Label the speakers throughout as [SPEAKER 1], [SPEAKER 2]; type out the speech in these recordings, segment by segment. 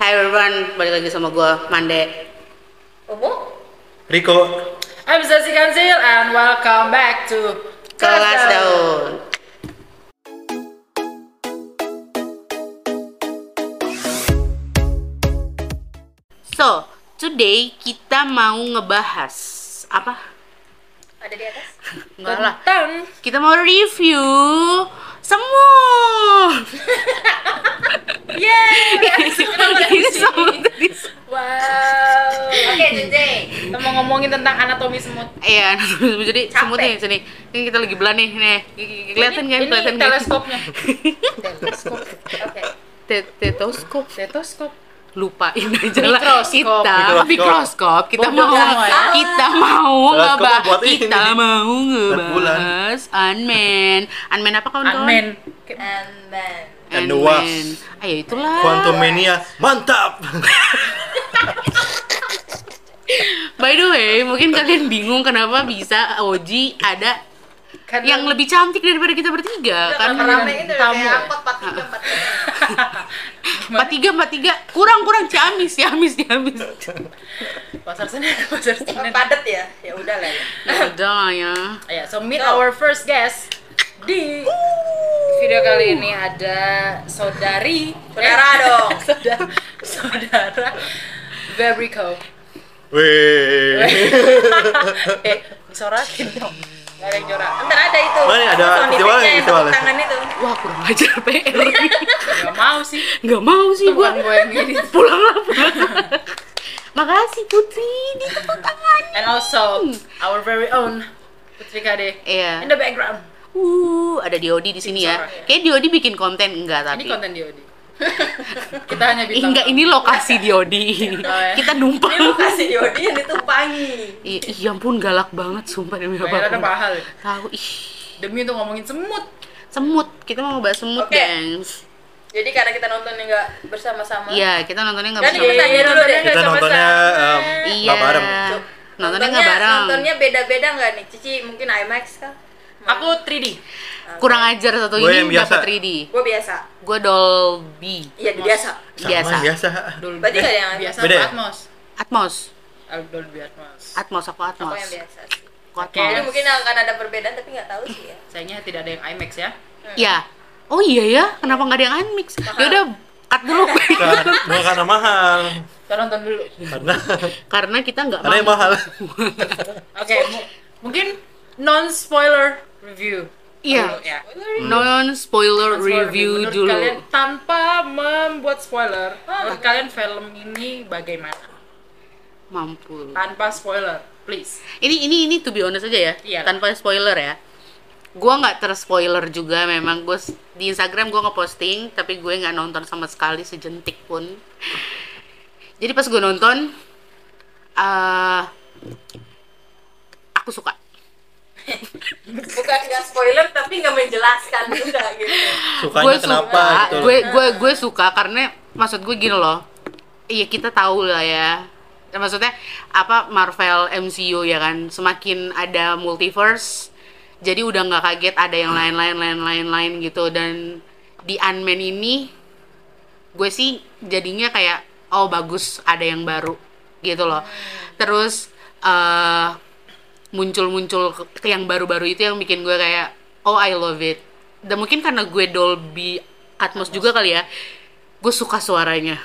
[SPEAKER 1] Hai everyone, balik lagi sama gue Mande.
[SPEAKER 2] Umu?
[SPEAKER 3] Riko,
[SPEAKER 2] I'm Zazie Kanzil and welcome back to
[SPEAKER 1] Kelas daun. So, today kita mau ngebahas apa?
[SPEAKER 2] Ada di atas?
[SPEAKER 1] Enggak lah.
[SPEAKER 2] Tentang
[SPEAKER 1] Kita mau review semut.
[SPEAKER 2] Yeay!
[SPEAKER 1] Iya, Ini semut.
[SPEAKER 2] Wow Oke,
[SPEAKER 4] today
[SPEAKER 2] kita mau ngomongin tentang anatomi semut
[SPEAKER 1] Iya, jadi semut nih sini. Ini kita lagi belah nih, nih. Kelihatan kan?
[SPEAKER 2] Ini-
[SPEAKER 1] Kelihatan
[SPEAKER 2] Ini
[SPEAKER 1] kan?
[SPEAKER 2] teleskopnya Teleskop
[SPEAKER 4] oke
[SPEAKER 1] Te- Tetoskop.
[SPEAKER 2] Tetoskop
[SPEAKER 1] lupain aja lah
[SPEAKER 2] Mikroskop.
[SPEAKER 1] kita
[SPEAKER 3] Mikroskop.
[SPEAKER 1] mikroskop kita
[SPEAKER 2] Bodoh
[SPEAKER 1] mau
[SPEAKER 2] kamu ya.
[SPEAKER 1] kita mau
[SPEAKER 3] Mikroskop
[SPEAKER 1] ngebahas
[SPEAKER 3] buat ini.
[SPEAKER 1] kita mau
[SPEAKER 3] bulan.
[SPEAKER 1] ngebahas unman unman apa kawan-kawan
[SPEAKER 2] Unman
[SPEAKER 4] and then
[SPEAKER 3] And the wasp.
[SPEAKER 1] Unman. ayo Ah, ya itulah
[SPEAKER 3] Quantumania, mantap!
[SPEAKER 1] by the way mungkin kalian bingung kenapa bisa Oji ada
[SPEAKER 2] Karena-
[SPEAKER 1] yang lebih cantik daripada kita bertiga kan
[SPEAKER 4] rame itu udah
[SPEAKER 2] Tamu
[SPEAKER 4] gitu, kayak
[SPEAKER 2] ya?
[SPEAKER 4] angkot 43
[SPEAKER 1] empat tiga empat tiga kurang kurang ciamis ciamis ciamis
[SPEAKER 2] Pasar Senen Pasar
[SPEAKER 4] 43
[SPEAKER 2] Senen
[SPEAKER 4] padat ya ya udah lah ya
[SPEAKER 1] Ya udah lah ya
[SPEAKER 2] Ya, so meet
[SPEAKER 4] Go.
[SPEAKER 2] our first guest di video kali ini ada saudari eh,
[SPEAKER 4] Saudara dong.
[SPEAKER 2] saudara saudara Vebrico
[SPEAKER 3] Wih,
[SPEAKER 2] eh disorakin dong nggak ada yang jorak
[SPEAKER 4] ntar ada itu
[SPEAKER 3] Mana ada
[SPEAKER 4] sound
[SPEAKER 3] festival ya,
[SPEAKER 4] effect-nya yang
[SPEAKER 3] festival
[SPEAKER 4] tepuk
[SPEAKER 3] ya?
[SPEAKER 4] tangan itu
[SPEAKER 1] wah kurang ajar PR
[SPEAKER 2] nggak mau sih
[SPEAKER 1] nggak mau sih
[SPEAKER 2] itu
[SPEAKER 1] gua
[SPEAKER 2] bukan gue yang ini
[SPEAKER 1] pulanglah pulang makasih putri di tepuk tangan
[SPEAKER 2] and also
[SPEAKER 4] Hmm.
[SPEAKER 2] our very own Putri Kade
[SPEAKER 1] Iya.
[SPEAKER 2] in the background
[SPEAKER 1] uh ada Diodi di sini ya
[SPEAKER 2] Sorry.
[SPEAKER 1] kayak Diodi bikin konten enggak
[SPEAKER 2] ini
[SPEAKER 1] tapi
[SPEAKER 2] konten DOD kita hanya
[SPEAKER 1] Ih,
[SPEAKER 2] bintang
[SPEAKER 1] enggak ini lokasi Diodi
[SPEAKER 2] ya.
[SPEAKER 1] kita
[SPEAKER 4] ini
[SPEAKER 1] numpang
[SPEAKER 4] lokasi di Odi yang ditumpangi
[SPEAKER 1] I- iya ampun galak banget sumpah demi
[SPEAKER 2] bayarannya
[SPEAKER 1] apa
[SPEAKER 2] Nah, mahal
[SPEAKER 1] tahu ih
[SPEAKER 2] demi untuk ngomongin semut
[SPEAKER 1] semut kita mau ngebahas semut
[SPEAKER 4] Oke.
[SPEAKER 1] gengs
[SPEAKER 4] jadi karena kita nonton nggak bersama-sama
[SPEAKER 1] iya kita nontonnya nggak
[SPEAKER 4] Dan
[SPEAKER 1] bersama
[SPEAKER 4] kita tanya dulu deh.
[SPEAKER 2] nontonnya
[SPEAKER 3] kita
[SPEAKER 2] nggak
[SPEAKER 3] nontonnya eh,
[SPEAKER 2] sama-sama.
[SPEAKER 3] em,
[SPEAKER 1] iya
[SPEAKER 3] nggak bareng.
[SPEAKER 1] nontonnya nggak bareng
[SPEAKER 4] nontonnya beda-beda nggak nih Cici mungkin IMAX kah
[SPEAKER 2] aku 3D
[SPEAKER 1] kurang ajar satu
[SPEAKER 3] Gua yang
[SPEAKER 1] ini
[SPEAKER 3] biasa.
[SPEAKER 1] dapat 3D
[SPEAKER 4] gue biasa
[SPEAKER 1] gue Dolby
[SPEAKER 4] iya biasa
[SPEAKER 3] Sama, ya.
[SPEAKER 1] biasa
[SPEAKER 3] biasa.
[SPEAKER 2] dulu
[SPEAKER 4] berarti nggak ada yang
[SPEAKER 2] biasa
[SPEAKER 3] Beda ya?
[SPEAKER 2] Atmos
[SPEAKER 1] Atmos
[SPEAKER 2] Dolby Atmos
[SPEAKER 1] Atmos aku
[SPEAKER 4] aku
[SPEAKER 1] Atmos
[SPEAKER 4] yang biasa sih
[SPEAKER 1] Aku
[SPEAKER 2] Oke.
[SPEAKER 1] Atmos.
[SPEAKER 4] jadi mungkin akan ada perbedaan tapi nggak tahu sih ya
[SPEAKER 2] sayangnya tidak ada yang IMAX ya
[SPEAKER 1] Ya. Oh iya ya, kenapa nggak ada yang unmix? Ya udah cut dulu
[SPEAKER 3] Bukan, bukan karena mahal.
[SPEAKER 2] kita nonton dulu
[SPEAKER 3] Karena,
[SPEAKER 1] karena kita nggak
[SPEAKER 3] karena yang
[SPEAKER 1] mau.
[SPEAKER 3] mahal.
[SPEAKER 2] oke mu- mungkin non spoiler review
[SPEAKER 1] Iya.
[SPEAKER 2] Dulu ya.
[SPEAKER 1] Non spoiler
[SPEAKER 2] Spoiler
[SPEAKER 1] review
[SPEAKER 2] Menurut
[SPEAKER 1] dulu.
[SPEAKER 2] kalian, Ah. tanpa membuat spoiler menurut kalian film ini bagaimana
[SPEAKER 1] Mampu. lu.
[SPEAKER 2] tanpa spoiler please
[SPEAKER 1] Ini ini ini to be honest aja ya,
[SPEAKER 2] Iya.
[SPEAKER 1] tanpa spoiler ya. Gua nggak terspoiler juga memang gue di Instagram gua ngeposting tapi gue nggak nonton sama sekali sejentik pun. Jadi pas gue nonton eh aku suka.
[SPEAKER 4] bukan nggak spoiler tapi nggak menjelaskan juga gitu
[SPEAKER 3] Sukanya kenapa
[SPEAKER 1] suka,
[SPEAKER 3] gitu.
[SPEAKER 1] gue gue gue suka karena maksud gue gini loh iya kita tahu lah ya maksudnya apa Marvel MCU ya kan semakin ada multiverse jadi udah nggak kaget ada yang lain-lain lain-lain lain gitu dan di Unman ini gue sih jadinya kayak oh bagus ada yang baru gitu loh terus eh, muncul-muncul ke- ke yang baru-baru itu yang bikin gue kayak oh I love it dan mungkin karena gue Dolby Atmos juga kali ya gue suka suaranya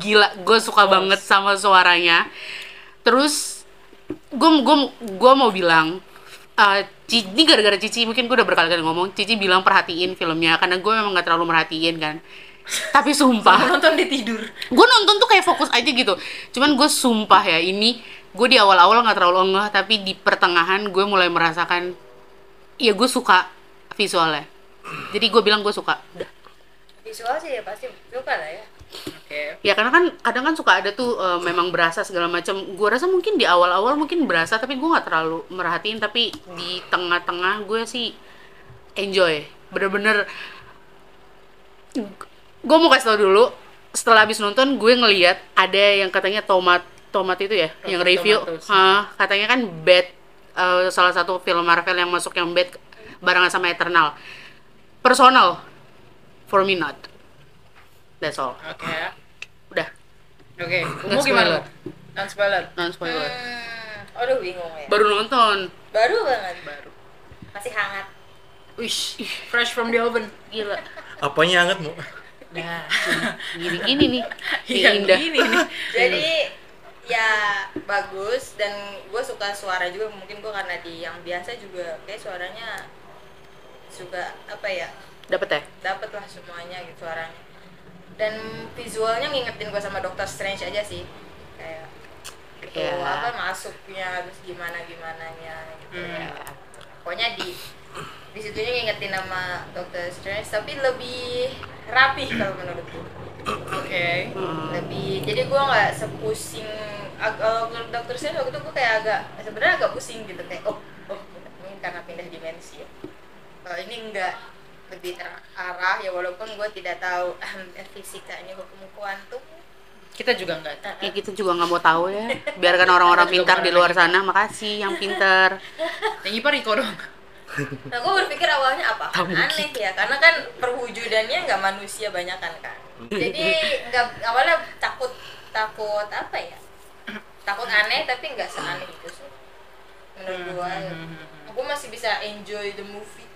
[SPEAKER 1] gila gue suka banget sama suaranya terus gue gue gue mau bilang eh, Ci- ini gara-gara Cici mungkin gue udah berkali-kali ngomong Cici bilang perhatiin filmnya karena gue memang nggak terlalu merhatiin kan tapi sumpah
[SPEAKER 2] nonton di tidur
[SPEAKER 1] gue nonton tuh kayak fokus aja gitu cuman gue sumpah ya ini gue di awal-awal nggak terlalu ngeh tapi di pertengahan gue mulai merasakan ya gue suka visualnya jadi gue bilang gue suka Udah.
[SPEAKER 4] visual sih ya pasti suka lah ya
[SPEAKER 2] oke
[SPEAKER 1] ya karena kan kadang kan suka ada tuh eh, memang berasa segala macam gue rasa mungkin di awal-awal mungkin berasa tapi gue nggak terlalu merhatiin tapi di tengah-tengah gue sih enjoy bener-bener gue mau kasih tau dulu setelah habis nonton gue ngeliat ada yang katanya tomat tomat itu ya yang
[SPEAKER 2] Rotten
[SPEAKER 1] review
[SPEAKER 2] Tomatoes.
[SPEAKER 1] Ah, katanya kan bad eh, salah satu film Marvel yang masuk yang bad barengan sama Eternal personal for me not that's all
[SPEAKER 2] oke Oke,
[SPEAKER 1] Nggak
[SPEAKER 2] mau gimana?
[SPEAKER 1] spoiler.
[SPEAKER 2] Non spoiler.
[SPEAKER 1] non Nah, spoiler
[SPEAKER 4] Hmm, aduh bingung ya.
[SPEAKER 1] baru nonton
[SPEAKER 4] Baru banget. Baru. Masih hangat.
[SPEAKER 2] Wish, fresh from the oven. Gila.
[SPEAKER 3] Apanya hangat mau?
[SPEAKER 2] Nah,
[SPEAKER 1] Dah, gini gini nih Nih,
[SPEAKER 2] Iya,
[SPEAKER 1] indah
[SPEAKER 2] ini nih.
[SPEAKER 4] Jadi ya bagus dan gue suka suara juga mungkin gue karena di yang biasa juga kayak suaranya suka apa ya
[SPEAKER 1] dapat ya
[SPEAKER 4] dapet lah semuanya gitu suaranya dan visualnya ngingetin gue sama Doctor Strange aja sih kayak gitu
[SPEAKER 1] Iya.
[SPEAKER 4] apa masuknya terus gimana gimananya gitu
[SPEAKER 2] Hmm.
[SPEAKER 4] pokoknya di di situnya ngingetin nama Doctor Strange tapi lebih rapi kalau menurut gue
[SPEAKER 2] Oke.
[SPEAKER 1] Hmm.
[SPEAKER 4] lebih jadi gue nggak sepusing ag- kalau ke dokter Strange waktu itu gue kayak agak sebenarnya agak pusing gitu kayak oh oh mungkin karena pindah dimensi ya kalau ini enggak lebih terarah ya walaupun gue tidak tahu fisikanya hukum kuantum
[SPEAKER 2] Kita juga nggak tahu.
[SPEAKER 1] Ya kita juga nggak mau tahu ya. Biarkan orang-orang
[SPEAKER 2] Kita juga
[SPEAKER 1] pintar di
[SPEAKER 2] bukan
[SPEAKER 1] luar sana. Makasih yang pintar.
[SPEAKER 2] Yang Ipa Riko dong.
[SPEAKER 4] nah gue berpikir awalnya apa aneh ya karena kan perwujudannya nggak manusia banyak kan jadi nggak awalnya takut takut apa ya takut aneh tapi nggak seaneh itu sih menurut gue gue masih bisa enjoy the movie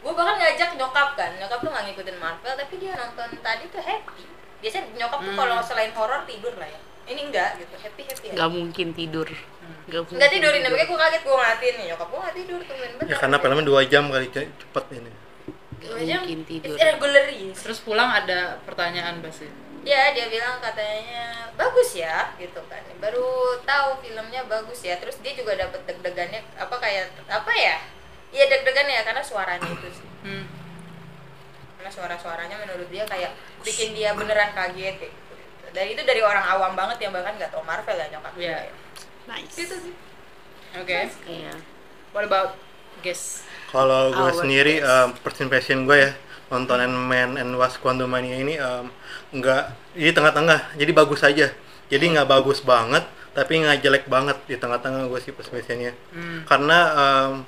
[SPEAKER 4] gue bahkan ngajak nyokap kan nyokap tuh nggak ngikutin Marvel tapi dia nonton tadi tuh happy biasanya nyokap tuh kalau selain horor tidur lah ya ini enggak gitu happy happy ya.
[SPEAKER 1] Nggak mungkin tidur. Nggak mungkin.
[SPEAKER 4] nggak tidurin makanya gue kaget gue ngatin nih nyokap gue nggak tidur temen bener
[SPEAKER 3] Ya karena filmnya dua jam kali ce- cepet ini.
[SPEAKER 1] Nggak mungkin tidur.
[SPEAKER 4] irregular yes.
[SPEAKER 2] Terus pulang ada pertanyaan pasti.
[SPEAKER 4] ya dia bilang katanya bagus ya gitu kan baru tahu filmnya bagus ya terus dia juga dapat deg-degannya apa kayak apa ya Iya deg-degan ya karena suaranya itu sih
[SPEAKER 2] Hmm.
[SPEAKER 4] karena suara-suaranya menurut dia kayak bikin dia beneran kaget kayak gitu. dan itu dari orang awam banget yang bahkan nggak tau Marvel ya nyokap gue.
[SPEAKER 2] Iya.
[SPEAKER 1] Nice.
[SPEAKER 4] gitu sih
[SPEAKER 2] Oke.
[SPEAKER 1] Iya.
[SPEAKER 2] What about guess?
[SPEAKER 3] Kalau gue
[SPEAKER 1] Our
[SPEAKER 3] sendiri eh, em, first impression gue ya nonton Ant Man and Wasp Quantumania ini em, nggak di tengah-tengah. Jadi bagus aja. Jadi nggak bagus banget, tapi nggak jelek banget di tengah-tengah gue sih first impressionnya. Karena em,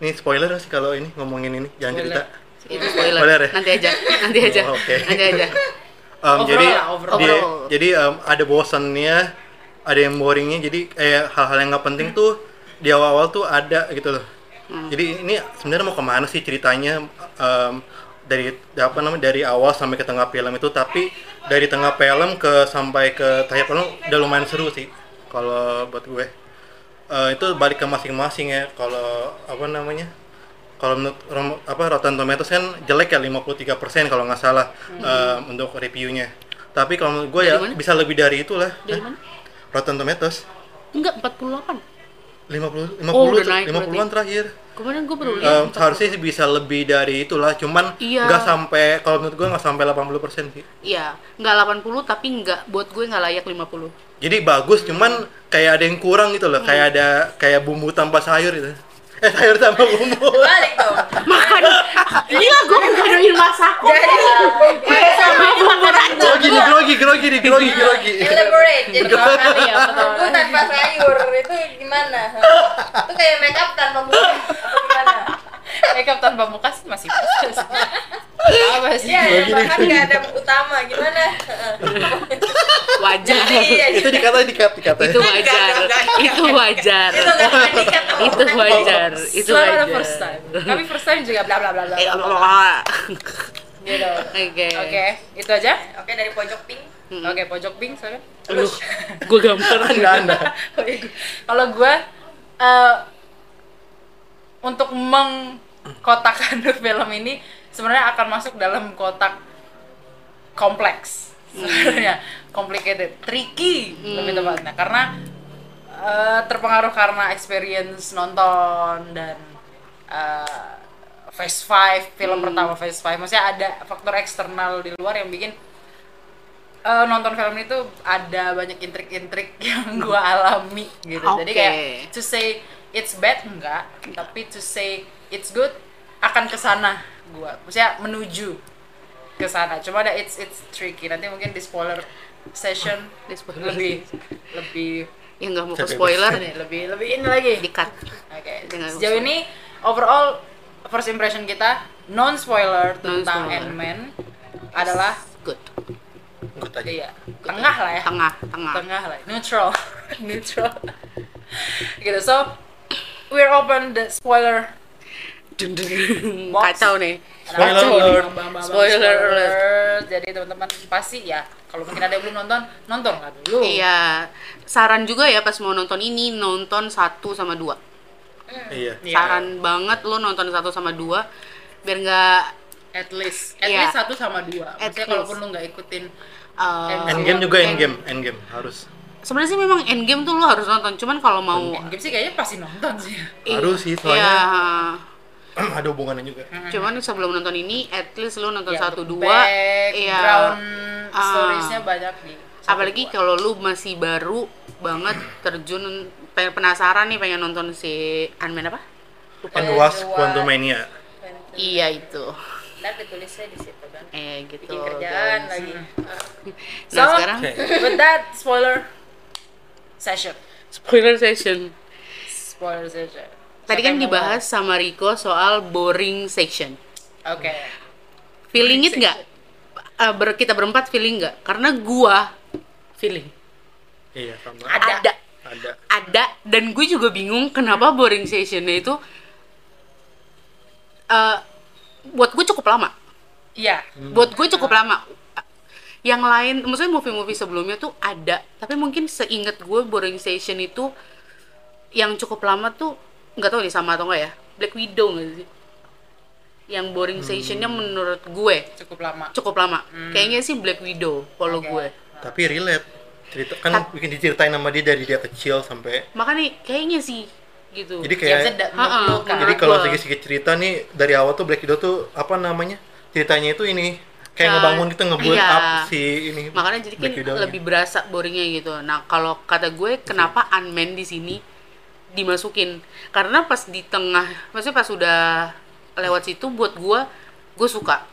[SPEAKER 3] ini spoiler sih kalau ini ngomongin ini jangan
[SPEAKER 2] Spoiler.
[SPEAKER 3] cerita.
[SPEAKER 4] Iya.
[SPEAKER 1] Itu
[SPEAKER 3] Spoiler
[SPEAKER 1] spoiler.
[SPEAKER 3] ya?
[SPEAKER 1] Nanti aja. Nanti aja.
[SPEAKER 3] Oh, oke.
[SPEAKER 1] Nanti aja.
[SPEAKER 3] Em,
[SPEAKER 2] Overall
[SPEAKER 3] jadi
[SPEAKER 2] lah, overall.
[SPEAKER 3] dia-
[SPEAKER 1] Overall.
[SPEAKER 3] jadi em, ada bosannya, ada yang boringnya. Jadi eh, hal-hal yang nggak
[SPEAKER 2] Hmm.
[SPEAKER 3] penting tuh di awal-awal tuh ada gitu loh. Jadi ini sebenarnya mau kemana sih ceritanya em, dari apa namanya dari awal sampai ke tengah film itu tapi dari tengah film ke sampai ke terakhir film udah lumayan seru sih kalau buat gue Eh, itu balik ke masing-masing ya kalau apa namanya kalau menurut rom- apa Rotten Tomatoes kan jelek ya 53% kalau nggak salah eh, untuk reviewnya tapi kalau menurut gue
[SPEAKER 1] Hmm.
[SPEAKER 3] ya
[SPEAKER 1] Dari mana?
[SPEAKER 3] bisa lebih dari itulah
[SPEAKER 1] Dari
[SPEAKER 3] Hah?
[SPEAKER 1] mana?
[SPEAKER 3] Rotten Tomatoes
[SPEAKER 1] Enggak 48.
[SPEAKER 3] 50
[SPEAKER 1] Oh, udah
[SPEAKER 3] 50
[SPEAKER 1] naik
[SPEAKER 3] 50-an terakhir
[SPEAKER 1] Kemarin gue baru lihat.
[SPEAKER 3] Em, harusnya sih bisa lebih dari itulah cuman
[SPEAKER 1] Iya.
[SPEAKER 3] nggak sampai kalau menurut gue nggak sampai 80% sih
[SPEAKER 1] Iya. Nggak 80 tapi nggak buat gue nggak layak 50.
[SPEAKER 3] jadi bagus cuman kayak ada yang kurang gitu loh
[SPEAKER 1] Iya.
[SPEAKER 3] kayak ada kayak bumbu tanpa sayur gitu eh sayur tanpa bumbu
[SPEAKER 4] balik dong
[SPEAKER 1] Makan.
[SPEAKER 4] Iya.
[SPEAKER 1] Gila gue ngaduin masakan.
[SPEAKER 4] jadi
[SPEAKER 1] Sama bumbu racun.
[SPEAKER 3] grogi nih grogi grogi nih grogi grogi
[SPEAKER 4] elaborate jadi
[SPEAKER 2] Pertama kali ya, pertama
[SPEAKER 4] bumbu
[SPEAKER 2] kali.
[SPEAKER 4] tanpa sayur itu gimana itu kayak make up tanpa bumbu apa gimana
[SPEAKER 2] Makeup tanpa muka sih masih proses. Apa sih?
[SPEAKER 4] iya yang bahkan nggak ada utama gimana
[SPEAKER 1] Wajar.
[SPEAKER 4] iya
[SPEAKER 3] itu dikata dikat dikata
[SPEAKER 1] Itu
[SPEAKER 4] Enggak,
[SPEAKER 1] wajar.
[SPEAKER 4] enggak,
[SPEAKER 1] Itu wajar.
[SPEAKER 4] itu nggak kan, akan dikat
[SPEAKER 1] Itu wajar. Itu
[SPEAKER 2] Selalu ada
[SPEAKER 1] wajar.
[SPEAKER 2] first time. Kami first time juga bla bla bla bla.
[SPEAKER 1] Eh,
[SPEAKER 2] bla, bla. Gitu.
[SPEAKER 1] Oke.
[SPEAKER 2] Oke, itu aja.
[SPEAKER 4] oke dari pojok pink
[SPEAKER 1] Mm.
[SPEAKER 2] Oke, pojok pink sorry. Oh, iya.
[SPEAKER 1] Aduh, gue gambar
[SPEAKER 3] anda anda
[SPEAKER 2] Kalau gue eh, untuk mengkotakkan film ini sebenarnya akan masuk dalam kotak kompleks sebenarnya complicated, tricky lebih tepatnya karena eh, terpengaruh karena experience nonton dan eh, Phase 5, film pertama Phase 5 Maksudnya ada faktor eksternal di luar yang bikin eh, nonton film itu ada banyak intrik-intrik yang gua alami gitu. Jadi
[SPEAKER 1] Oke.
[SPEAKER 2] kayak to say it's bad enggak, tapi to say it's good akan kesana gua. Maksudnya menuju ke sana. Cuma ada it's it's tricky. Nanti mungkin di spoiler session
[SPEAKER 1] Di spoiler
[SPEAKER 2] lebih lebih
[SPEAKER 1] yang Ya, nggak mau ke
[SPEAKER 3] Saya bebas.
[SPEAKER 1] spoiler
[SPEAKER 2] ini, lebih lebih ini lagi.
[SPEAKER 1] dikat
[SPEAKER 2] Oke,
[SPEAKER 1] Jangan spoiler.
[SPEAKER 2] sejauh ini overall first impression kita non spoiler tentang
[SPEAKER 1] Non-spoiler.
[SPEAKER 2] Ant-Man adalah
[SPEAKER 1] good
[SPEAKER 3] ikut aja
[SPEAKER 2] iya tengah lah ya
[SPEAKER 1] tengah tengah
[SPEAKER 2] tengah lah neutral neutral gitu so we're open the spoiler
[SPEAKER 1] Dun, dun, dun.
[SPEAKER 2] Box.
[SPEAKER 1] kacau nih
[SPEAKER 3] Spoiler
[SPEAKER 1] Kacau nih.
[SPEAKER 3] alert.
[SPEAKER 2] Bang, bang, bang,
[SPEAKER 1] Spoiler alert.
[SPEAKER 2] jadi teman-teman pasti ya kalau mungkin ada yang belum nonton nonton lah dulu
[SPEAKER 1] Iya, saran juga ya pas mau nonton ini nonton satu sama dua.
[SPEAKER 3] iya
[SPEAKER 2] Iya.
[SPEAKER 1] Saran banget lo nonton satu sama dua biar nggak
[SPEAKER 2] at least at
[SPEAKER 1] Iya.
[SPEAKER 2] least satu sama dua
[SPEAKER 1] At
[SPEAKER 2] maksudnya
[SPEAKER 1] least.
[SPEAKER 2] kalaupun lu nggak ikutin
[SPEAKER 1] uh,
[SPEAKER 3] endgame juga
[SPEAKER 1] End-
[SPEAKER 3] endgame endgame harus
[SPEAKER 1] sebenarnya sih memang endgame tuh lo harus nonton. Cuman kalau mau
[SPEAKER 2] endgame sih kayaknya pasti nonton sih
[SPEAKER 3] harus sih
[SPEAKER 1] Iya.
[SPEAKER 3] soalnya ada hubungannya juga
[SPEAKER 2] Mm-hmm.
[SPEAKER 1] Cuman sebelum nonton ini, at least lo nonton
[SPEAKER 2] Ya,
[SPEAKER 1] satu
[SPEAKER 2] untuk
[SPEAKER 1] dua, iya.
[SPEAKER 2] background
[SPEAKER 1] Ah.
[SPEAKER 2] storiesnya banyak nih satu,
[SPEAKER 1] apalagi
[SPEAKER 2] dua.
[SPEAKER 1] kalau lu masih baru banget terjun pengen penasaran nih pengen nonton si Unman apa?
[SPEAKER 3] panduas
[SPEAKER 4] Panduas.
[SPEAKER 3] quantumania
[SPEAKER 1] Iya itu.
[SPEAKER 4] Ntar ditulisnya di situ kan.
[SPEAKER 1] Eh gitu.
[SPEAKER 2] Oh,
[SPEAKER 4] Bikin kerjaan
[SPEAKER 1] guys.
[SPEAKER 4] lagi.
[SPEAKER 2] Hmm.
[SPEAKER 1] Nah,
[SPEAKER 2] So-
[SPEAKER 1] sekarang
[SPEAKER 2] with that spoiler session
[SPEAKER 1] spoiler session.
[SPEAKER 2] spoiler session
[SPEAKER 1] Tadi kan
[SPEAKER 2] Siapa yang mau
[SPEAKER 1] dibahas sama Riko soal boring section.
[SPEAKER 2] mulai? oke
[SPEAKER 1] Feeling it nggak? Eh, ber- kita berempat feeling nggak? Karena gua feeling
[SPEAKER 3] iya sama
[SPEAKER 2] Ada.
[SPEAKER 1] ada
[SPEAKER 3] ada
[SPEAKER 1] ada dan gue juga bingung kenapa boring sessionnya itu eh buat gue cukup lama
[SPEAKER 2] iya
[SPEAKER 1] buat gue cukup lama yang lain maksudnya movie-movie sebelumnya tuh ada tapi mungkin seingat gue boring session itu yang cukup lama tuh nggak tahu nih sama atau nggak ya Black Widow nggak sih yang boring sessionnya menurut gue
[SPEAKER 2] cukup lama
[SPEAKER 1] cukup lama kayaknya sih Black Widow kalau
[SPEAKER 2] Oke.
[SPEAKER 1] gue
[SPEAKER 3] tapi relate cerita kan bikin diceritain sama dia dari dia kecil sampai
[SPEAKER 1] makanya kayaknya sih gitu
[SPEAKER 3] jadi
[SPEAKER 2] yang
[SPEAKER 3] kayak
[SPEAKER 2] sedap
[SPEAKER 1] Ha-ha.
[SPEAKER 2] menurut lu kan
[SPEAKER 3] jadi
[SPEAKER 1] Menurut
[SPEAKER 3] kalau
[SPEAKER 1] gua.
[SPEAKER 3] sedikit cerita nih dari awal tuh Black Widow tuh apa namanya ceritanya itu ini kayak
[SPEAKER 1] Ya,
[SPEAKER 3] ngebangun gitu ngebuild
[SPEAKER 1] iya.
[SPEAKER 3] up si ini
[SPEAKER 1] makanya jadi kan
[SPEAKER 3] Black Widow-nya.
[SPEAKER 1] lebih berasa boringnya gitu nah kalau kata gue kenapa unman di sini dimasukin karena pas di tengah maksudnya pas udah lewat situ buat gue gue suka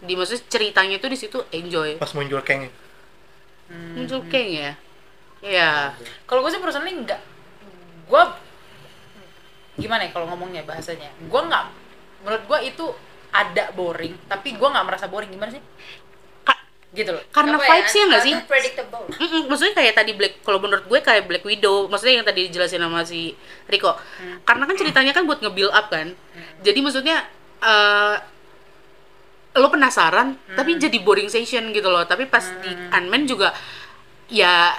[SPEAKER 1] di maksudnya ceritanya tuh di situ enjoy
[SPEAKER 3] pas muncul Kang
[SPEAKER 1] Iya. muncul keng ya ya
[SPEAKER 2] kalau gue sih personally nggak gue gimana ya kalau ngomongnya bahasanya gue nggak menurut gue itu ada boring tapi gue nggak merasa boring gimana sih
[SPEAKER 1] Ka-
[SPEAKER 2] gitu loh
[SPEAKER 1] karena
[SPEAKER 4] Apa ya?
[SPEAKER 1] vibes nya nggak sih
[SPEAKER 4] Unpredictable.
[SPEAKER 1] Mm-mm, maksudnya kayak tadi Black kalau menurut gue kayak Black Widow maksudnya yang tadi dijelasin sama si Riko
[SPEAKER 2] Hmm.
[SPEAKER 1] karena kan ceritanya kan buat nge-build up kan jadi maksudnya eh lo penasaran
[SPEAKER 2] Hmm.
[SPEAKER 1] tapi jadi boring session gitu loh tapi pas di Unman juga ya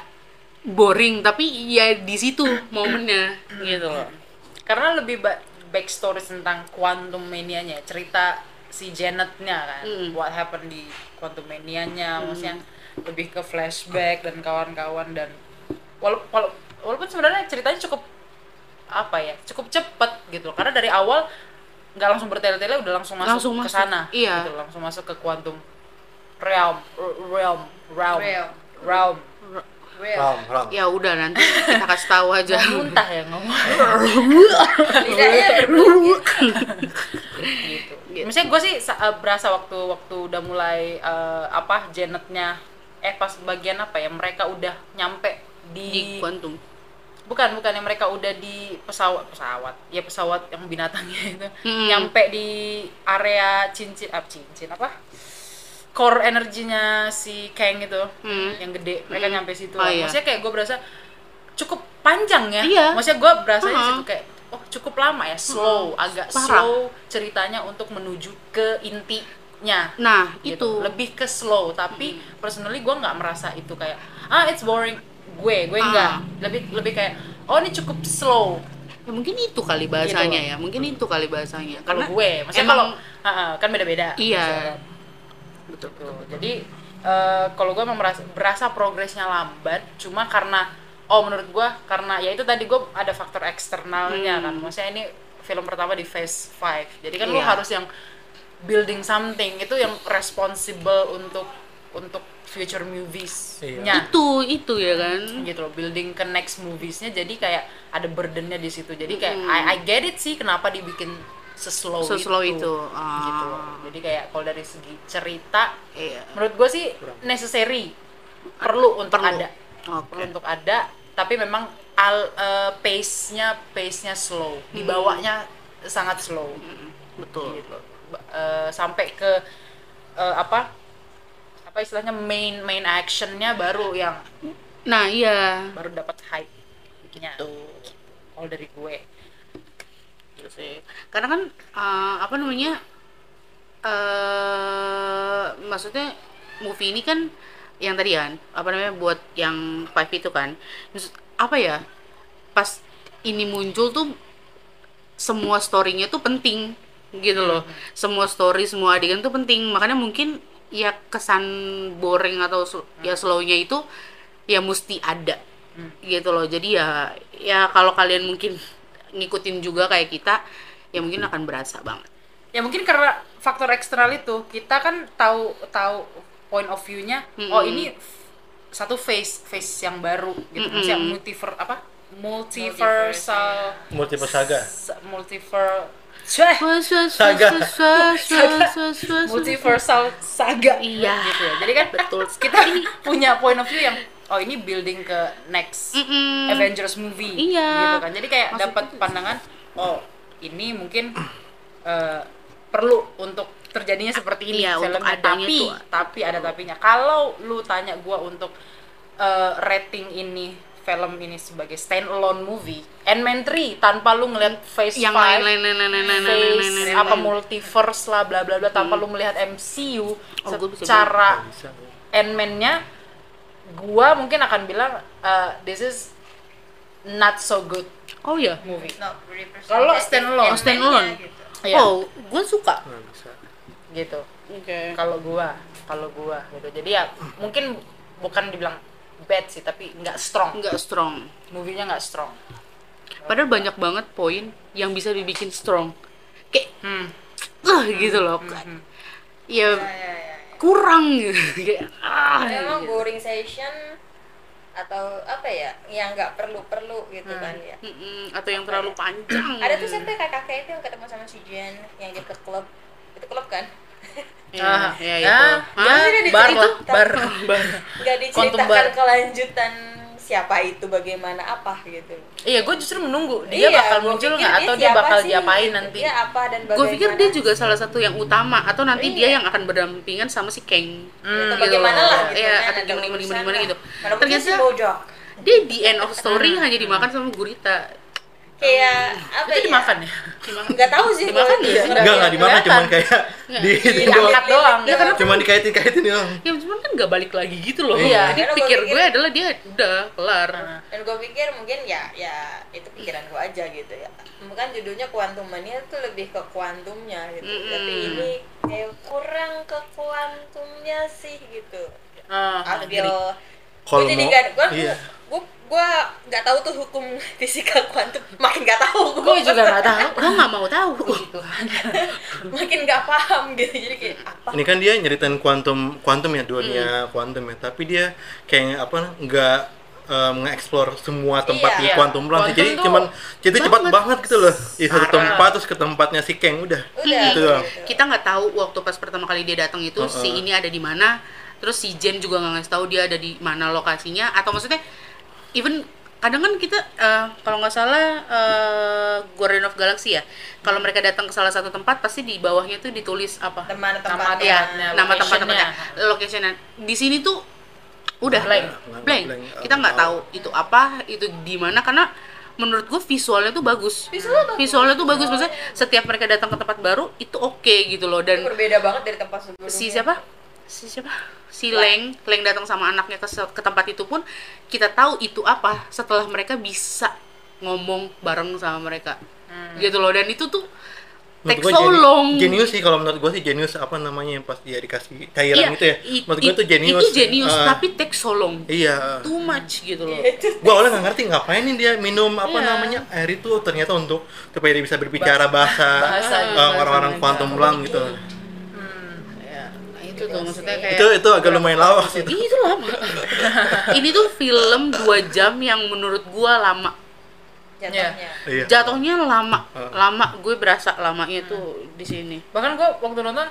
[SPEAKER 1] boring tapi ya di situ momennya gitu loh
[SPEAKER 2] Hmm. karena lebih ba- backstory tentang quantum manianya cerita si Janetnya kan
[SPEAKER 1] Hmm.
[SPEAKER 2] what happened di quantum manianya maksudnya lebih ke flashback dan kawan-kawan dan wala- wala- walaupun sebenarnya ceritanya cukup apa ya cukup cepet gitu loh. karena dari awal nggak langsung bertele-tele udah langsung masuk
[SPEAKER 1] Langsung masuk,
[SPEAKER 2] ke sana
[SPEAKER 1] iya.
[SPEAKER 2] gitu, langsung masuk ke quantum realm r- realm realm
[SPEAKER 4] Realm.
[SPEAKER 2] realm
[SPEAKER 4] Real.
[SPEAKER 3] Ram Ram
[SPEAKER 1] ya udah nanti kita kasih tahu aja
[SPEAKER 2] muntah ya ngomong
[SPEAKER 4] Lidahnya berbunyi.
[SPEAKER 2] gitu. Misalnya gue sih sa- eh, berasa waktu waktu udah mulai eh, apa Janetnya eh pas bagian apa ya mereka udah nyampe
[SPEAKER 1] di
[SPEAKER 2] di,
[SPEAKER 1] kuantum
[SPEAKER 2] bukan bukan yang mereka udah di pesawat pesawat ya pesawat yang binatangnya itu
[SPEAKER 1] Hmm.
[SPEAKER 2] nyampe di area cincin apa cincin apa core energinya si Kang itu
[SPEAKER 1] Hmm.
[SPEAKER 2] yang gede mereka
[SPEAKER 1] Hmm.
[SPEAKER 2] nyampe situ
[SPEAKER 1] Oh,
[SPEAKER 2] lah.
[SPEAKER 1] iya.
[SPEAKER 2] maksudnya kayak gue berasa cukup panjang ya
[SPEAKER 1] Iya.
[SPEAKER 2] maksudnya gue berasa di
[SPEAKER 1] Uh-huh.
[SPEAKER 2] situ kayak oh cukup lama ya slow agak
[SPEAKER 1] Parah.
[SPEAKER 2] slow ceritanya untuk menuju ke intinya
[SPEAKER 1] nah itu
[SPEAKER 2] gitu. lebih ke slow tapi personally gue nggak merasa itu kayak ah it's boring gue gue
[SPEAKER 1] Ah.
[SPEAKER 2] nggak lebih lebih kayak oh ini cukup slow
[SPEAKER 1] Ya, mungkin itu kali bahasanya
[SPEAKER 2] Gitu.
[SPEAKER 1] ya mungkin itu kali bahasanya
[SPEAKER 2] kalau
[SPEAKER 1] Karena
[SPEAKER 2] gue maksudnya
[SPEAKER 1] emang-
[SPEAKER 2] kalau Ah, ah, kan beda beda
[SPEAKER 1] Iya.
[SPEAKER 2] betul, gitu. jadi eh, kalau gue emang merasa berasa progresnya lambat cuma karena oh menurut gue karena ya itu tadi gue ada faktor eksternalnya kan maksudnya ini film pertama di phase 5 jadi kan
[SPEAKER 1] Hmm.
[SPEAKER 2] lo
[SPEAKER 1] Iya.
[SPEAKER 2] harus yang building something itu yang responsible untuk untuk future movies-nya
[SPEAKER 3] Iya.
[SPEAKER 1] itu itu ya kan
[SPEAKER 2] gitu loh building ke next moviesnya jadi kayak ada burdennya di situ jadi kayak I, I get it sih kenapa dibikin seslow,
[SPEAKER 1] Hmm. Seslow itu, ah.
[SPEAKER 2] Oh, gitu loh jadi kayak kalau dari segi cerita
[SPEAKER 1] iya
[SPEAKER 2] menurut gue sih necessary perlu untuk
[SPEAKER 1] Perlu.
[SPEAKER 2] ada
[SPEAKER 1] Oke.
[SPEAKER 2] perlu untuk ada tapi memang al eh, pace-nya pace-nya slow
[SPEAKER 1] Hmm.
[SPEAKER 2] dibawanya sangat slow
[SPEAKER 1] betul
[SPEAKER 2] gitu Ba- eh, sampai ke eh, apa apa istilahnya main main actionnya baru yang
[SPEAKER 1] nah iya
[SPEAKER 2] baru dapat hype bikinnya kalau dari gue
[SPEAKER 1] Iya
[SPEAKER 2] gitu sih
[SPEAKER 1] karena kan eh, apa namanya eh maksudnya movie ini kan yang tadi kan apa namanya buat yang five itu kan Maksud- apa ya pas ini muncul tuh semua storynya tuh penting gitu loh semua story semua adegan tuh penting makanya mungkin ya kesan boring atau sl- ya slownya itu ya mesti ada gitu loh jadi ya ya kalau kalian mungkin ngikutin juga kayak kita ya mungkin akan berasa banget
[SPEAKER 2] ya mungkin karena faktor eksternal itu kita kan tahu tahu point of view-nya oh ini f- satu face face yang baru gitu maksudnya multiver apa multiversal
[SPEAKER 1] ya.
[SPEAKER 3] multiple saga
[SPEAKER 2] s- multiver Ceh,
[SPEAKER 3] Saga.
[SPEAKER 2] multiversal saga
[SPEAKER 1] Iya.
[SPEAKER 2] gitu ya jadi kan
[SPEAKER 1] Betul
[SPEAKER 2] kita punya point of view yang oh ini building ke next
[SPEAKER 1] Mm-mm.
[SPEAKER 2] Avengers movie
[SPEAKER 1] Hmm. Iya.
[SPEAKER 2] gitu kan jadi kayak
[SPEAKER 1] Maksudnya
[SPEAKER 2] dapat
[SPEAKER 1] itu-
[SPEAKER 2] pandangan oh ini mungkin eh, perlu untuk terjadinya seperti ini
[SPEAKER 1] Iya, untuk
[SPEAKER 2] filmnya.
[SPEAKER 1] adanya
[SPEAKER 2] tapi
[SPEAKER 1] tuh.
[SPEAKER 2] tapi ada tapinya kalau lu tanya gua untuk eh, rating ini film ini sebagai standalone movie Ant-Man 3 tanpa lu ngeliat phase
[SPEAKER 1] yang
[SPEAKER 2] 5
[SPEAKER 1] lain lain lain lain lain lain lain lain,
[SPEAKER 2] face
[SPEAKER 1] lain
[SPEAKER 2] apa
[SPEAKER 1] lain.
[SPEAKER 2] multiverse lah bla bla bla tanpa lu melihat MCU
[SPEAKER 1] Oh, gua bisa
[SPEAKER 2] secara
[SPEAKER 3] bisa
[SPEAKER 2] Ant-Man-nya gua mungkin akan bilang uh, this is not so good
[SPEAKER 1] oh ya
[SPEAKER 2] movie
[SPEAKER 4] Not representative
[SPEAKER 2] Kalau standalone.
[SPEAKER 4] Ant-Man-nya
[SPEAKER 1] Standalone.
[SPEAKER 4] gitu.
[SPEAKER 2] Iya,
[SPEAKER 1] oh gue suka
[SPEAKER 3] nggak bisa
[SPEAKER 2] gitu
[SPEAKER 1] oke
[SPEAKER 2] kalau gua kalau gua gitu jadi ya mungkin bukan dibilang bad sih tapi nggak strong
[SPEAKER 1] nggak strong
[SPEAKER 2] movie-nya nggak strong
[SPEAKER 1] padahal banyak banget poin yang bisa dibikin strong kayak
[SPEAKER 2] hmm.
[SPEAKER 1] ah gitu loh
[SPEAKER 2] Mm-hmm.
[SPEAKER 1] ya
[SPEAKER 4] Ya, ya, ya.
[SPEAKER 1] kurang gitu Kayak, ah,
[SPEAKER 4] Memang
[SPEAKER 1] gitu.
[SPEAKER 4] boring session atau apa ya yang nggak perlu-perlu gitu
[SPEAKER 1] Hmm.
[SPEAKER 4] kan ya.
[SPEAKER 1] Mm-mm, atau yang terlalu panjang
[SPEAKER 4] Ada tuh sampai kakaknya itu yang ketemu sama si Jen yang dia ke klub. Itu klub kan?
[SPEAKER 1] ya, ya itu
[SPEAKER 2] Ah,
[SPEAKER 1] Hah?
[SPEAKER 4] Jadi dia
[SPEAKER 2] bar lah
[SPEAKER 4] dicerita-
[SPEAKER 2] bar
[SPEAKER 4] Nggak
[SPEAKER 2] bar.
[SPEAKER 4] diceritakan kelanjutan siapa itu bagaimana apa gitu.
[SPEAKER 2] iya gua justru menunggu dia
[SPEAKER 4] Iya,
[SPEAKER 2] bakal
[SPEAKER 4] gua
[SPEAKER 2] muncul
[SPEAKER 4] pikir
[SPEAKER 2] nggak atau dia Iya.
[SPEAKER 4] siapa
[SPEAKER 2] bakal
[SPEAKER 4] sih?
[SPEAKER 2] diapain nanti
[SPEAKER 4] Dia apa dan kan? bagaimana?
[SPEAKER 1] gue pikir dia juga salah satu yang utama atau nanti dia
[SPEAKER 4] Iya.
[SPEAKER 1] yang akan berdampingan sama si Kang
[SPEAKER 2] Mm. Hmm,
[SPEAKER 4] Atau bagaimana lah gitu
[SPEAKER 1] Iya,
[SPEAKER 4] kan,
[SPEAKER 1] atau
[SPEAKER 4] ada
[SPEAKER 1] gimana gimana
[SPEAKER 4] urusan
[SPEAKER 1] gimana
[SPEAKER 4] lah.
[SPEAKER 1] gitu
[SPEAKER 4] Mana mungkin si
[SPEAKER 1] ternyata
[SPEAKER 4] Bojo.
[SPEAKER 1] dia di end of story
[SPEAKER 2] Ah.
[SPEAKER 1] hanya dimakan sama gurita Iya.
[SPEAKER 4] kayak apa
[SPEAKER 2] itu
[SPEAKER 4] ya?
[SPEAKER 2] dimakan ya
[SPEAKER 4] Nggak tahu sih gua.
[SPEAKER 1] Dimakan ya?
[SPEAKER 4] Nggak-
[SPEAKER 3] nggak nggak dimakan
[SPEAKER 2] kelihatan.
[SPEAKER 3] cuman kayak di itu doang
[SPEAKER 2] diangkat doang
[SPEAKER 1] Ya, karena-
[SPEAKER 3] cuman dikaitin kaitin doang
[SPEAKER 1] ya cuman kan nggak balik lagi gitu loh
[SPEAKER 2] Iya.
[SPEAKER 1] jadi
[SPEAKER 4] Karena gua
[SPEAKER 1] pikir
[SPEAKER 4] pikir-
[SPEAKER 1] gue adalah dia udah kelar
[SPEAKER 4] dan gue pikir mungkin ya ya itu pikiran gue aja gitu ya bukan judulnya kuantum mania tuh lebih ke kuantumnya gitu
[SPEAKER 2] Hmm.
[SPEAKER 1] Mm-mm.
[SPEAKER 4] tapi ini kayak kurang ke kuantumnya sih gitu
[SPEAKER 2] Ah,
[SPEAKER 4] I
[SPEAKER 2] agree.
[SPEAKER 4] feel
[SPEAKER 3] kalau
[SPEAKER 4] gue jadi
[SPEAKER 3] mau
[SPEAKER 4] gak gue
[SPEAKER 3] iya
[SPEAKER 4] gue gue nggak tahu tuh hukum fisika kuantum makin nggak tahu
[SPEAKER 2] gue juga nggak tahu
[SPEAKER 1] gue nggak mau tahu
[SPEAKER 2] gitu
[SPEAKER 4] makin nggak paham gitu jadi kayak apa
[SPEAKER 3] ini kan dia nyeritain kuantum kuantum ya
[SPEAKER 1] Hmm.
[SPEAKER 3] dunia kuantum ya tapi dia kayak apa nggak eh, nge-explore semua tempat di
[SPEAKER 2] Iya.
[SPEAKER 3] kuantum lah
[SPEAKER 2] Kuantum
[SPEAKER 3] jadi
[SPEAKER 2] tuh
[SPEAKER 3] cuman jadi cepat
[SPEAKER 1] banget.
[SPEAKER 3] banget gitu loh di satu
[SPEAKER 2] Parah.
[SPEAKER 3] tempat terus ke tempatnya si Kang udah
[SPEAKER 4] udah
[SPEAKER 3] gitu doang
[SPEAKER 1] kita nggak tahu waktu pas pertama kali dia datang itu si
[SPEAKER 3] Uh-uh.
[SPEAKER 1] ini ada di mana terus si Jen juga nggak ngasih tahu dia ada di mana lokasinya atau maksudnya even kadang kan kita eh, kalau nggak salah eh, Guardian of Galaxy ya kalau mereka datang ke salah satu tempat pasti di bawahnya tuh ditulis apa
[SPEAKER 4] teman
[SPEAKER 2] Nama
[SPEAKER 4] tempatnya
[SPEAKER 1] ya
[SPEAKER 2] tempatnya,
[SPEAKER 1] nama
[SPEAKER 2] location-nya.
[SPEAKER 1] tempat-tempatnya locationnya di sini tuh udah
[SPEAKER 2] Blank.
[SPEAKER 1] blank
[SPEAKER 3] Blank.
[SPEAKER 1] kita nggak tahu itu apa itu di mana karena menurut gue visualnya tuh bagus Hmm.
[SPEAKER 4] Visualnya bagus.
[SPEAKER 1] visualnya tuh bagus maksudnya setiap mereka datang ke tempat baru itu oke gitu loh
[SPEAKER 4] itu
[SPEAKER 1] dan
[SPEAKER 4] berbeda banget dari tempat sebelumnya
[SPEAKER 1] si siapa si siapa si Leng Leng datang sama anaknya ke, se- ke tempat itu pun kita tahu itu apa setelah mereka bisa ngomong bareng sama mereka gitu loh dan itu tuh
[SPEAKER 3] Menurut
[SPEAKER 1] take
[SPEAKER 3] gua
[SPEAKER 1] so
[SPEAKER 3] geni-
[SPEAKER 1] long
[SPEAKER 3] Genius sih kalau menurut gue sih genius apa namanya yang pas dia dikasih cairan
[SPEAKER 1] Iya,
[SPEAKER 3] gitu ya.
[SPEAKER 1] it-
[SPEAKER 3] Menurut gue
[SPEAKER 1] it-
[SPEAKER 3] tuh genius.
[SPEAKER 1] itu genius
[SPEAKER 3] Eh,
[SPEAKER 1] tapi take so long
[SPEAKER 3] iya.
[SPEAKER 1] too much gitu loh
[SPEAKER 3] Gue awalnya nggak ngerti ngapain nih dia minum apa
[SPEAKER 1] Iya.
[SPEAKER 3] namanya air itu ternyata untuk supaya dia bisa berbicara bahasa,
[SPEAKER 2] bahasa
[SPEAKER 3] eh,
[SPEAKER 2] bahasa
[SPEAKER 3] orang-orang
[SPEAKER 1] mereka.
[SPEAKER 3] kuantum lang gitu.
[SPEAKER 1] Nah, itu tuh
[SPEAKER 2] Iya.
[SPEAKER 1] maksudnya kayak
[SPEAKER 3] Itu itu agak lumayan lawak sih itu.
[SPEAKER 1] Ih, itu lama ini tuh film dua jam yang menurut gua lama
[SPEAKER 4] jatuhnya
[SPEAKER 2] Ya.
[SPEAKER 3] Iya.
[SPEAKER 1] jatuhnya lama
[SPEAKER 3] Heeh.
[SPEAKER 1] lama gue berasa lamanya tuh di sini
[SPEAKER 2] bahkan gue waktu nonton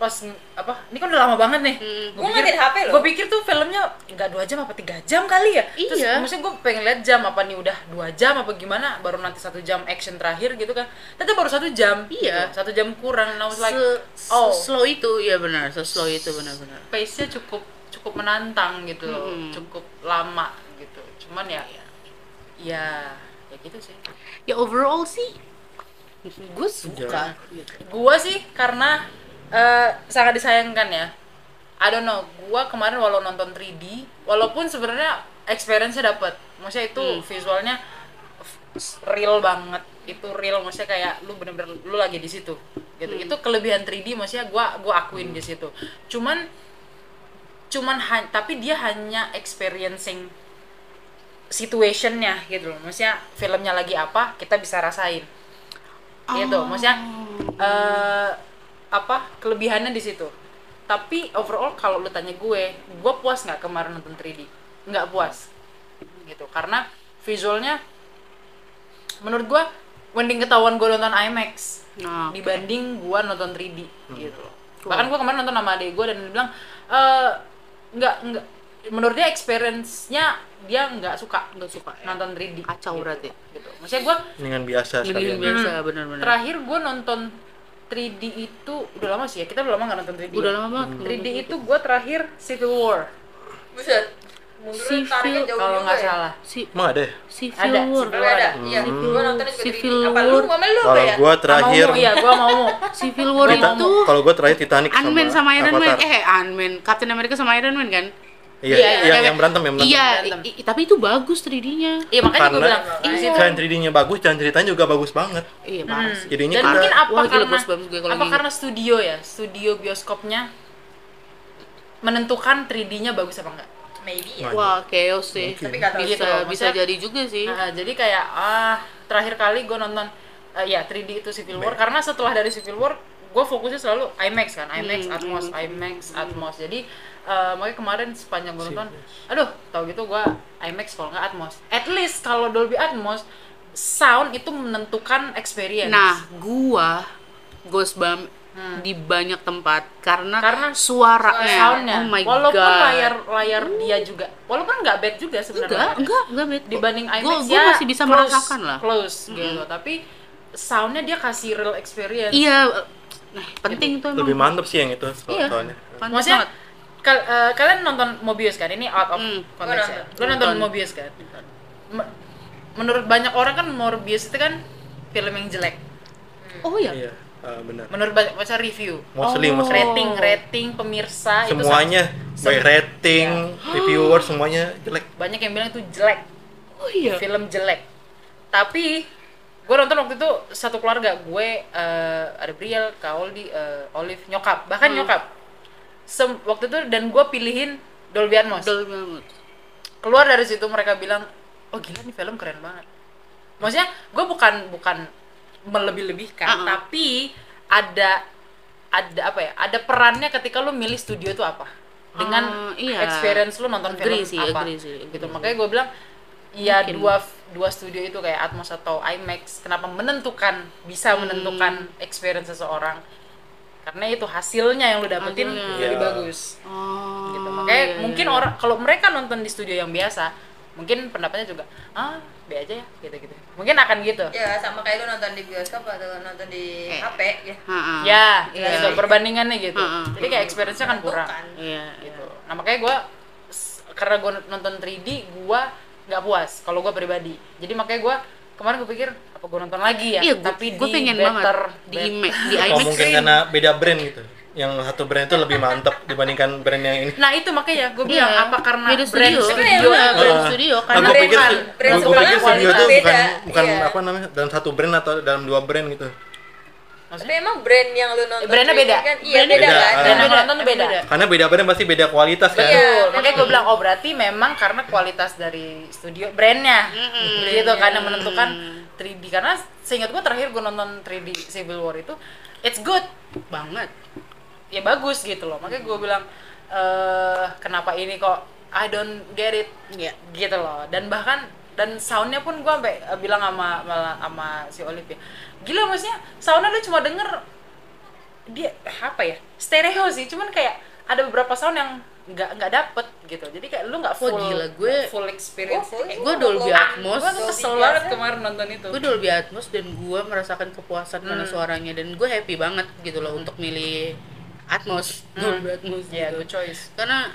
[SPEAKER 2] pas apa ini kan udah lama banget nih
[SPEAKER 1] Hmm.
[SPEAKER 4] Gua ngeliatin HP loh.
[SPEAKER 2] gue pikir tuh filmnya nggak dua jam apa tiga jam kali ya terus
[SPEAKER 1] Iya.
[SPEAKER 2] maksudnya gue pengen lihat jam apa nih udah dua jam apa gimana baru nanti satu jam action terakhir gitu kan ternyata baru satu jam
[SPEAKER 1] Iya.
[SPEAKER 2] gitu. satu jam kurang and I was like
[SPEAKER 1] Se-
[SPEAKER 2] oh
[SPEAKER 1] slow itu ya benar se slow itu benar-benar
[SPEAKER 2] pace nya cukup cukup menantang gitu loh
[SPEAKER 1] Mm-mm.
[SPEAKER 2] cukup lama gitu cuman ya ya ya gitu sih
[SPEAKER 1] ya overall sih gue suka gitu.
[SPEAKER 2] gua sih karena eh, sangat disayangkan ya I don't know gua kemarin walau nonton 3D walaupun sebenarnya experience-nya dapet maksudnya itu visualnya f- real banget itu real maksudnya kayak lu bener-bener lu lagi di situ gitu itu kelebihan 3D maksudnya gua gua akuin di situ cuman cuman han- tapi dia hanya experiencing situationnya gitu loh maksudnya filmnya lagi apa kita bisa rasain gitu maksudnya eh apa kelebihannya di situ tapi overall kalau lu tanya gue gue puas nggak kemarin nonton 3D nggak puas gitu karena visualnya menurut gue mending ketahuan gue nonton IMAX
[SPEAKER 1] nah
[SPEAKER 2] dibanding gue nonton 3D gitu loh bahkan gue kemarin nonton sama adek gue dan dia bilang "Eh, nggak nggak menurut dia experience-nya dia nggak suka
[SPEAKER 1] nggak suka ya.
[SPEAKER 2] nonton 3D
[SPEAKER 1] kacau berarti
[SPEAKER 2] gitu maksudnya gue
[SPEAKER 3] dengan biasa
[SPEAKER 1] lebih
[SPEAKER 3] sekalian
[SPEAKER 1] biasa benar-benar
[SPEAKER 2] terakhir gue nonton 3D itu udah lama sih ya kita udah lama nggak nonton 3D
[SPEAKER 1] udah
[SPEAKER 2] ya?
[SPEAKER 1] lama banget
[SPEAKER 3] Hmm.
[SPEAKER 2] 3D itu gue terakhir Civil War
[SPEAKER 4] Buset. Mundur
[SPEAKER 1] Civil-
[SPEAKER 4] tariknya jauh
[SPEAKER 2] kalau
[SPEAKER 4] juga
[SPEAKER 2] nggak
[SPEAKER 4] ya.
[SPEAKER 2] salah
[SPEAKER 1] si
[SPEAKER 3] emang ada ya?
[SPEAKER 1] Civil
[SPEAKER 2] Ada,
[SPEAKER 1] War
[SPEAKER 4] Tapi ada. Iya,
[SPEAKER 1] Civil
[SPEAKER 4] gua
[SPEAKER 1] War.
[SPEAKER 4] nontonnya juga
[SPEAKER 1] Civil
[SPEAKER 4] 3D. Apa lu
[SPEAKER 1] War.
[SPEAKER 4] ngomel lu apa
[SPEAKER 3] kalau
[SPEAKER 4] ya?
[SPEAKER 3] Hmm. gua
[SPEAKER 2] Sama
[SPEAKER 3] terakhir
[SPEAKER 2] Momo, iya gua mau mau
[SPEAKER 1] Civil War
[SPEAKER 3] Tita-
[SPEAKER 1] itu
[SPEAKER 3] kalau gua terakhir Titanic sama
[SPEAKER 1] Ant-Man sama Iron Man
[SPEAKER 3] Avatar.
[SPEAKER 1] eh Ant-Man Captain America sama Iron Man kan
[SPEAKER 2] Iya,
[SPEAKER 3] iya, yang,
[SPEAKER 1] iya.
[SPEAKER 3] yang berantem yang berantem
[SPEAKER 1] iya
[SPEAKER 2] Berantem.
[SPEAKER 1] i- i- tapi itu bagus 3D-nya
[SPEAKER 2] iya makanya gue
[SPEAKER 3] Karena-
[SPEAKER 2] bilang
[SPEAKER 1] Iya.
[SPEAKER 2] Civil War.
[SPEAKER 3] Selain 3D-nya bagus, jalan ceritanya juga bagus banget.
[SPEAKER 1] iya
[SPEAKER 2] Hmm.
[SPEAKER 1] bagus
[SPEAKER 3] Jadinya
[SPEAKER 2] dan
[SPEAKER 3] kita-
[SPEAKER 2] mungkin apa
[SPEAKER 1] Wah, gila,
[SPEAKER 2] karena
[SPEAKER 1] puas banget gue kalau
[SPEAKER 2] apa
[SPEAKER 1] gini.
[SPEAKER 2] karena studio ya studio bioskopnya menentukan 3D-nya bagus apa enggak
[SPEAKER 4] Maybe
[SPEAKER 3] Wah.
[SPEAKER 4] ya.
[SPEAKER 1] wah chaos sih
[SPEAKER 3] Mungkin.
[SPEAKER 4] Tapi nggak tahu.
[SPEAKER 2] Gitu
[SPEAKER 1] bisa
[SPEAKER 2] loh,
[SPEAKER 1] bisa
[SPEAKER 2] maksudnya-
[SPEAKER 1] jadi juga sih
[SPEAKER 2] Nah, jadi kayak ah terakhir kali gue nonton eh, ya 3D itu Civil War karena setelah dari Civil War gue fokusnya selalu IMAX kan IMAX
[SPEAKER 1] Hmm,
[SPEAKER 2] Atmos
[SPEAKER 1] hmm.
[SPEAKER 2] IMAX Atmos jadi eh, makanya kemarin sepanjang gue nonton aduh tau gitu gue IMAX kalau nggak Atmos at least kalau Dolby Atmos sound itu menentukan experience
[SPEAKER 1] Nah, gua Ghostbump di banyak tempat karena,
[SPEAKER 2] Hmm. Karena
[SPEAKER 1] suaranya,
[SPEAKER 2] soundnya
[SPEAKER 1] oh my
[SPEAKER 2] walaupun
[SPEAKER 1] god.
[SPEAKER 2] layar layar dia juga walaupun nggak bad juga
[SPEAKER 1] enggak,
[SPEAKER 2] sebenarnya
[SPEAKER 1] enggak, enggak bet.
[SPEAKER 2] dibanding
[SPEAKER 1] Gua-
[SPEAKER 2] IMAX
[SPEAKER 1] gua
[SPEAKER 2] ya
[SPEAKER 1] masih bisa
[SPEAKER 2] close-
[SPEAKER 1] merasakan lah. Hmm.
[SPEAKER 2] close gitu tapi soundnya dia kasih real experience
[SPEAKER 1] Iya, nah, penting tuh emang.
[SPEAKER 3] Lebih mantep sih yang itu
[SPEAKER 1] Iya.
[SPEAKER 3] soalnya.
[SPEAKER 1] Mantap
[SPEAKER 2] maksudnya
[SPEAKER 1] banget.
[SPEAKER 2] kal- eh, kalian nonton Mobius kan ini out of
[SPEAKER 1] Hmm.
[SPEAKER 2] context ya
[SPEAKER 4] Gua
[SPEAKER 2] lo nonton
[SPEAKER 1] Nonton.
[SPEAKER 2] Mobius kan Me- menurut banyak orang kan Morbius itu kan film yang jelek
[SPEAKER 1] Oh ya.
[SPEAKER 3] Iya, ah, benar.
[SPEAKER 2] menurut banyak baca review
[SPEAKER 3] Mostly,
[SPEAKER 1] Oh.
[SPEAKER 3] mostly.
[SPEAKER 2] rating rating
[SPEAKER 4] Nah,
[SPEAKER 2] pemirsa itu sama-
[SPEAKER 3] Semuanya, baik rating,
[SPEAKER 4] Iya.
[SPEAKER 3] reviewer, semuanya jelek.
[SPEAKER 4] Nah,
[SPEAKER 2] banyak yang bilang itu jelek
[SPEAKER 1] Oh iya.
[SPEAKER 2] film jelek tapi gue nonton waktu itu satu keluarga gue eh, ada Briel, Kaoldi, eh, Olive, nyokap bahkan nyokap Sem- waktu itu dan gue pilihin Dolby Atmos
[SPEAKER 1] Dolby banget.
[SPEAKER 2] keluar dari situ mereka bilang oh gila nih film keren banget maksudnya gue bukan bukan melebih-lebihkan
[SPEAKER 1] Uh-uh.
[SPEAKER 2] tapi ada ada apa ya ada perannya ketika lu milih studio itu apa
[SPEAKER 1] Ah,
[SPEAKER 2] dengan
[SPEAKER 1] iya.
[SPEAKER 2] experience lu nonton
[SPEAKER 1] Agree
[SPEAKER 2] film
[SPEAKER 1] sih,
[SPEAKER 2] apa
[SPEAKER 1] agree sih,
[SPEAKER 2] gitu
[SPEAKER 1] agree.
[SPEAKER 2] makanya gue bilang ya dua dua studio itu kayak Atmos atau IMAX kenapa menentukan bisa
[SPEAKER 1] Hmm.
[SPEAKER 2] menentukan experience seseorang karena itu hasilnya yang lu dapetin
[SPEAKER 1] Hasilnya.
[SPEAKER 2] lebih
[SPEAKER 3] Iya.
[SPEAKER 2] bagus
[SPEAKER 1] Oh.
[SPEAKER 2] gitu. Makanya
[SPEAKER 1] iya,
[SPEAKER 2] mungkin
[SPEAKER 1] iya.
[SPEAKER 2] orang kalau mereka nonton di studio yang biasa, mungkin pendapatnya juga ah be aja ya gitu-gitu. Mungkin akan gitu.
[SPEAKER 1] Iya.
[SPEAKER 4] Ya sama kayak lu nonton di bioskop atau nonton di
[SPEAKER 1] Eh.
[SPEAKER 4] HP ya.
[SPEAKER 1] Ha-ha.
[SPEAKER 2] Ya,
[SPEAKER 1] Iya.
[SPEAKER 2] gitu perbandingannya gitu.
[SPEAKER 1] Heeh.
[SPEAKER 2] Jadi kayak experience-nya kan kurang
[SPEAKER 4] Bukan.
[SPEAKER 1] Iya.
[SPEAKER 2] gitu. Nah, makanya gua s- karena gua nonton 3D, gua nggak puas kalau gua pribadi. Jadi makanya gua kemarin gue pikir apa gua nonton lagi ya?
[SPEAKER 1] Iya, gua-
[SPEAKER 2] Tapi
[SPEAKER 1] gua
[SPEAKER 2] di
[SPEAKER 1] pengen
[SPEAKER 2] better, Oh, kan.
[SPEAKER 1] banget di
[SPEAKER 2] bet-
[SPEAKER 1] IMAX, di
[SPEAKER 3] Atau
[SPEAKER 1] IMAX
[SPEAKER 3] mungkin
[SPEAKER 1] sih.
[SPEAKER 3] karena beda brand gitu. Yang satu brand itu lebih mantep dibandingkan brand yang ini.
[SPEAKER 2] Nah, itu makanya gua bilang
[SPEAKER 1] Iya.
[SPEAKER 2] apa karena
[SPEAKER 1] Beda studio.
[SPEAKER 2] studio
[SPEAKER 1] Iya, brand
[SPEAKER 3] Ah.
[SPEAKER 1] studio,
[SPEAKER 3] Ah,
[SPEAKER 1] karena
[SPEAKER 3] gua pikir,
[SPEAKER 4] brand- brand
[SPEAKER 3] gua, gua pikir
[SPEAKER 4] sebelah
[SPEAKER 3] studio itu
[SPEAKER 4] kualitas
[SPEAKER 3] bukan
[SPEAKER 4] beda.
[SPEAKER 3] bukan
[SPEAKER 4] Iya.
[SPEAKER 3] apa namanya dalam satu brand atau dalam dua brand gitu.
[SPEAKER 4] Tapi emang brand yang lu nonton
[SPEAKER 2] Eh, brandnya
[SPEAKER 4] streaming
[SPEAKER 2] beda.
[SPEAKER 4] kan, Iya,
[SPEAKER 1] Brandnya
[SPEAKER 4] beda
[SPEAKER 3] beda.
[SPEAKER 4] kan.
[SPEAKER 2] dan yang
[SPEAKER 1] Beda,
[SPEAKER 2] nonton tuh beda.
[SPEAKER 1] beda.
[SPEAKER 3] Karena beda brand pasti beda kualitas kan.
[SPEAKER 4] Iya.
[SPEAKER 2] Betul, makanya gue bilang oh berarti memang karena kualitas dari studio brandnya gitu kan yang menentukan 3D karena seingat gue terakhir gue nonton 3D Civil War itu it's good
[SPEAKER 1] banget.
[SPEAKER 2] ya bagus gitu loh makanya gue bilang eh kenapa ini kok I don't get it
[SPEAKER 1] Iya.
[SPEAKER 2] gitu loh dan bahkan dan soundnya pun gue sampai eh, bilang sama malah sama si Olive ya gila maksudnya soundnya lu cuma denger dia apa ya stereo sih cuman kayak ada beberapa sound yang nggak nggak dapet gitu jadi kayak lu nggak
[SPEAKER 1] Wah,
[SPEAKER 2] full
[SPEAKER 1] gila, gue-
[SPEAKER 2] full experience
[SPEAKER 4] Oh, full.
[SPEAKER 2] Eh,
[SPEAKER 1] gue Dolby Atmos
[SPEAKER 2] gue tuh kesel banget kemarin nonton itu
[SPEAKER 1] gue Dolby Atmos dan gue merasakan kepuasan
[SPEAKER 2] Hmm.
[SPEAKER 1] karena suaranya dan gue happy banget gitu loh untuk milih Atmos Dolby Atmos
[SPEAKER 2] ya
[SPEAKER 1] gitu.
[SPEAKER 2] good choice
[SPEAKER 1] karena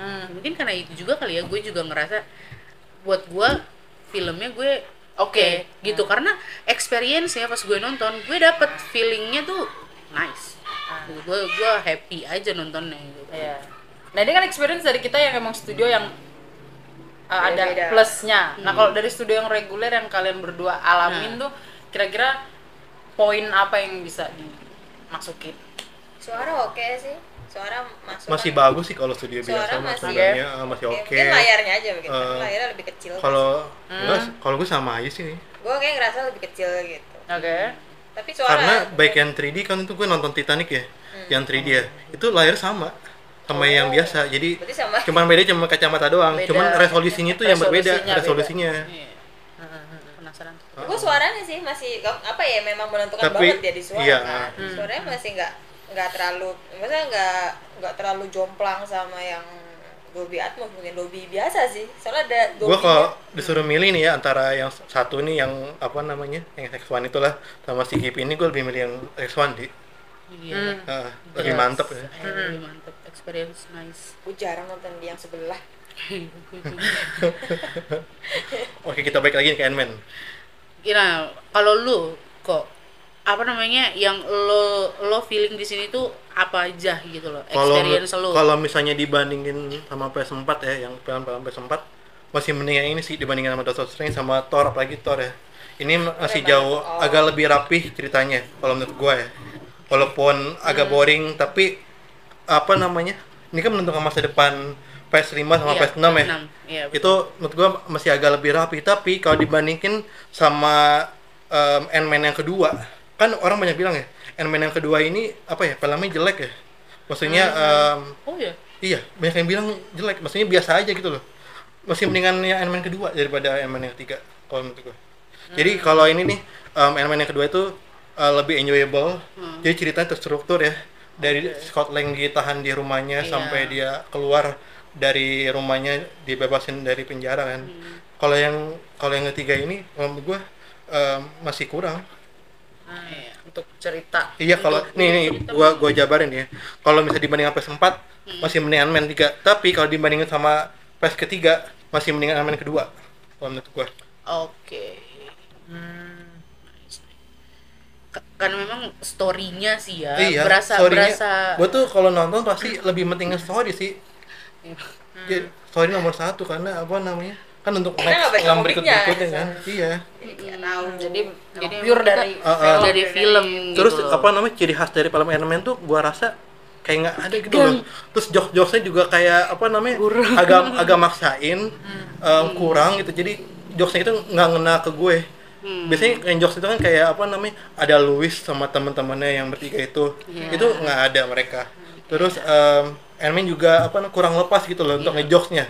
[SPEAKER 1] Hmm, mungkin karena itu juga kali ya gue juga ngerasa buat gue filmnya gue oke gitu
[SPEAKER 2] Hmm.
[SPEAKER 1] karena experience ya pas gue nonton gue dapet feelingnya tuh nice
[SPEAKER 2] Hmm.
[SPEAKER 1] Gitu, gue gue happy aja nontonnya gitu kan.
[SPEAKER 2] Iya. Nah ini kan experience dari kita yang emang studio yang uh, ada
[SPEAKER 4] Beda-beda.
[SPEAKER 2] plusnya. Nah kalau dari studio yang reguler yang kalian berdua alamin tuh kira-kira poin apa yang bisa dimasukin?
[SPEAKER 4] suara oke sih suara masuk
[SPEAKER 3] masih
[SPEAKER 4] kan.
[SPEAKER 3] bagus sih kalau studio
[SPEAKER 4] Suara
[SPEAKER 3] biasa mah
[SPEAKER 4] masih- ya.
[SPEAKER 3] sebenarnya eh, masih
[SPEAKER 4] Oke,
[SPEAKER 3] oke
[SPEAKER 4] mungkin Hmm. layarnya aja mungkin
[SPEAKER 3] Eh,
[SPEAKER 4] layarnya lebih kecil
[SPEAKER 3] kalau enggak, kalau gue sama aja sih
[SPEAKER 4] gue kayak ngerasa lebih kecil gitu
[SPEAKER 2] Oke.
[SPEAKER 4] tapi suara
[SPEAKER 3] karena baik yang 3D kan itu gue nonton Titanic ya
[SPEAKER 4] Hmm.
[SPEAKER 3] yang 3D ya itu layar sama sama yang biasa jadi
[SPEAKER 4] Berarti sama.
[SPEAKER 3] cuman beda cuma kacamata doang
[SPEAKER 2] Beda.
[SPEAKER 3] cuman resolusinya tuh yang berbeda
[SPEAKER 2] Resolusinya beda.
[SPEAKER 3] resolusinya
[SPEAKER 1] Iya. penasaran
[SPEAKER 4] gue suaranya sih masih apa ya memang menentukan
[SPEAKER 3] Tapi,
[SPEAKER 4] banget ya di suara
[SPEAKER 3] iya.
[SPEAKER 4] kan
[SPEAKER 3] Hmm.
[SPEAKER 4] suaranya masih nggak nggak terlalu maksudnya nggak nggak terlalu jomplang sama yang Dolby Atmos mungkin Dolby biasa sih soalnya ada
[SPEAKER 3] gue
[SPEAKER 4] Dolby
[SPEAKER 3] kalau disuruh milih nih ya antara yang satu nih yang apa namanya yang X1 itulah sama si Gip ini gue lebih milih yang X1 di
[SPEAKER 1] Iya.
[SPEAKER 2] Hmm.
[SPEAKER 3] Ah,
[SPEAKER 2] Iya.
[SPEAKER 3] lebih mantep
[SPEAKER 1] Eh,
[SPEAKER 3] ya
[SPEAKER 1] lebih mantep experience nice
[SPEAKER 4] gue jarang nonton di yang sebelah
[SPEAKER 3] oke kita balik lagi ke Ant-Man
[SPEAKER 1] Kira kalau lu kok apa namanya yang lo lo feeling di sini tuh apa aja gitu loh
[SPEAKER 3] kalau
[SPEAKER 1] experience lo
[SPEAKER 3] kalau misalnya dibandingin sama PS4 ya yang film-film PS4 masih mending yang ini sih dibandingin sama Doctor Strange sama Thor apalagi Thor ya
[SPEAKER 1] Eh,
[SPEAKER 3] ini masih jauh agak lebih rapih ceritanya kalau menurut gua ya walaupun agak
[SPEAKER 1] Hmm.
[SPEAKER 3] boring tapi apa namanya ini kan menentukan masa depan PS5 sama
[SPEAKER 1] Iya,
[SPEAKER 3] PS6 ya
[SPEAKER 1] PS6, iya, betul.
[SPEAKER 3] itu menurut gua masih agak lebih rapi tapi kalau dibandingin sama em, Ant-Man yang kedua kan orang banyak bilang ya Ant-Man yang kedua ini apa ya filmnya jelek ya maksudnya em,
[SPEAKER 1] oh ya
[SPEAKER 3] iya banyak yang bilang jelek maksudnya biasa aja gitu loh masih mendingan yang Ant-Man kedua daripada Ant-Man yang ketiga kalau menurut gua jadi kalau ini nih em, Ant-Man yang kedua itu eh, lebih enjoyable jadi ceritanya terstruktur ya dari Scott Lang ditahan di rumahnya
[SPEAKER 1] Iya.
[SPEAKER 3] sampai dia keluar dari rumahnya dibebasin dari penjara kan kalau yang kalau yang ketiga ini kalau menurut gua em, masih kurang
[SPEAKER 1] ah, iya.
[SPEAKER 2] Untuk cerita.
[SPEAKER 3] Iya kalau nih nih gua gua jabarin ya. Kalau misalnya dibandingin PS4 masih mendingan Ant-Man 3, tapi kalau dibandingin sama PS ketiga masih mendingan Ant-Man kedua. Kalau menurut gua.
[SPEAKER 1] oke Hmm, Nice, nice. Ka- karena memang story-nya sih ya berasa
[SPEAKER 3] story-nya.
[SPEAKER 1] berasa
[SPEAKER 3] Iya, Gua tuh kalau nonton pasti lebih pentingin story sih. Jadi, story nomor satu karena apa namanya? Kan untuk
[SPEAKER 4] Kita nggak baca
[SPEAKER 3] yang
[SPEAKER 4] komiknya.
[SPEAKER 3] berikut-berikutnya kan. Iya.
[SPEAKER 2] Jadi, jadi
[SPEAKER 1] emang
[SPEAKER 2] pure dari
[SPEAKER 3] Ah, ah.
[SPEAKER 2] film.
[SPEAKER 1] dari film
[SPEAKER 3] Terus
[SPEAKER 1] gitu.
[SPEAKER 3] apa namanya ciri khas dari film Ant-Man tuh gua rasa kayak nggak ada gitu loh. Terus jokes-jokesnya juga kayak apa namanya agak agak maksain
[SPEAKER 1] Hmm.
[SPEAKER 3] em, kurang gitu. Jadi jokesnya itu nggak ngena ke gue.
[SPEAKER 1] Hmm.
[SPEAKER 3] Biasanya yang jokes itu kan kayak apa namanya ada Louis sama teman-temannya yang bertiga itu.
[SPEAKER 1] Iya.
[SPEAKER 3] Itu nggak ada mereka. Terus em Ant-Man juga apa namanya, kurang lepas gitu loh
[SPEAKER 1] Iya.
[SPEAKER 3] untuk ngejokesnya.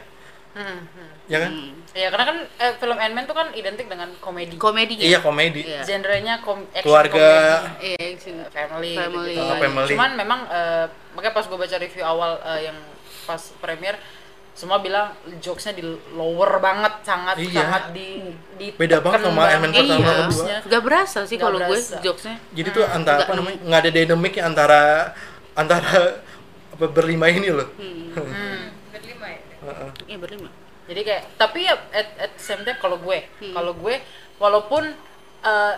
[SPEAKER 3] Ya kan?
[SPEAKER 1] Hmm.
[SPEAKER 2] Ya karena kan eh, film Ant-Man tuh kan identik dengan komedi.
[SPEAKER 1] komedi
[SPEAKER 3] Iya komedi.
[SPEAKER 1] Iya.
[SPEAKER 2] Genrenya kom action
[SPEAKER 3] Keluarga
[SPEAKER 2] comedy.
[SPEAKER 1] Iya, action.
[SPEAKER 2] family,
[SPEAKER 1] Family.
[SPEAKER 2] gitu-gitu
[SPEAKER 1] Oh,
[SPEAKER 2] kan.
[SPEAKER 3] family.
[SPEAKER 2] cuman memang eh, makanya pas gue baca review awal eh, yang pas premier semua bilang jokesnya di lower banget sangat
[SPEAKER 3] Iya.
[SPEAKER 2] sangat di, di
[SPEAKER 3] Beda banget sama Ant-Man
[SPEAKER 1] Eh,
[SPEAKER 3] pertama
[SPEAKER 1] iya
[SPEAKER 3] kedua.
[SPEAKER 1] nggak berasa sih
[SPEAKER 2] Nggak
[SPEAKER 1] kalau gue
[SPEAKER 2] berasa.
[SPEAKER 1] jokesnya
[SPEAKER 3] jadi tuh
[SPEAKER 1] Hmm.
[SPEAKER 3] antara apa namanya nggak ada dinamiknya antara antara apa berlima ini loh
[SPEAKER 4] berlima ya
[SPEAKER 1] iya berlima
[SPEAKER 2] jadi kayak tapi ya at, at the same time kalau gue
[SPEAKER 1] Hmm.
[SPEAKER 2] kalau gue walaupun eh,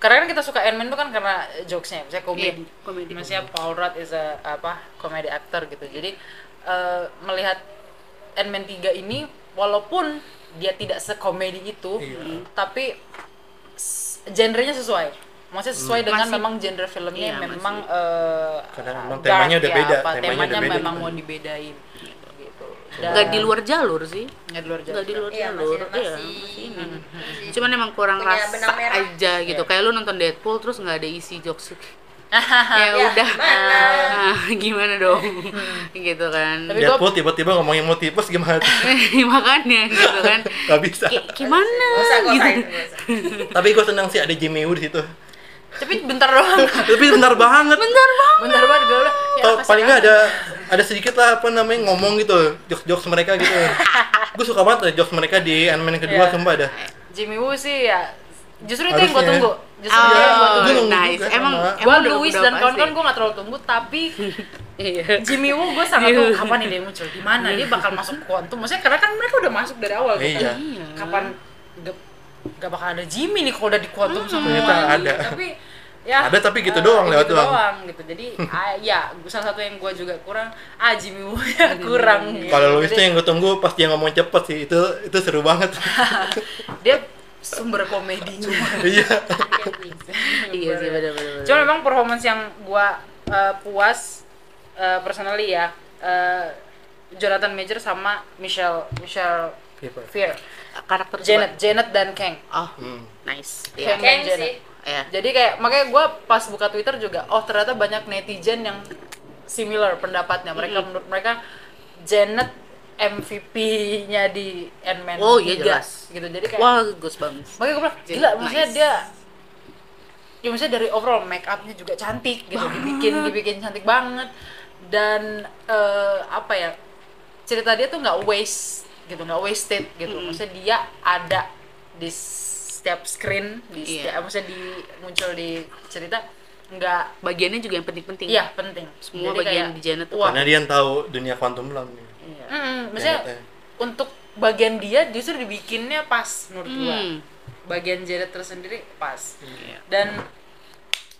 [SPEAKER 2] karena kan kita suka Ant-Man tuh kan karena jokesnya misalnya komedi
[SPEAKER 1] Iya, komedi.
[SPEAKER 2] Maksudnya Paul Rudd is a apa komedi actor gitu. Jadi eh, melihat Ant-Man 3 ini walaupun dia tidak sekomedi itu,
[SPEAKER 3] Iya.
[SPEAKER 2] tapi s- genrenya sesuai. Maksudnya sesuai dengan memang genre filmnya
[SPEAKER 1] Iya,
[SPEAKER 2] memang eh,
[SPEAKER 3] Karena memang
[SPEAKER 2] dark ya,
[SPEAKER 3] temanya udah beda,
[SPEAKER 2] apa,
[SPEAKER 3] temanya
[SPEAKER 2] temanya,
[SPEAKER 3] udah beda.
[SPEAKER 2] memang mau dibedain gitu. Dan-
[SPEAKER 1] nggak di luar jalur sih
[SPEAKER 2] nggak di luar genre.
[SPEAKER 1] nggak di luar
[SPEAKER 4] Iya,
[SPEAKER 1] jalur
[SPEAKER 4] masih-
[SPEAKER 1] iya
[SPEAKER 4] masih-
[SPEAKER 1] masih ini cuman emang kurang
[SPEAKER 4] Punya
[SPEAKER 1] rasa
[SPEAKER 4] benang merah.
[SPEAKER 1] aja gitu kayak lu nonton Deadpool terus nggak ada isi jokes ya
[SPEAKER 4] Ya,
[SPEAKER 1] udah
[SPEAKER 4] gimana?
[SPEAKER 1] Ah, gimana dong gitu kan
[SPEAKER 2] Tapi gua-
[SPEAKER 3] Deadpool tiba-tiba ngomongin mau tipes gimana tuh?
[SPEAKER 1] makanya gitu kan
[SPEAKER 3] nggak bisa
[SPEAKER 1] Ki- gimana
[SPEAKER 4] Gak usah, gak
[SPEAKER 1] gitu
[SPEAKER 4] usah itu, gak usah.
[SPEAKER 3] tapi gue senang sih ada Jimmy Woo di situ
[SPEAKER 2] tapi bentar doang
[SPEAKER 3] tapi bentar banget
[SPEAKER 1] Bentar banget.
[SPEAKER 2] bentar banget gue bilang, ya
[SPEAKER 3] Atau
[SPEAKER 2] apa sih,
[SPEAKER 3] paling nggak
[SPEAKER 2] Kak?
[SPEAKER 3] ada ada sedikit lah apa namanya ngomong gitu jokes-jokes mereka gitu gue suka banget ada jokes mereka di Ant-Man yang kedua
[SPEAKER 2] Iya.
[SPEAKER 3] sumpah ada
[SPEAKER 2] Jimmy Woo sih ya justru itu yang gue
[SPEAKER 3] Harusnya.
[SPEAKER 2] tunggu justru
[SPEAKER 1] Oh,
[SPEAKER 2] itu yang gue
[SPEAKER 3] gua
[SPEAKER 2] tunggu
[SPEAKER 3] nunggu
[SPEAKER 1] nice.
[SPEAKER 3] juga
[SPEAKER 1] Emang
[SPEAKER 3] sama.
[SPEAKER 2] gue
[SPEAKER 1] emang udah-
[SPEAKER 2] Louis
[SPEAKER 1] udah
[SPEAKER 2] dan
[SPEAKER 1] pasti.
[SPEAKER 2] kawan-kawan gue gak terlalu tunggu tapi
[SPEAKER 1] Iya.
[SPEAKER 2] Jimmy Woo gue sangat
[SPEAKER 3] Iya.
[SPEAKER 2] tuh kapan nih dia muncul di mana dia bakal masuk kuantum maksudnya karena kan mereka udah masuk dari awal gitu
[SPEAKER 3] Iya.
[SPEAKER 1] Iya.
[SPEAKER 2] kapan gak, gak bakal ada Jimmy nih kalau udah di kuantum semua
[SPEAKER 3] Hmm. Ternyata
[SPEAKER 2] gitu.
[SPEAKER 3] ada.
[SPEAKER 2] tapi ya
[SPEAKER 3] Ada tapi gitu
[SPEAKER 2] eh,
[SPEAKER 3] doang, lewat
[SPEAKER 2] gitu
[SPEAKER 3] doang.
[SPEAKER 2] gitu jadi ah, ya salah satu yang gue juga kurang ah Jimmy Woo ya kurang gitu.
[SPEAKER 3] Iya. kalau Louis tuh
[SPEAKER 2] Jadi,
[SPEAKER 3] yang gue tunggu pas dia ngomong cepet sih itu itu seru banget
[SPEAKER 2] dia sumber komedinya
[SPEAKER 3] iya
[SPEAKER 1] Iya sih benar-benar.
[SPEAKER 2] Cuma memang performance yang gua eh, puas eh, personally ya eh, Jonathan Major sama Michelle Michelle Fear,
[SPEAKER 1] uh, karakter
[SPEAKER 2] Janet, Janet dan Kang.
[SPEAKER 1] coba. Oh,
[SPEAKER 3] Hmm.
[SPEAKER 1] nice. Iya.
[SPEAKER 2] Iya.
[SPEAKER 4] Keng
[SPEAKER 2] Janet.
[SPEAKER 4] sih
[SPEAKER 1] Iya.
[SPEAKER 2] Jadi kayak makanya gua pas buka Twitter juga, oh ternyata banyak netizen yang similar pendapatnya. Mereka menurut mereka Janet MVP-nya di Ant-Man
[SPEAKER 1] Oh, iya,
[SPEAKER 2] 3,
[SPEAKER 1] jelas.
[SPEAKER 2] gitu. Jadi kayak
[SPEAKER 1] Wah, Goosebumps.
[SPEAKER 2] makanya gue bilang
[SPEAKER 1] Jadi
[SPEAKER 2] gila maksudnya
[SPEAKER 1] nice.
[SPEAKER 2] dia ya maksudnya dari overall make upnya juga cantik gitu dibikin dibikin cantik banget dan eh, apa ya cerita dia tuh nggak waste gitu nggak wasted gitu maksudnya dia ada di setiap screen di
[SPEAKER 1] Iya.
[SPEAKER 2] setiap maksudnya di muncul di cerita nggak
[SPEAKER 1] Bagiannya juga yang penting-penting.
[SPEAKER 2] iya penting
[SPEAKER 1] Semua
[SPEAKER 2] Jadi
[SPEAKER 1] bagian
[SPEAKER 2] kayak,
[SPEAKER 1] di Janet tuh
[SPEAKER 2] wah
[SPEAKER 3] karena dia yang tahu dunia kuantum belum
[SPEAKER 2] mm, maksudnya
[SPEAKER 3] Janet, ya.
[SPEAKER 2] untuk bagian dia justru dibikinnya pas menurut gua
[SPEAKER 1] Hmm.
[SPEAKER 2] bagian Jared tersendiri pas
[SPEAKER 1] Iya.
[SPEAKER 2] dan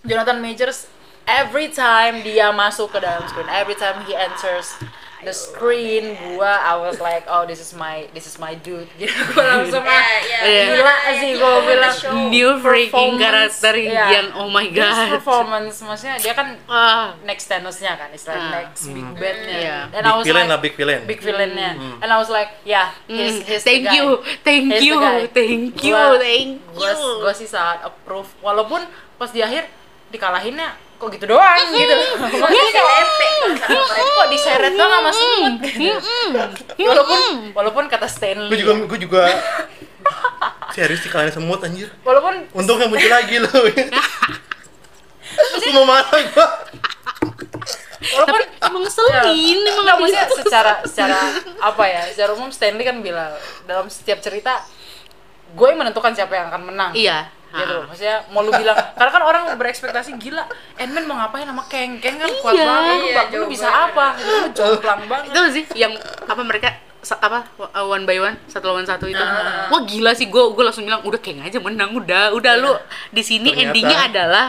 [SPEAKER 2] Jonathan Majors every time dia masuk ke dalam screen every time he enters the screen gua I was like oh this is my this is my dude gitu gua langsung
[SPEAKER 4] ya
[SPEAKER 2] ah,
[SPEAKER 4] ya
[SPEAKER 1] Iya.
[SPEAKER 2] gila sih gua bilang "Hmm,
[SPEAKER 1] New freaking
[SPEAKER 2] performance,
[SPEAKER 1] karakter
[SPEAKER 2] iya.
[SPEAKER 1] yang oh my
[SPEAKER 2] This
[SPEAKER 1] god.
[SPEAKER 2] performance maksudnya dia kan
[SPEAKER 1] Ah,
[SPEAKER 2] next Thanos-nya kan istilahnya
[SPEAKER 1] Ah.
[SPEAKER 2] next big bad-nya
[SPEAKER 1] Iya.
[SPEAKER 2] and I
[SPEAKER 3] big
[SPEAKER 2] was
[SPEAKER 3] villain
[SPEAKER 2] like
[SPEAKER 3] lah big villain
[SPEAKER 2] big villain-nya and I was like yeah he's,
[SPEAKER 1] Hmm. Mm.
[SPEAKER 2] he's the
[SPEAKER 1] thank
[SPEAKER 2] guy.
[SPEAKER 1] you, thank
[SPEAKER 2] He's the
[SPEAKER 1] you,
[SPEAKER 2] guy.
[SPEAKER 1] thank you,
[SPEAKER 2] Gua-
[SPEAKER 1] thank
[SPEAKER 2] gua,
[SPEAKER 1] you.
[SPEAKER 2] gua sih sangat approve walaupun pas di akhir dikalahinnya kok gitu doang gitu Gua
[SPEAKER 1] Iya
[SPEAKER 4] Ini
[SPEAKER 2] kayak,
[SPEAKER 4] lempe kalau sama mereka.
[SPEAKER 2] kok diseret doang sama semut gitu walaupun walaupun kata Stanley
[SPEAKER 3] gue juga gue juga serius sih kalian semut anjir
[SPEAKER 2] walaupun
[SPEAKER 3] untungnya muncul lagi lo semua marah gue
[SPEAKER 2] walaupun Ya.
[SPEAKER 1] Emang ngeselin, emang gitu.
[SPEAKER 2] Nggak,
[SPEAKER 1] abis
[SPEAKER 2] maksudnya
[SPEAKER 1] itu.
[SPEAKER 2] secara secara apa ya secara umum Stanley kan bilang dalam setiap cerita gue yang menentukan siapa yang akan menang
[SPEAKER 1] Iya.
[SPEAKER 2] gitu
[SPEAKER 1] Ah.
[SPEAKER 2] maksudnya mau lu bilang karena kan orang berekspektasi gila Ant-Man mau ngapain sama Kang Kang kan kuat
[SPEAKER 1] Iya.
[SPEAKER 2] banget lu,
[SPEAKER 4] Iya,
[SPEAKER 2] bak- lu
[SPEAKER 4] jauh
[SPEAKER 2] bisa
[SPEAKER 4] banget.
[SPEAKER 2] apa gitu lu jomplang banget
[SPEAKER 1] itu sih yang apa mereka sa- apa uh, one by one satu lawan satu itu
[SPEAKER 2] Ah.
[SPEAKER 1] wah gila sih gue gue langsung bilang udah keng aja menang udah udah lu
[SPEAKER 2] Iya.
[SPEAKER 1] di sini
[SPEAKER 3] Ternyata-
[SPEAKER 1] endingnya adalah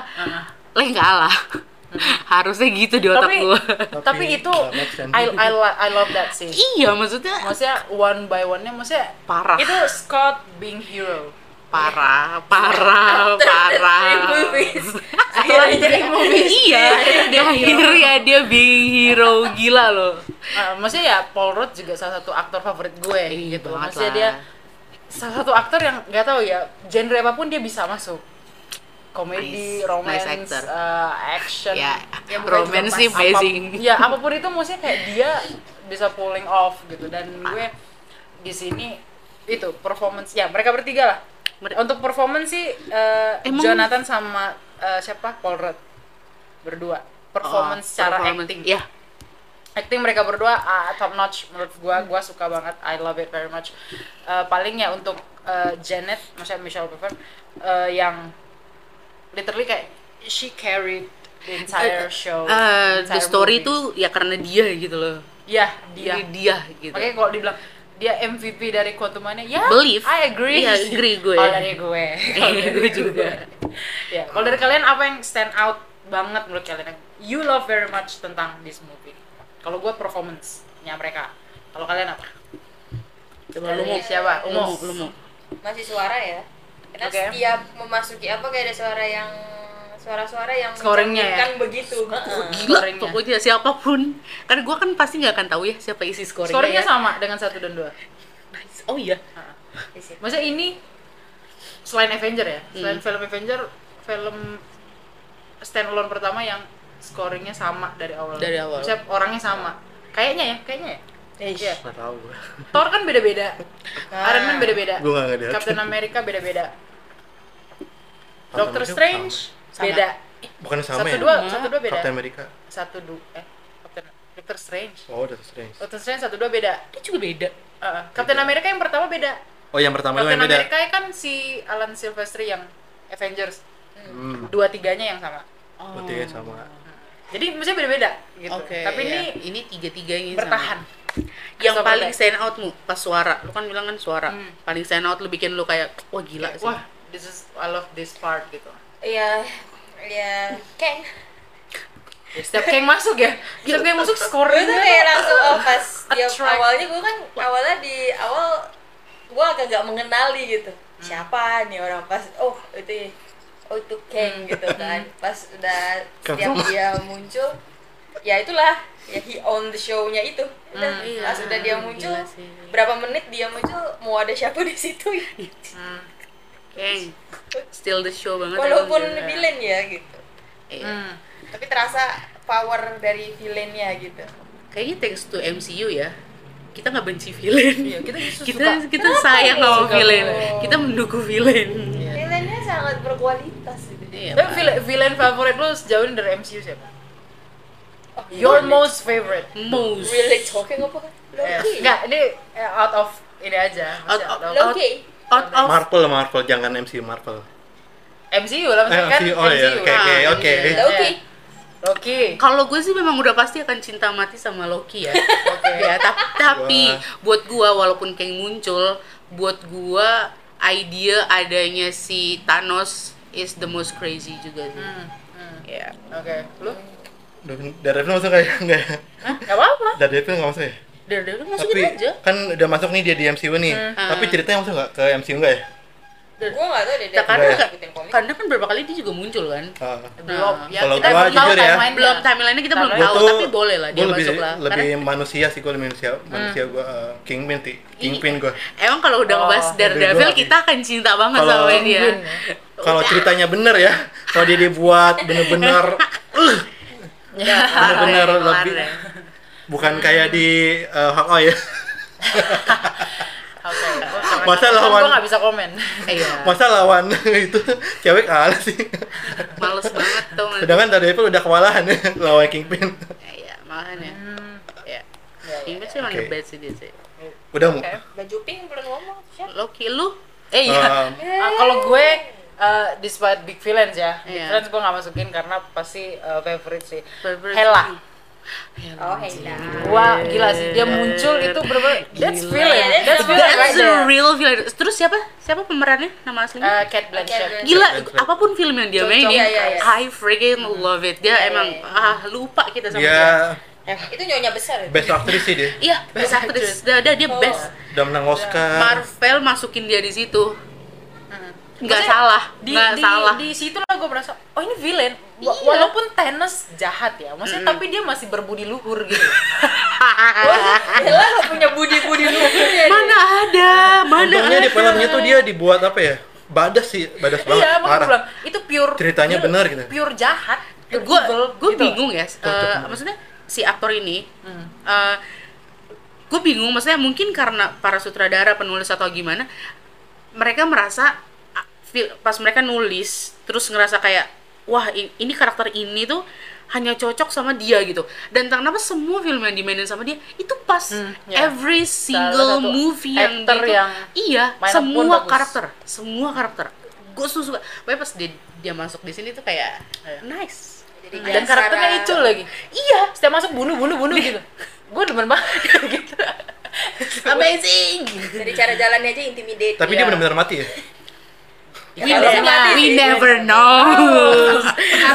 [SPEAKER 1] leh nggak kalah harusnya gitu di otak
[SPEAKER 2] Hmm. tapi
[SPEAKER 1] gue
[SPEAKER 2] tapi
[SPEAKER 3] Tapi
[SPEAKER 2] itu
[SPEAKER 3] nggak make sense.
[SPEAKER 2] I I, lo- I love that scene
[SPEAKER 1] iya maksudnya
[SPEAKER 2] maksudnya one by one-nya maksudnya
[SPEAKER 1] Parah.
[SPEAKER 2] itu Scott being hero
[SPEAKER 1] parah parah
[SPEAKER 4] Three
[SPEAKER 1] parah
[SPEAKER 4] movies.
[SPEAKER 2] setelah
[SPEAKER 4] Akhirnya
[SPEAKER 2] jadi movies
[SPEAKER 1] iya akhirnya dia being hero gila loh
[SPEAKER 2] Uh, maksudnya ya Paul Rudd juga salah satu aktor favorit gue
[SPEAKER 1] Ih,
[SPEAKER 2] gitu
[SPEAKER 1] Iya, banget
[SPEAKER 2] maksudnya
[SPEAKER 1] lah.
[SPEAKER 2] dia salah satu aktor yang nggak tahu ya genre apapun dia bisa masuk komedi,
[SPEAKER 1] Nice.
[SPEAKER 2] romance,
[SPEAKER 1] Nice actor.
[SPEAKER 2] uh, action,
[SPEAKER 1] ya
[SPEAKER 4] Ya, bukan
[SPEAKER 1] romance sih
[SPEAKER 2] Apa-
[SPEAKER 1] amazing
[SPEAKER 2] ya apapun itu maksudnya kayak dia bisa pulling off gitu dan gue di sini itu performance ya mereka bertiga lah
[SPEAKER 1] Mer-
[SPEAKER 2] untuk performance sih eh,
[SPEAKER 1] Emang-
[SPEAKER 2] Jonathan sama eh, siapa Paul Rudd berdua performance
[SPEAKER 1] Oh,
[SPEAKER 2] secara
[SPEAKER 1] performance.
[SPEAKER 2] acting
[SPEAKER 1] ya
[SPEAKER 2] acting mereka berdua ah, top notch menurut gua gua suka banget I love it very much Eh, paling ya untuk eh, Janet maksudnya Michelle Pfeiffer eh, yang literally kayak she carried the entire
[SPEAKER 1] eh,
[SPEAKER 2] show
[SPEAKER 1] the
[SPEAKER 2] entire
[SPEAKER 1] story
[SPEAKER 2] movie.
[SPEAKER 1] itu ya karena dia gitu loh
[SPEAKER 2] ya
[SPEAKER 1] dia
[SPEAKER 2] dia
[SPEAKER 1] dia gitu
[SPEAKER 2] makanya kalau dibilang dia MVP dari Quantum Mania ya
[SPEAKER 1] Believe.
[SPEAKER 2] I agree
[SPEAKER 1] Iya, agree gue.
[SPEAKER 2] kalau dari gue Kalau dari
[SPEAKER 1] Gue gitu juga.
[SPEAKER 2] ya kalau dari kalian apa yang stand out banget menurut kalian yang you love very much tentang this movie kalau gue performance nya mereka kalau kalian apa
[SPEAKER 1] coba
[SPEAKER 2] Dari
[SPEAKER 1] lu mau
[SPEAKER 2] siapa
[SPEAKER 1] lu mau
[SPEAKER 2] Umum.
[SPEAKER 1] lu mau
[SPEAKER 4] masih suara ya karena
[SPEAKER 2] Oke.
[SPEAKER 4] setiap memasuki apa kayak ada suara yang suara-suara yang
[SPEAKER 2] Scoringnya ya?
[SPEAKER 4] mencerminkan begitu Heeh.
[SPEAKER 1] gila
[SPEAKER 2] scoringnya.
[SPEAKER 1] pokoknya siapapun karena gue kan pasti nggak akan tahu ya siapa isi scoringnya,
[SPEAKER 2] scoringnya
[SPEAKER 1] ya.
[SPEAKER 2] sama dengan satu dan dua
[SPEAKER 1] Nice. oh iya
[SPEAKER 4] Di situ.
[SPEAKER 2] maksudnya ini selain Avenger ya
[SPEAKER 1] Hmm.
[SPEAKER 2] selain film Avenger film standalone pertama yang scoringnya sama dari awal
[SPEAKER 1] Dari awal.
[SPEAKER 2] maksudnya orangnya sama kayaknya ya kayaknya ya Iya.
[SPEAKER 3] nggak tahu gue
[SPEAKER 2] Thor kan beda-beda
[SPEAKER 4] Ah.
[SPEAKER 2] Iron Man beda-beda
[SPEAKER 3] gue nggak ngeliat
[SPEAKER 2] Captain America beda-beda Doctor
[SPEAKER 3] America
[SPEAKER 2] Strange
[SPEAKER 3] sama.
[SPEAKER 1] Sama.
[SPEAKER 2] beda
[SPEAKER 3] Bukan sama
[SPEAKER 2] satu
[SPEAKER 3] ya?
[SPEAKER 2] dua
[SPEAKER 1] Sama.
[SPEAKER 2] satu dua beda
[SPEAKER 3] Captain America.
[SPEAKER 2] satu dua eh Captain Doctor Strange
[SPEAKER 3] Oh, Doctor Strange.
[SPEAKER 2] Doctor Strange satu dua beda
[SPEAKER 1] Dia juga beda.
[SPEAKER 2] Eh, Captain America yang pertama beda
[SPEAKER 3] Oh, yang pertama itu
[SPEAKER 2] Captain
[SPEAKER 3] yang beda.
[SPEAKER 2] America kan si Alan Silvestri yang Avengers
[SPEAKER 3] Hmm.
[SPEAKER 2] dua tiganya yang sama
[SPEAKER 1] Oh.
[SPEAKER 3] Berarti ya sama.
[SPEAKER 2] jadi maksudnya beda beda gitu
[SPEAKER 1] Oke,
[SPEAKER 2] tapi
[SPEAKER 1] iya.
[SPEAKER 2] ini
[SPEAKER 1] ini tiga-tiganya sama.
[SPEAKER 2] bertahan
[SPEAKER 1] Yang
[SPEAKER 2] Christopher
[SPEAKER 1] paling
[SPEAKER 2] Reeve.
[SPEAKER 1] stand out mu pas suara. Lu kan bilang kan suara.
[SPEAKER 2] Hmm.
[SPEAKER 1] Paling stand out lu bikin lu kayak wah gila sih.
[SPEAKER 2] wah this is I love this part gitu
[SPEAKER 4] Iya, iya. Keng.
[SPEAKER 2] setiap kayak masuk ya setiap kayak masuk
[SPEAKER 4] Gue
[SPEAKER 2] skornya
[SPEAKER 4] tuh kayak langsung oh, pas dia
[SPEAKER 2] Attract.
[SPEAKER 4] awalnya gue kan awalnya di awal gue agak gak mengenali gitu.
[SPEAKER 1] Hmm.
[SPEAKER 4] Siapa nih orang pas oh itu oh itu
[SPEAKER 1] Hmm.
[SPEAKER 4] Kang gitu kan. Pas udah
[SPEAKER 3] Kang
[SPEAKER 4] setiap
[SPEAKER 3] Soma.
[SPEAKER 4] dia muncul ya itulah ya he own the show-nya itu. Udah,
[SPEAKER 1] iya.
[SPEAKER 4] pas udah dia
[SPEAKER 1] Gila
[SPEAKER 4] muncul
[SPEAKER 1] sih.
[SPEAKER 4] berapa menit dia muncul mau ada siapa di situ ya.
[SPEAKER 2] Hmm.
[SPEAKER 1] Keng. Still the show banget.
[SPEAKER 4] Walaupun
[SPEAKER 1] emang dia.
[SPEAKER 4] villain ya gitu.
[SPEAKER 1] Iya.
[SPEAKER 2] Hmm.
[SPEAKER 4] Tapi terasa power dari villainnya gitu.
[SPEAKER 1] Kayaknya thanks to MCU ya. Kita nggak benci villain.
[SPEAKER 2] Iya, kita justru
[SPEAKER 1] kita
[SPEAKER 2] suka.
[SPEAKER 1] kita sayang sama
[SPEAKER 2] Suka
[SPEAKER 1] villain.
[SPEAKER 4] banget.
[SPEAKER 1] Kita mendukung villain.
[SPEAKER 4] Iya. Villainnya sangat berkualitas gitu.
[SPEAKER 1] Iya,
[SPEAKER 2] Tapi
[SPEAKER 1] Pak.
[SPEAKER 2] villain, villain favorit lu sejauh ini dari MCU siapa?
[SPEAKER 4] Oh,
[SPEAKER 2] Your most favorite?
[SPEAKER 1] most
[SPEAKER 4] really talking apa? Loki.
[SPEAKER 2] Enggak, ini eh, out of ini aja.
[SPEAKER 1] Out
[SPEAKER 2] maksudnya
[SPEAKER 1] of-
[SPEAKER 2] out of
[SPEAKER 4] Loki.
[SPEAKER 1] out
[SPEAKER 2] Oh.
[SPEAKER 1] of
[SPEAKER 3] Marvel, Marvel, jangan MC Marvel.
[SPEAKER 2] MCU lah maksudnya
[SPEAKER 3] Eh,
[SPEAKER 2] kan
[SPEAKER 3] MCU, oh iya, oke,
[SPEAKER 1] oke,
[SPEAKER 2] Ah,
[SPEAKER 3] oke.
[SPEAKER 2] MCU.
[SPEAKER 4] Loki.
[SPEAKER 2] Loki.
[SPEAKER 1] kalau gue sih memang udah pasti akan cinta mati sama Loki ya.
[SPEAKER 2] Oke.
[SPEAKER 1] ya ta- tapi
[SPEAKER 3] Wah.
[SPEAKER 1] buat gua walaupun Kang muncul, buat gua idea adanya si Thanos is the most crazy juga sih.
[SPEAKER 2] Hmm, hmm.
[SPEAKER 1] Ya.
[SPEAKER 2] Oke, lu?
[SPEAKER 3] Daredevil masuk kayak enggak ya?
[SPEAKER 2] Gak apa-apa.
[SPEAKER 3] Daredevil nggak masuk ya?
[SPEAKER 1] Daredevil
[SPEAKER 3] Tapi
[SPEAKER 1] masukin aja.
[SPEAKER 3] kan udah masuk nih dia di MCU nih.
[SPEAKER 2] Hmm.
[SPEAKER 3] Tapi
[SPEAKER 2] Ah.
[SPEAKER 3] ceritanya masuk nggak ke MCU nggak ya?
[SPEAKER 4] Gue gak tau deh. dia
[SPEAKER 1] Karena
[SPEAKER 4] pernah
[SPEAKER 1] nggak-
[SPEAKER 4] ngikutin komik.
[SPEAKER 1] Karena kan beberapa kali dia juga muncul kan.
[SPEAKER 3] Ah.
[SPEAKER 2] Belum. Ya,
[SPEAKER 3] Kalau
[SPEAKER 2] kita belum
[SPEAKER 3] gua
[SPEAKER 2] tahu
[SPEAKER 3] jujur ya.
[SPEAKER 2] timeline-nya.
[SPEAKER 1] Belum timelinenya kita belum
[SPEAKER 2] Timeline.
[SPEAKER 1] tahu,
[SPEAKER 3] Gua tuh-
[SPEAKER 1] tapi boleh lah dia
[SPEAKER 3] gua lebih,
[SPEAKER 1] masuk lah.
[SPEAKER 3] Lebih
[SPEAKER 1] Karena
[SPEAKER 3] manusia sih gue lebih manusia, manusia gue kingpin sih, kingpin gue.
[SPEAKER 1] emang kalau udah
[SPEAKER 2] Oh,
[SPEAKER 1] ngebahas
[SPEAKER 2] lebih
[SPEAKER 1] Daredevil
[SPEAKER 3] gua lagi.
[SPEAKER 1] kita akan cinta banget
[SPEAKER 3] Kalau-
[SPEAKER 1] sama dia. Iya,
[SPEAKER 2] Mungkin ya.
[SPEAKER 3] Kalau ceritanya bener ya, kalau dia dibuat bener-bener, uh, bener-bener
[SPEAKER 1] Parah,
[SPEAKER 3] lebih
[SPEAKER 1] parah.
[SPEAKER 3] bukan kayak di eh, Hawkeye ya.
[SPEAKER 2] Oke, gua sangat-
[SPEAKER 3] Masa
[SPEAKER 2] kan
[SPEAKER 3] lawan-
[SPEAKER 2] Gua gak bisa komen.
[SPEAKER 1] Iya.
[SPEAKER 3] Masa lawan itu cewek kalah sih.
[SPEAKER 1] Males banget tuh. nanti.
[SPEAKER 3] Sedangkan Daredevil udah kan? kewalahan ya lawan kingpin.
[SPEAKER 1] Iya, malahan ya. Iya.
[SPEAKER 2] Hmm. Ya, ya.
[SPEAKER 1] Ini sih emang
[SPEAKER 3] Oke.
[SPEAKER 1] the best sih dia sih.
[SPEAKER 3] Udah mau.
[SPEAKER 2] Oke.
[SPEAKER 4] Baju pink belum ngomong. Siapa?
[SPEAKER 1] Loki lu? Eh iya.
[SPEAKER 3] Um,
[SPEAKER 2] Ah, kalau gue uh, despite big villains ya, big
[SPEAKER 1] Iya.
[SPEAKER 2] villains gue nggak masukin karena pasti uh, favorite sih.
[SPEAKER 1] Favorite
[SPEAKER 2] Hela,
[SPEAKER 4] Oh, Hela.
[SPEAKER 2] gue gila sih dia muncul itu bener that's
[SPEAKER 1] Gila.
[SPEAKER 2] villain,
[SPEAKER 4] That's
[SPEAKER 2] that's villain
[SPEAKER 1] That's
[SPEAKER 2] right
[SPEAKER 1] a
[SPEAKER 2] there.
[SPEAKER 1] real villain. Terus siapa? Siapa pemerannya? Nama aslinya?
[SPEAKER 2] Uh, Cat Blanchett.
[SPEAKER 4] Blanchett.
[SPEAKER 1] Gila,
[SPEAKER 3] Blanchett.
[SPEAKER 1] apapun film yang dia
[SPEAKER 2] Cocok.
[SPEAKER 1] mainin,
[SPEAKER 4] Iya, iya, iya.
[SPEAKER 1] I freaking
[SPEAKER 2] Hmm.
[SPEAKER 1] love it. Dia
[SPEAKER 2] Iya,
[SPEAKER 1] emang ah lupa kita sama dia.
[SPEAKER 3] dia
[SPEAKER 4] Itu nyonya besar. ya?
[SPEAKER 3] best actress sih Iya, dia.
[SPEAKER 1] Iya, best actress. Udah, udah,
[SPEAKER 2] Oh.
[SPEAKER 1] dia best.
[SPEAKER 3] Udah menang Oscar.
[SPEAKER 1] Marvel masukin dia di situ. Nggak
[SPEAKER 2] Hmm. Maksudnya,
[SPEAKER 1] salah,
[SPEAKER 2] Di,
[SPEAKER 1] nggak
[SPEAKER 2] di,
[SPEAKER 1] salah.
[SPEAKER 2] di situ lah gue merasa, oh ini villain. Wa- Walaupun Thanos jahat ya, maksudnya tapi dia masih berbudi luhur gitu.
[SPEAKER 4] Hela gak punya budi-budi luhur ya.
[SPEAKER 1] mana ada, mana
[SPEAKER 3] Untungnya
[SPEAKER 1] ada.
[SPEAKER 3] di filmnya tuh dia dibuat apa ya? Badas sih, badas banget.
[SPEAKER 2] iya, makanya
[SPEAKER 3] parah.
[SPEAKER 2] gue bilang itu pure
[SPEAKER 3] Ceritanya
[SPEAKER 2] pure-
[SPEAKER 3] bener gitu.
[SPEAKER 2] Pure jahat. pure
[SPEAKER 1] gue
[SPEAKER 2] evil
[SPEAKER 1] gue
[SPEAKER 2] gitu.
[SPEAKER 1] bingung ya eh, maksudnya si aktor ini
[SPEAKER 2] Hmm.
[SPEAKER 1] gue bingung maksudnya mungkin karena para sutradara penulis atau gimana mereka merasa ah, fil- pas mereka nulis terus ngerasa kayak wah i- ini karakter ini tuh hanya cocok sama dia gitu dan kenapa semua film yang dimainin sama dia itu pas
[SPEAKER 2] ya.
[SPEAKER 1] every
[SPEAKER 2] Salah
[SPEAKER 1] single
[SPEAKER 2] satu
[SPEAKER 1] movie yang, dia
[SPEAKER 2] aktor
[SPEAKER 1] tuh-
[SPEAKER 2] yang
[SPEAKER 1] iya
[SPEAKER 2] mainan pun
[SPEAKER 1] semua
[SPEAKER 2] bagus.
[SPEAKER 1] karakter semua karakter gue suka pokoknya pas dia, dia masuk di sini tuh kayak nice
[SPEAKER 4] Jadi
[SPEAKER 2] dan karakternya
[SPEAKER 4] Sarah-
[SPEAKER 2] itu lagi
[SPEAKER 1] Iya,
[SPEAKER 2] setiap masuk bunuh bunuh bunuh gitu gue demen banget gitu
[SPEAKER 1] amazing.
[SPEAKER 4] Dari cara jalannya aja intimidate.
[SPEAKER 3] Tapi
[SPEAKER 2] Iya.
[SPEAKER 3] dia benar-benar mati ya.
[SPEAKER 1] We,
[SPEAKER 2] kalau
[SPEAKER 1] ne-
[SPEAKER 4] mati
[SPEAKER 1] we
[SPEAKER 2] iya.
[SPEAKER 4] sih.
[SPEAKER 1] never know.
[SPEAKER 2] Oh.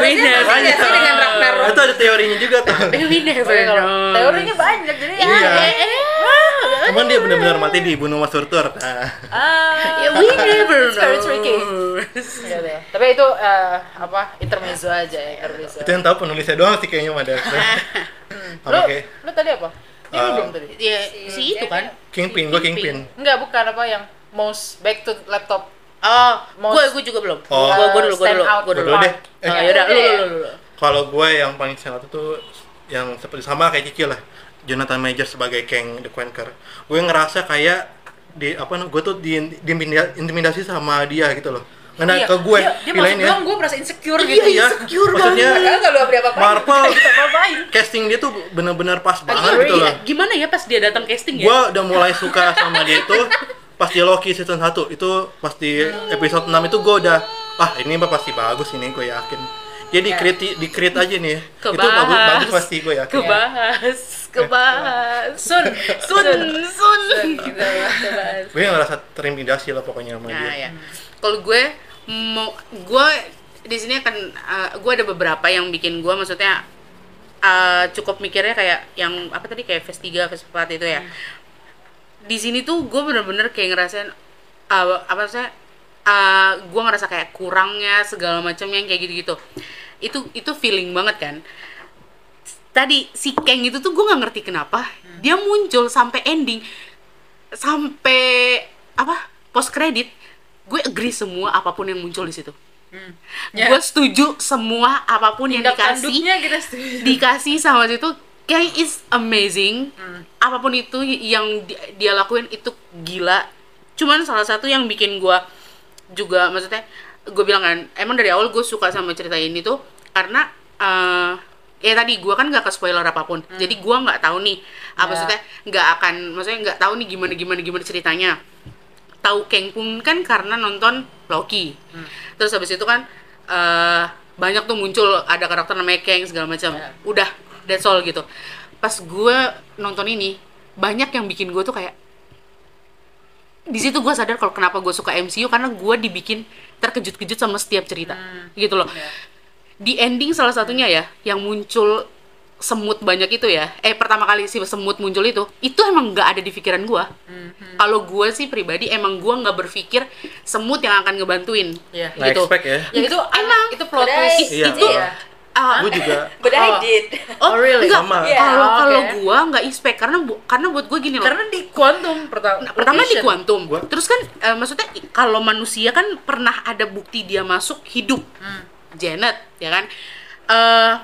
[SPEAKER 1] we
[SPEAKER 4] Harusnya
[SPEAKER 1] never
[SPEAKER 4] masih gak sih dengan Ragnarok?
[SPEAKER 3] Itu ada teorinya juga tuh.
[SPEAKER 1] we never
[SPEAKER 2] Pokoknya kalau
[SPEAKER 1] know.
[SPEAKER 2] teorinya banyak jadi ya
[SPEAKER 3] Iya.
[SPEAKER 1] Eh, eh, eh.
[SPEAKER 3] Cuman dia benar-benar mati dibunuh sama Surtur. Nah,
[SPEAKER 2] ah
[SPEAKER 1] Ya, we never
[SPEAKER 2] It's very tricky.
[SPEAKER 1] know.
[SPEAKER 2] Gitu ya. tapi itu eh, apa intermezzo aja ya intermezzo
[SPEAKER 3] itu yang tahu penulisnya doang sih kayaknya Mada.
[SPEAKER 2] lu
[SPEAKER 3] Oke.
[SPEAKER 2] lu tadi apa ini lu
[SPEAKER 3] Eh,
[SPEAKER 2] belum tadi
[SPEAKER 1] Ya, si itu kan.
[SPEAKER 3] Kingpin, gue Kingpin.
[SPEAKER 2] enggak bukan apa yang mouse back to laptop
[SPEAKER 1] Oh,
[SPEAKER 2] Most-
[SPEAKER 1] gue
[SPEAKER 2] uh,
[SPEAKER 1] gue juga belum.
[SPEAKER 3] Oh.
[SPEAKER 1] Gue gue dulu, gue
[SPEAKER 2] Stand
[SPEAKER 1] dulu,
[SPEAKER 2] out. Iya.
[SPEAKER 1] gue dulu.
[SPEAKER 3] Gua dulu deh. Eh.
[SPEAKER 1] Oh, yaudah, lu lu lu lu.
[SPEAKER 3] Kalau gue yang paling sangat itu yang seperti sama kayak Cici lah. Jonathan Major sebagai Kang the Conqueror. Gue ngerasa kayak di apa gue tuh di, diintimida- intimidasi sama dia gitu loh. ngena ke gue
[SPEAKER 2] Dia, dia masuk
[SPEAKER 3] pilihin ya
[SPEAKER 2] doang, gue merasa insecure
[SPEAKER 1] Iya, iya.
[SPEAKER 2] gitu.
[SPEAKER 3] iya
[SPEAKER 1] insecure
[SPEAKER 3] maksudnya
[SPEAKER 4] Padahal nggak lu apa-apa.
[SPEAKER 3] Marvel
[SPEAKER 2] Ngapain?
[SPEAKER 3] casting dia tuh bener-bener pas banget
[SPEAKER 1] Sorry,
[SPEAKER 3] gitu
[SPEAKER 1] ya,
[SPEAKER 3] loh
[SPEAKER 1] gimana ya pas dia datang casting ya?
[SPEAKER 3] gue udah mulai suka sama dia itu pas di Loki season 1 itu pas di episode 6 itu gue udah ah ini mah pasti bagus ini gue yakin
[SPEAKER 1] Iya.
[SPEAKER 3] jadi di create di create aja nih ya. itu bagus bagus pasti ya. gue yakin
[SPEAKER 1] Kebahas, kebahas.
[SPEAKER 2] Sun,
[SPEAKER 1] Sun, sun. gitu.
[SPEAKER 2] Kita bahas.
[SPEAKER 3] gue ngerasa terintimidasi lah pokoknya sama
[SPEAKER 1] Nah,
[SPEAKER 3] dia
[SPEAKER 1] ya. Kalau gue mau gue di sini akan eh, gue ada beberapa yang bikin gue maksudnya eh, cukup mikirnya kayak yang apa tadi kayak Fest 3 Fest 4 itu ya. Di sini tuh gue bener-bener kayak ngerasain eh, apa sih gue ngerasa kayak kurangnya segala macam yang kayak gitu-gitu. Itu itu feeling banget kan. Tadi si Kang itu tuh gue nggak ngerti kenapa
[SPEAKER 2] Hmm.
[SPEAKER 1] dia muncul sampai ending sampai apa post kredit gue agree semua apapun yang muncul di situ
[SPEAKER 2] Ya.
[SPEAKER 1] gue setuju semua apapun yang
[SPEAKER 2] Tindak
[SPEAKER 1] dikasih
[SPEAKER 2] tanduknya kita setuju.
[SPEAKER 1] dikasih sama situ kayak is amazing
[SPEAKER 2] Hmm.
[SPEAKER 1] apapun itu yang di- dia lakuin itu gila cuman salah satu yang bikin gue juga maksudnya gue bilang kan emang dari awal gue suka sama cerita ini tuh karena eh, ya tadi gue kan gak ke spoiler apapun jadi gue nggak tahu nih apa maksudnya nggak akan maksudnya nggak tahu nih gimana gimana gimana ceritanya tahu Kang pun kan karena nonton Loki. Terus habis itu kan eh, banyak tuh muncul ada karakter namanya Kang segala macam.
[SPEAKER 2] Ya.
[SPEAKER 1] Udah, that's all gitu. Pas gue nonton ini banyak yang bikin gue tuh kayak di situ gue sadar kalau kenapa gue suka MCU karena gue dibikin terkejut-kejut sama setiap cerita
[SPEAKER 2] Hmm,
[SPEAKER 1] gitu loh
[SPEAKER 2] iya.
[SPEAKER 1] di ending salah satunya ya yang muncul semut banyak itu ya eh pertama kali si semut muncul itu itu emang nggak ada di pikiran gua
[SPEAKER 2] Hmm,
[SPEAKER 1] kalau gua sih pribadi emang gua nggak berpikir semut yang akan ngebantuin
[SPEAKER 2] Iya.
[SPEAKER 3] nggak
[SPEAKER 1] gitu
[SPEAKER 3] expect ya
[SPEAKER 2] Ya itu emang itu plot
[SPEAKER 4] Udah,
[SPEAKER 2] twist.
[SPEAKER 3] Iya.
[SPEAKER 1] itu
[SPEAKER 4] Iya.
[SPEAKER 1] ah,
[SPEAKER 3] gue juga
[SPEAKER 4] But I
[SPEAKER 2] Oh.
[SPEAKER 4] did.
[SPEAKER 1] oh,
[SPEAKER 2] really?
[SPEAKER 1] enggak.
[SPEAKER 2] oh,
[SPEAKER 3] Sama.
[SPEAKER 1] kalau
[SPEAKER 4] Iya,
[SPEAKER 2] oke.
[SPEAKER 1] kalau gua nggak expect karena bu- karena buat gua gini loh
[SPEAKER 2] Karena di kuantum pertama.
[SPEAKER 1] Nah, pertama di kuantum
[SPEAKER 3] Gua-
[SPEAKER 1] terus kan eh, maksudnya i- kalau manusia kan pernah ada bukti dia masuk hidup Janet ya kan Eh,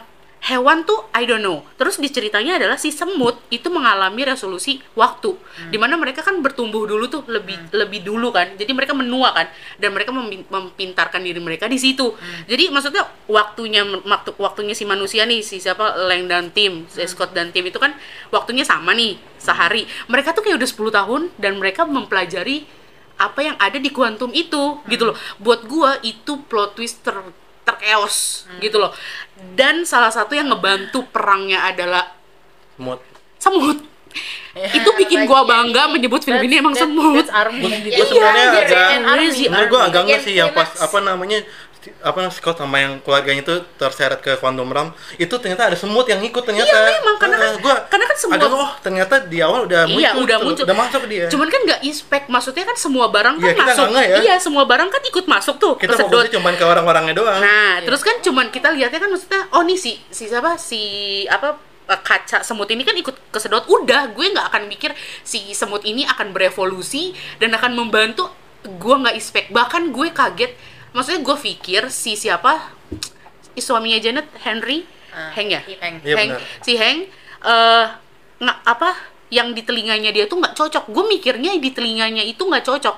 [SPEAKER 1] hewan tuh I don't know terus di ceritanya adalah si semut itu mengalami resolusi waktu dimana mereka kan bertumbuh dulu tuh lebih lebih dulu kan jadi mereka menua kan dan mereka memi- mempintarkan diri mereka di situ jadi maksudnya waktunya waktu- waktunya si manusia nih si siapa Leng dan tim si Scott dan tim itu kan waktunya sama nih sehari mereka tuh kayak udah 10 tahun dan mereka mempelajari apa yang ada di kuantum itu gitu loh buat gua itu plot twist ter terkeos gitu loh dan salah satu yang ngebantu perangnya adalah
[SPEAKER 3] mood
[SPEAKER 1] semut itu bikin gua bangga menyebut film ini emang semut
[SPEAKER 3] gue
[SPEAKER 4] Iya,
[SPEAKER 3] sebenarnya
[SPEAKER 4] iya,
[SPEAKER 3] agak
[SPEAKER 1] iya, Crazy
[SPEAKER 3] menurut gue agak nggak
[SPEAKER 4] Yang
[SPEAKER 3] sih yang pas
[SPEAKER 4] famous.
[SPEAKER 3] apa namanya sti- apa Scott sama yang keluarganya itu terseret ke Quantum Realm itu ternyata ada semut yang ikut ternyata
[SPEAKER 1] Iya, memang, karena kan-
[SPEAKER 3] Eh, gua
[SPEAKER 1] karena kan semua-
[SPEAKER 3] agak oh ternyata di awal udah muncul
[SPEAKER 1] Iya, udah
[SPEAKER 3] gitu,
[SPEAKER 1] muncul.
[SPEAKER 3] udah masuk dia
[SPEAKER 1] Cuman kan nggak inspect, maksudnya kan semua barang kan
[SPEAKER 3] Iya, kita
[SPEAKER 1] masuk.
[SPEAKER 3] nggak nge- ya.
[SPEAKER 1] Iya, semua barang kan ikut masuk tuh,
[SPEAKER 3] kita
[SPEAKER 1] kesedot.
[SPEAKER 3] fokusnya cuman ke orang-orangnya doang
[SPEAKER 2] Iya.
[SPEAKER 1] Nah, terus kan cuman kita lihatnya kan maksudnya oh nih si si siapa si apa eh, kaca semut ini kan ikut kesedot udah gue nggak akan mikir si semut ini akan berevolusi dan akan membantu gue nggak expect bahkan gue kaget maksudnya gue pikir si siapa si suaminya Janet Henry
[SPEAKER 2] Ah,
[SPEAKER 1] Heng ya
[SPEAKER 2] Heng.
[SPEAKER 3] Iya,
[SPEAKER 1] Heng
[SPEAKER 3] benar.
[SPEAKER 1] si Heng eh nggak apa yang di telinganya dia tuh nggak cocok gue mikirnya di telinganya itu nggak cocok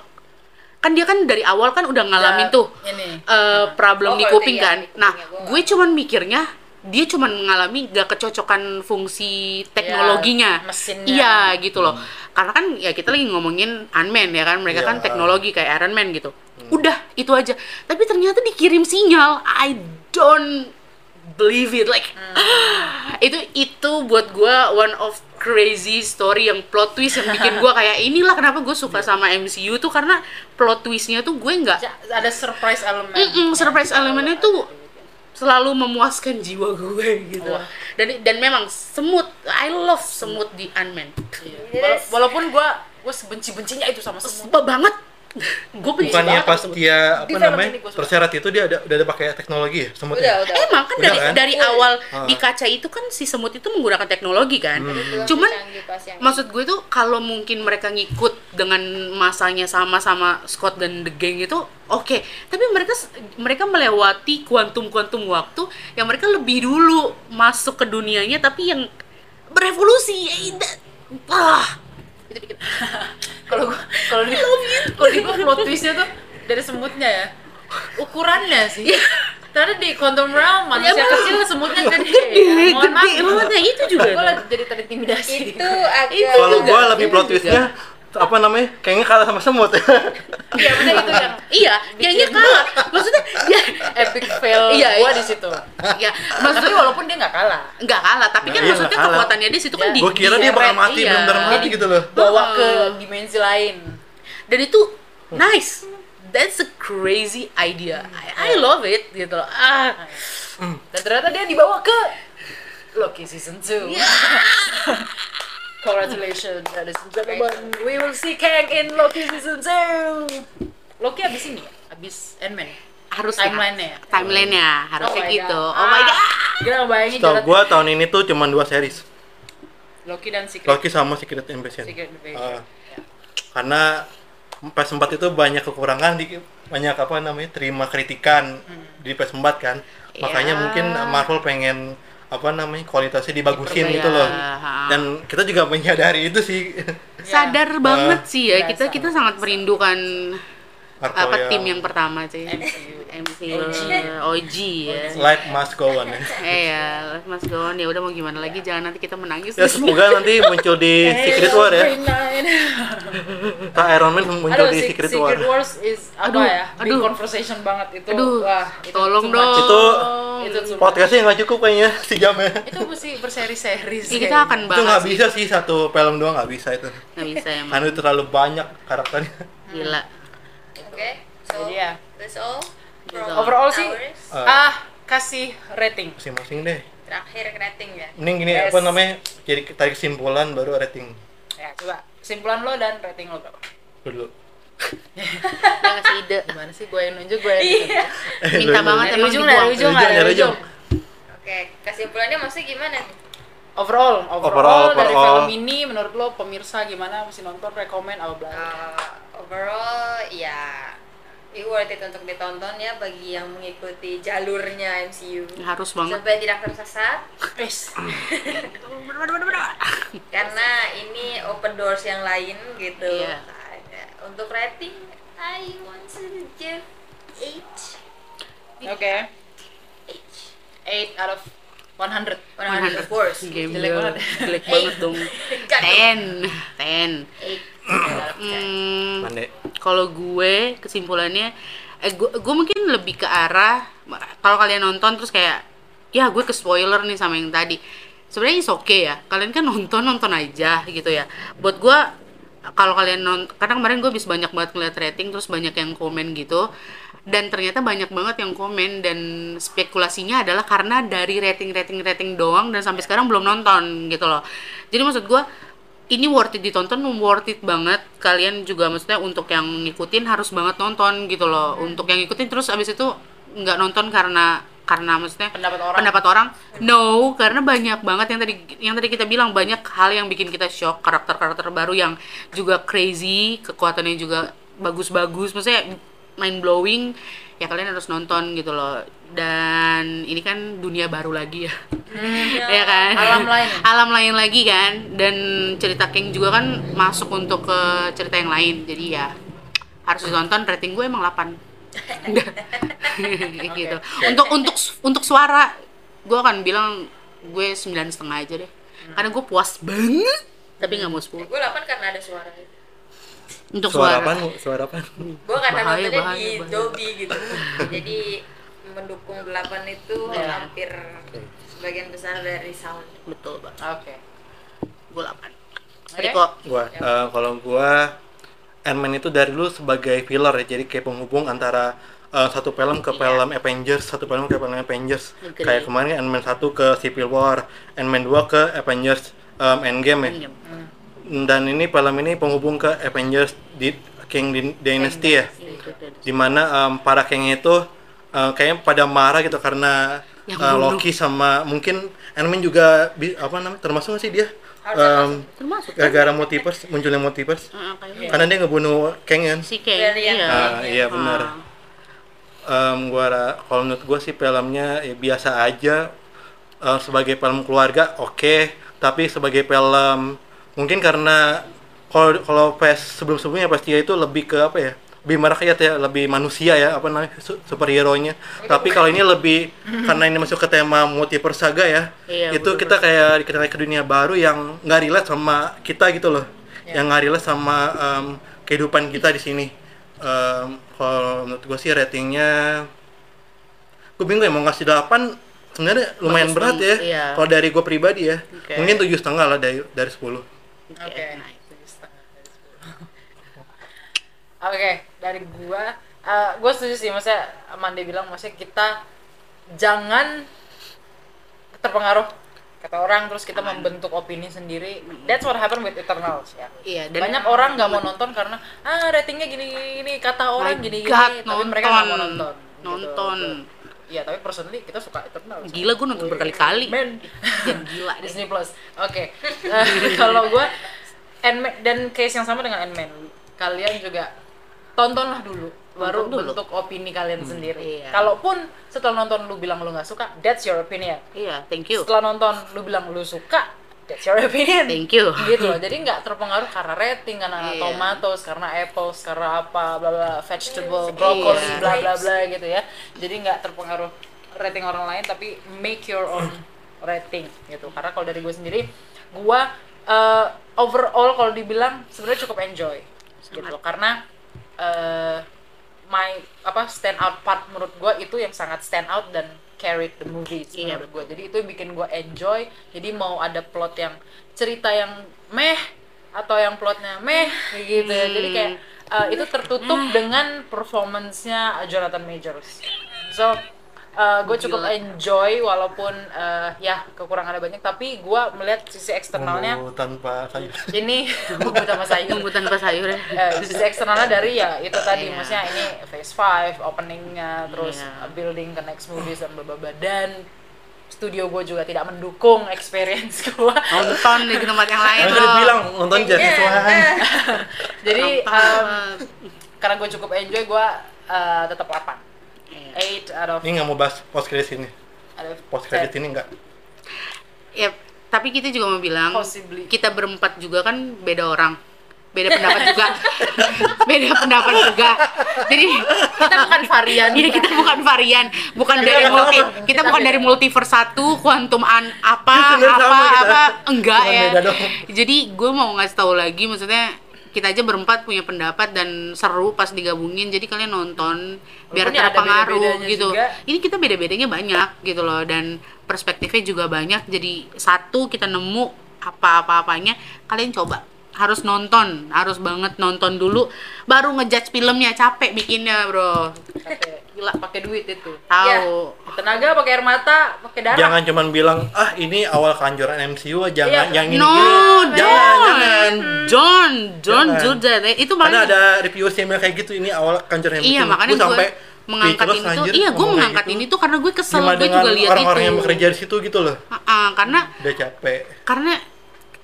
[SPEAKER 1] kan dia kan dari awal kan udah ngalamin
[SPEAKER 2] Udah
[SPEAKER 1] tuh
[SPEAKER 2] Iya, ini.
[SPEAKER 1] eh, problem
[SPEAKER 4] Oh,
[SPEAKER 1] di
[SPEAKER 4] kalau
[SPEAKER 1] kuping
[SPEAKER 4] itu iya,
[SPEAKER 1] kan
[SPEAKER 4] kupingnya
[SPEAKER 1] nah
[SPEAKER 4] gua
[SPEAKER 1] gue cuman mikirnya dia cuman mengalami gak kecocokan fungsi teknologinya
[SPEAKER 2] Ya, mesinnya.
[SPEAKER 1] iya gitu loh karena kan ya kita lagi ngomongin unmanned ya kan mereka
[SPEAKER 3] Iya.
[SPEAKER 1] kan teknologi kayak Iron Man gitu udah itu aja tapi ternyata dikirim sinyal I don't believe it like itu itu buat gua one of crazy story yang plot twist yang bikin gua kayak inilah kenapa gue suka sama MCU tuh karena plot twistnya tuh gue nggak
[SPEAKER 2] Ja- ada surprise Iya. elemen.
[SPEAKER 1] Mm-mm, surprise elemennya tuh selalu memuaskan jiwa gue gitu.
[SPEAKER 2] Wah.
[SPEAKER 1] Dan dan memang semut, I love semut di Unman.
[SPEAKER 2] Iya. Wala- Walaupun gua gua sebenci-bencinya itu sama semut.
[SPEAKER 1] Sebab banget. gue benci banget
[SPEAKER 3] bukannya pas
[SPEAKER 1] sama semut.
[SPEAKER 3] dia apa
[SPEAKER 2] Di film
[SPEAKER 3] namanya
[SPEAKER 2] ini gua suka.
[SPEAKER 3] terseret itu dia ada udah ada pakai teknologi ya
[SPEAKER 4] Udah,
[SPEAKER 3] semutnya
[SPEAKER 4] udah.
[SPEAKER 1] Emang kan
[SPEAKER 3] Udah
[SPEAKER 1] dari
[SPEAKER 3] kan?
[SPEAKER 1] dari awal
[SPEAKER 3] Ah.
[SPEAKER 1] di kaca itu kan si semut itu menggunakan teknologi kan.
[SPEAKER 3] Hmm.
[SPEAKER 4] Belum
[SPEAKER 1] Cuman
[SPEAKER 4] canggih pas yang-
[SPEAKER 1] maksud gue tuh kalau mungkin mereka ngikut dengan masanya sama sama Scott dan the gang itu oke tapi mereka mereka melewati kuantum-kuantum waktu yang mereka lebih dulu masuk ke dunianya tapi yang berevolusi ya ida- ah itu bikin
[SPEAKER 2] Kalau gua kalau di kalau di gua plot twistnya tuh dari semutnya ya. ukurannya sih.
[SPEAKER 1] Iya.
[SPEAKER 2] Karena di quantum realm manusia kecil semutnya gede. ya. Mohon maaf.
[SPEAKER 5] Gede, maksudnya itu juga.
[SPEAKER 6] Gue lagi jadi terintimidasi.
[SPEAKER 4] itu agak
[SPEAKER 3] Kalau gua lebih plot twistnya Iya. apa namanya? Kayaknya kalah sama semut.
[SPEAKER 2] Iya, benar itu yang
[SPEAKER 6] Iya, kayaknya kalah. Maksudnya ya
[SPEAKER 2] epic fail
[SPEAKER 6] Iya,
[SPEAKER 2] gua
[SPEAKER 6] iya.
[SPEAKER 2] di situ.
[SPEAKER 1] ya
[SPEAKER 2] Tapi
[SPEAKER 1] maksudnya
[SPEAKER 2] walaupun dia nggak kalah,
[SPEAKER 1] nggak kalah tapi kan
[SPEAKER 3] Nah, iya,
[SPEAKER 1] maksudnya
[SPEAKER 3] nggak kalah.
[SPEAKER 1] kekuatannya dia situ kan
[SPEAKER 2] Iya.
[SPEAKER 1] di
[SPEAKER 3] gua kira dia bakal
[SPEAKER 1] diseret,
[SPEAKER 3] mati,
[SPEAKER 1] iya.
[SPEAKER 3] bener-bener mati gitu loh.
[SPEAKER 2] bawa ke dimensi lain.
[SPEAKER 1] dan itu nice that's a crazy idea I, I love it gitu loh ah
[SPEAKER 3] Hmm.
[SPEAKER 2] Dan ternyata dia dibawa ke Loki season 2. Congratulations, ladies and gentlemen. We will see Kang in Loki season 2. Loki abis ini ya? Abis Ant-Man?
[SPEAKER 1] harus
[SPEAKER 2] Timeline-nya ya?
[SPEAKER 1] timeline-nya harusnya
[SPEAKER 2] my God. Ah.
[SPEAKER 1] gitu oh my god
[SPEAKER 2] Gila ngebayangin
[SPEAKER 3] Tau
[SPEAKER 2] jalan-
[SPEAKER 3] gua tahun ini tuh cuma dua series.
[SPEAKER 2] Loki dan Secret.
[SPEAKER 3] Loki sama Secret Invasion.
[SPEAKER 2] Secret Invasion. Ya.
[SPEAKER 3] Ah. karena PS4 itu banyak kekurangan di banyak apa namanya terima kritikan
[SPEAKER 2] Hmm.
[SPEAKER 3] di PS4 kan
[SPEAKER 2] Ya.
[SPEAKER 3] makanya
[SPEAKER 1] Iya.
[SPEAKER 3] mungkin Marvel pengen apa namanya kualitasnya dibagusin
[SPEAKER 1] Diperbaiki.
[SPEAKER 3] gitu loh
[SPEAKER 1] Iya.
[SPEAKER 3] dan kita juga menyadari itu sih
[SPEAKER 1] sadar banget sih ya kita
[SPEAKER 2] Berasa.
[SPEAKER 1] kita sangat merindukan
[SPEAKER 3] Marvel
[SPEAKER 1] apa tim yang pertama sih
[SPEAKER 2] MCU.
[SPEAKER 1] MCU OG ya
[SPEAKER 3] light must go on ya.
[SPEAKER 1] eh ya let Mas Gon ya udah mau gimana lagi jangan nanti kita menangis
[SPEAKER 3] ya semoga nanti muncul di Secret War ya tak Ah, Iron Man muncul
[SPEAKER 2] Aduh,
[SPEAKER 3] di
[SPEAKER 2] Se-
[SPEAKER 3] Secret,
[SPEAKER 2] Secret,
[SPEAKER 3] War
[SPEAKER 2] Wars is apa
[SPEAKER 1] Aduh,
[SPEAKER 2] ya? Big
[SPEAKER 1] aduh.
[SPEAKER 2] conversation banget itu.
[SPEAKER 1] aduh
[SPEAKER 2] Wah, itu
[SPEAKER 1] tolong
[SPEAKER 2] too
[SPEAKER 1] dong
[SPEAKER 2] much.
[SPEAKER 3] itu
[SPEAKER 2] Itu too much.
[SPEAKER 3] podcastnya nggak cukup kayaknya sejamnya
[SPEAKER 2] Itu mesti berseri-seri
[SPEAKER 1] Ya,
[SPEAKER 2] sih.
[SPEAKER 1] kita akan
[SPEAKER 3] itu nggak
[SPEAKER 1] bahas
[SPEAKER 3] bisa sih satu film doang nggak bisa itu
[SPEAKER 1] nggak bisa emang
[SPEAKER 3] karena Anu terlalu banyak karakternya
[SPEAKER 1] gila
[SPEAKER 4] oke so
[SPEAKER 2] Jadi ya.
[SPEAKER 4] that's all
[SPEAKER 1] all.
[SPEAKER 4] from
[SPEAKER 2] gitu. Overall sih,
[SPEAKER 4] ours.
[SPEAKER 3] Eh,
[SPEAKER 2] ah kasih rating.
[SPEAKER 3] masing-masing deh
[SPEAKER 4] terakhir rating ya
[SPEAKER 3] Mending gini
[SPEAKER 2] Yes.
[SPEAKER 3] apa namanya? Jadi tarik kesimpulan baru rating
[SPEAKER 2] Ya, coba simpulan lo dan rating lo berapa?
[SPEAKER 3] dulu.
[SPEAKER 1] dia ngasih ide
[SPEAKER 2] Gimana sih gue yang nunjuk, gue yang nunjuk.
[SPEAKER 1] minta
[SPEAKER 3] Lu-
[SPEAKER 1] banget
[SPEAKER 2] Dari
[SPEAKER 1] emang
[SPEAKER 2] Iya. ujung, dari
[SPEAKER 1] dibuang
[SPEAKER 2] ujung lah,
[SPEAKER 3] Dari
[SPEAKER 2] dari
[SPEAKER 3] ujung.
[SPEAKER 2] ujung.
[SPEAKER 4] oke kesimpulannya maksudnya gimana nih
[SPEAKER 2] Overall,
[SPEAKER 3] Overall,
[SPEAKER 2] overall, dari
[SPEAKER 3] overall.
[SPEAKER 2] film ini menurut lo pemirsa gimana? Mesti nonton, rekomend, apa bla.
[SPEAKER 4] Uh, overall ya it worth it untuk ditonton ya bagi yang mengikuti jalurnya MCU
[SPEAKER 1] harus banget
[SPEAKER 4] supaya tidak tersesat
[SPEAKER 2] Wis.
[SPEAKER 1] Ah,
[SPEAKER 4] karena ini open doors yang lain gitu
[SPEAKER 1] Iya.
[SPEAKER 4] untuk rating I want to give 8
[SPEAKER 2] Oke. 8 out of 100.
[SPEAKER 4] 100 of course
[SPEAKER 1] game
[SPEAKER 2] Jelek
[SPEAKER 1] lu.
[SPEAKER 2] banget.
[SPEAKER 1] jelek banget dong ten ten hmm,
[SPEAKER 3] Mande. Eh,
[SPEAKER 1] kalau gue kesimpulannya eh, gue, gue mungkin lebih ke arah kalau kalian nonton terus kayak ya gue ke spoiler nih sama yang tadi sebenarnya is oke ya kalian kan nonton nonton aja gitu ya buat gue kalau kalian nonton karena kemarin gue bisa banyak banget ngeliat rating terus banyak yang komen gitu dan ternyata banyak banget yang komen dan spekulasinya adalah karena dari rating rating rating doang dan sampai sekarang belum nonton gitu loh jadi maksud gue ini worth it ditonton worth it banget kalian juga maksudnya untuk yang ngikutin harus banget nonton gitu loh untuk yang ngikutin terus abis itu nggak nonton karena karena maksudnya
[SPEAKER 2] Pendapat orang.
[SPEAKER 1] pendapat orang no karena banyak banget yang tadi yang tadi kita bilang banyak hal yang bikin kita shock karakter karakter baru yang juga crazy kekuatannya juga bagus-bagus maksudnya mind blowing ya kalian harus nonton gitu loh dan ini kan dunia baru lagi ya ya kan
[SPEAKER 2] Alam lain.
[SPEAKER 1] alam lain lagi kan dan cerita King juga kan masuk untuk ke cerita yang lain jadi ya harus ditonton rating gue emang 8 Udah. gitu untuk untuk untuk suara gue akan bilang gue sembilan setengah aja deh karena gue puas banget tapi nggak mau 10
[SPEAKER 4] gue 8 karena ada suara
[SPEAKER 1] untuk
[SPEAKER 3] Suara
[SPEAKER 1] suara,
[SPEAKER 3] apa? Suara apa?
[SPEAKER 4] gue karena
[SPEAKER 1] Bahaya,
[SPEAKER 4] nontonnya
[SPEAKER 1] bahaya,
[SPEAKER 4] di
[SPEAKER 1] bahaya.
[SPEAKER 4] Dolby gitu jadi mendukung 8 itu hampir sebagian besar dari sound
[SPEAKER 1] betul banget
[SPEAKER 2] Oke.
[SPEAKER 1] gue 8
[SPEAKER 2] Oke.
[SPEAKER 1] Riko
[SPEAKER 3] Gua eh, kalau gua Ant-Man itu dari dulu sebagai filler ya, jadi kayak penghubung antara eh, satu film ke film Avengers, satu film ke film
[SPEAKER 1] Iya.
[SPEAKER 3] Avengers.
[SPEAKER 1] Agree.
[SPEAKER 3] Kayak kemarin kan Ant-Man 1 ke Civil War, Ant-Man 2 ke Avengers em, Endgame ya.
[SPEAKER 1] Endgame.
[SPEAKER 3] Dan ini film ini penghubung ke Avengers di King Din- Dynasty ya. dimana em, para kengnya itu eh, kayaknya pada marah gitu karena
[SPEAKER 1] Yang
[SPEAKER 3] eh,
[SPEAKER 1] bunuh.
[SPEAKER 3] Loki sama mungkin Ant-Man juga bi- apa namanya termasuk nggak sih dia Em,
[SPEAKER 1] termasuk
[SPEAKER 3] gara-gara multiverse munculnya multiverse
[SPEAKER 1] Ah, kayaknya
[SPEAKER 3] karena dia ngebunuh Kang kan
[SPEAKER 1] si King
[SPEAKER 4] Varian.
[SPEAKER 1] iya
[SPEAKER 3] Ah, iya benar
[SPEAKER 1] Ah.
[SPEAKER 3] Em, gua ra- kalau menurut gua sih filmnya ya biasa aja Eh, sebagai film keluarga oke tapi sebagai film mungkin karena kalau kalau PS sebelum-sebelumnya pasti itu lebih ke apa ya Bima Rakyat ya lebih manusia ya apa namanya su- superhero-nya. Tapi kalau ini lebih karena ini masuk ke tema multiverse saga ya.
[SPEAKER 1] Iya,
[SPEAKER 3] itu kita kayak dikenal ke dunia baru yang nggak relate sama kita gitu loh. Yang nggak relate sama em, kehidupan kita di sini. Em, kalau menurut gue sih ratingnya gue bingung ya mau ngasih 8 sebenarnya
[SPEAKER 1] Bagus
[SPEAKER 3] lumayan berat ya.
[SPEAKER 1] banget, iya.
[SPEAKER 3] Kalau dari gue pribadi ya.
[SPEAKER 1] Oke.
[SPEAKER 3] Mungkin tujuh setengah lah dari dari 10.
[SPEAKER 2] Oke.
[SPEAKER 1] nice.
[SPEAKER 2] Tujuh setengah dari sepuluh. Oke, dari gua eh gua setuju sih maksudnya Mande bilang maksudnya kita jangan terpengaruh kata orang terus kita membentuk opini sendiri. That's what happened with Eternals ya.
[SPEAKER 1] Iya, dan
[SPEAKER 2] Banyak orang nggak mau nonton karena ah ratingnya gini gini kata
[SPEAKER 1] My
[SPEAKER 2] orang gini gini
[SPEAKER 1] God,
[SPEAKER 2] tapi
[SPEAKER 1] nonton.
[SPEAKER 2] mereka nggak mau nonton. gitu.
[SPEAKER 1] Nonton.
[SPEAKER 2] Iya, tapi personally kita suka Eternals.
[SPEAKER 1] Gila, gua nonton berkali-kali.
[SPEAKER 2] Men.
[SPEAKER 1] Jangan gila deh.
[SPEAKER 2] Disney Plus. Oke. Eh, kalau gue Ant-Man dan case yang sama dengan Ant-Man. Kalian juga tontonlah dulu baru
[SPEAKER 1] Tonton dulu.
[SPEAKER 2] bentuk opini kalian sendiri.
[SPEAKER 1] iya.
[SPEAKER 2] Kalaupun setelah nonton lu bilang lu nggak suka, that's your opinion.
[SPEAKER 1] Iya, thank you.
[SPEAKER 2] Setelah nonton lu bilang lu suka, that's your opinion.
[SPEAKER 1] Thank you.
[SPEAKER 2] Gitu loh. Jadi nggak terpengaruh karena rating, karena
[SPEAKER 1] Iya.
[SPEAKER 2] tomatoes, karena apples, karena apa, bla bla vegetable, broccoli,
[SPEAKER 1] Iya.
[SPEAKER 2] bla bla bla gitu ya. Jadi nggak terpengaruh rating orang lain tapi make your own rating gitu. Karena kalau dari gue sendiri, gue eh, overall kalau dibilang sebenarnya cukup enjoy gitu karena eh, my apa stand out part menurut gue itu yang sangat stand out dan carried the movie
[SPEAKER 1] Iya,
[SPEAKER 2] menurut gue jadi itu yang bikin gue enjoy jadi mau ada plot yang cerita yang meh atau yang plotnya meh kayak gitu
[SPEAKER 1] Hmm.
[SPEAKER 2] ya jadi kayak eh, itu tertutup dengan performance-nya Jonathan Majors so gue cukup enjoy walaupun eh, ya kekurangannya banyak tapi gue melihat
[SPEAKER 1] Oh.
[SPEAKER 2] sisi eksternalnya
[SPEAKER 3] Bumbu tanpa sayur.
[SPEAKER 2] ini bumbu sama sayur
[SPEAKER 1] Tunggu tanpa sayur ya.
[SPEAKER 2] eh, sisi eksternalnya dari ya itu tadi
[SPEAKER 1] Iya.
[SPEAKER 2] maksudnya ini phase 5 openingnya terus
[SPEAKER 1] Iya.
[SPEAKER 2] uh, building ke next movies dan blablabla dan studio gue juga tidak mendukung experience gue
[SPEAKER 1] Nonton di tempat yang lain
[SPEAKER 3] Kan
[SPEAKER 1] loh.
[SPEAKER 3] udah bilang nonton
[SPEAKER 1] Iya.
[SPEAKER 3] jadi Tuhan.
[SPEAKER 1] Eh. Oh,
[SPEAKER 2] jadi
[SPEAKER 1] Nonton.
[SPEAKER 2] um, karena gue cukup enjoy gue uh, tetap 8
[SPEAKER 1] Iya.
[SPEAKER 2] 8 out of
[SPEAKER 3] Ini nggak mau bahas post credit ini.
[SPEAKER 2] out of
[SPEAKER 1] Eh.
[SPEAKER 3] Post credit
[SPEAKER 2] 10.
[SPEAKER 3] ini nggak.
[SPEAKER 1] Ya, tapi kita juga mau bilang
[SPEAKER 2] Possibly.
[SPEAKER 1] kita berempat juga kan beda orang. Beda pendapat juga. beda pendapat juga. Jadi
[SPEAKER 2] kita bukan varian
[SPEAKER 3] gitu.
[SPEAKER 1] Iya kita bukan varian, bukan dari
[SPEAKER 3] nggak
[SPEAKER 1] multi,
[SPEAKER 3] sama.
[SPEAKER 1] kita, bukan
[SPEAKER 2] beda.
[SPEAKER 1] dari multiverse satu, quantum an apa
[SPEAKER 3] Sebenarnya
[SPEAKER 1] apa
[SPEAKER 3] sama kita.
[SPEAKER 1] apa enggak
[SPEAKER 3] Cuman
[SPEAKER 1] ya.
[SPEAKER 3] beda doang.
[SPEAKER 1] Jadi gue mau ngasih tahu lagi, maksudnya kita aja berempat punya pendapat dan seru pas digabungin. Jadi kalian nonton biar
[SPEAKER 2] Walaupun ya ada
[SPEAKER 1] terpengaruh
[SPEAKER 2] beda-bedanya
[SPEAKER 1] gitu.
[SPEAKER 2] juga.
[SPEAKER 1] Ini kita beda-bedanya banyak gitu loh dan perspektifnya juga banyak. Jadi satu kita nemu apa-apa-apanya, kalian coba harus nonton, harus banget nonton dulu, baru ngejudge filmnya capek bikinnya bro,
[SPEAKER 2] Pakai- gila pakai duit itu
[SPEAKER 1] tahu.
[SPEAKER 2] tenaga pakai air mata pakai darah
[SPEAKER 3] Jangan cuman bilang ah ini awal kehancuran MCU, jangan
[SPEAKER 2] Iya.
[SPEAKER 3] yang ini
[SPEAKER 1] No, Hmm.
[SPEAKER 3] gini. Jangan, jangan.
[SPEAKER 1] John, John,
[SPEAKER 3] Jangan.
[SPEAKER 1] Judah, itu
[SPEAKER 3] Karena
[SPEAKER 1] malah
[SPEAKER 3] ada review yang kayak gitu ini awal kehancuran MCU.
[SPEAKER 1] iya makanya
[SPEAKER 3] Gua sampai
[SPEAKER 1] gue mengangkat
[SPEAKER 3] speechless,
[SPEAKER 1] ini tuh,
[SPEAKER 3] anjir,
[SPEAKER 1] iya gue
[SPEAKER 3] ngomong kayak
[SPEAKER 1] mengangkat
[SPEAKER 3] gitu.
[SPEAKER 1] ini tuh karena gue kesel,
[SPEAKER 3] Gimana
[SPEAKER 1] gue
[SPEAKER 3] dengan
[SPEAKER 1] juga lihat itu.
[SPEAKER 3] orang-orang yang bekerja di situ gitu loh.
[SPEAKER 1] Ah, ah, karena
[SPEAKER 3] Udah capek.
[SPEAKER 1] karena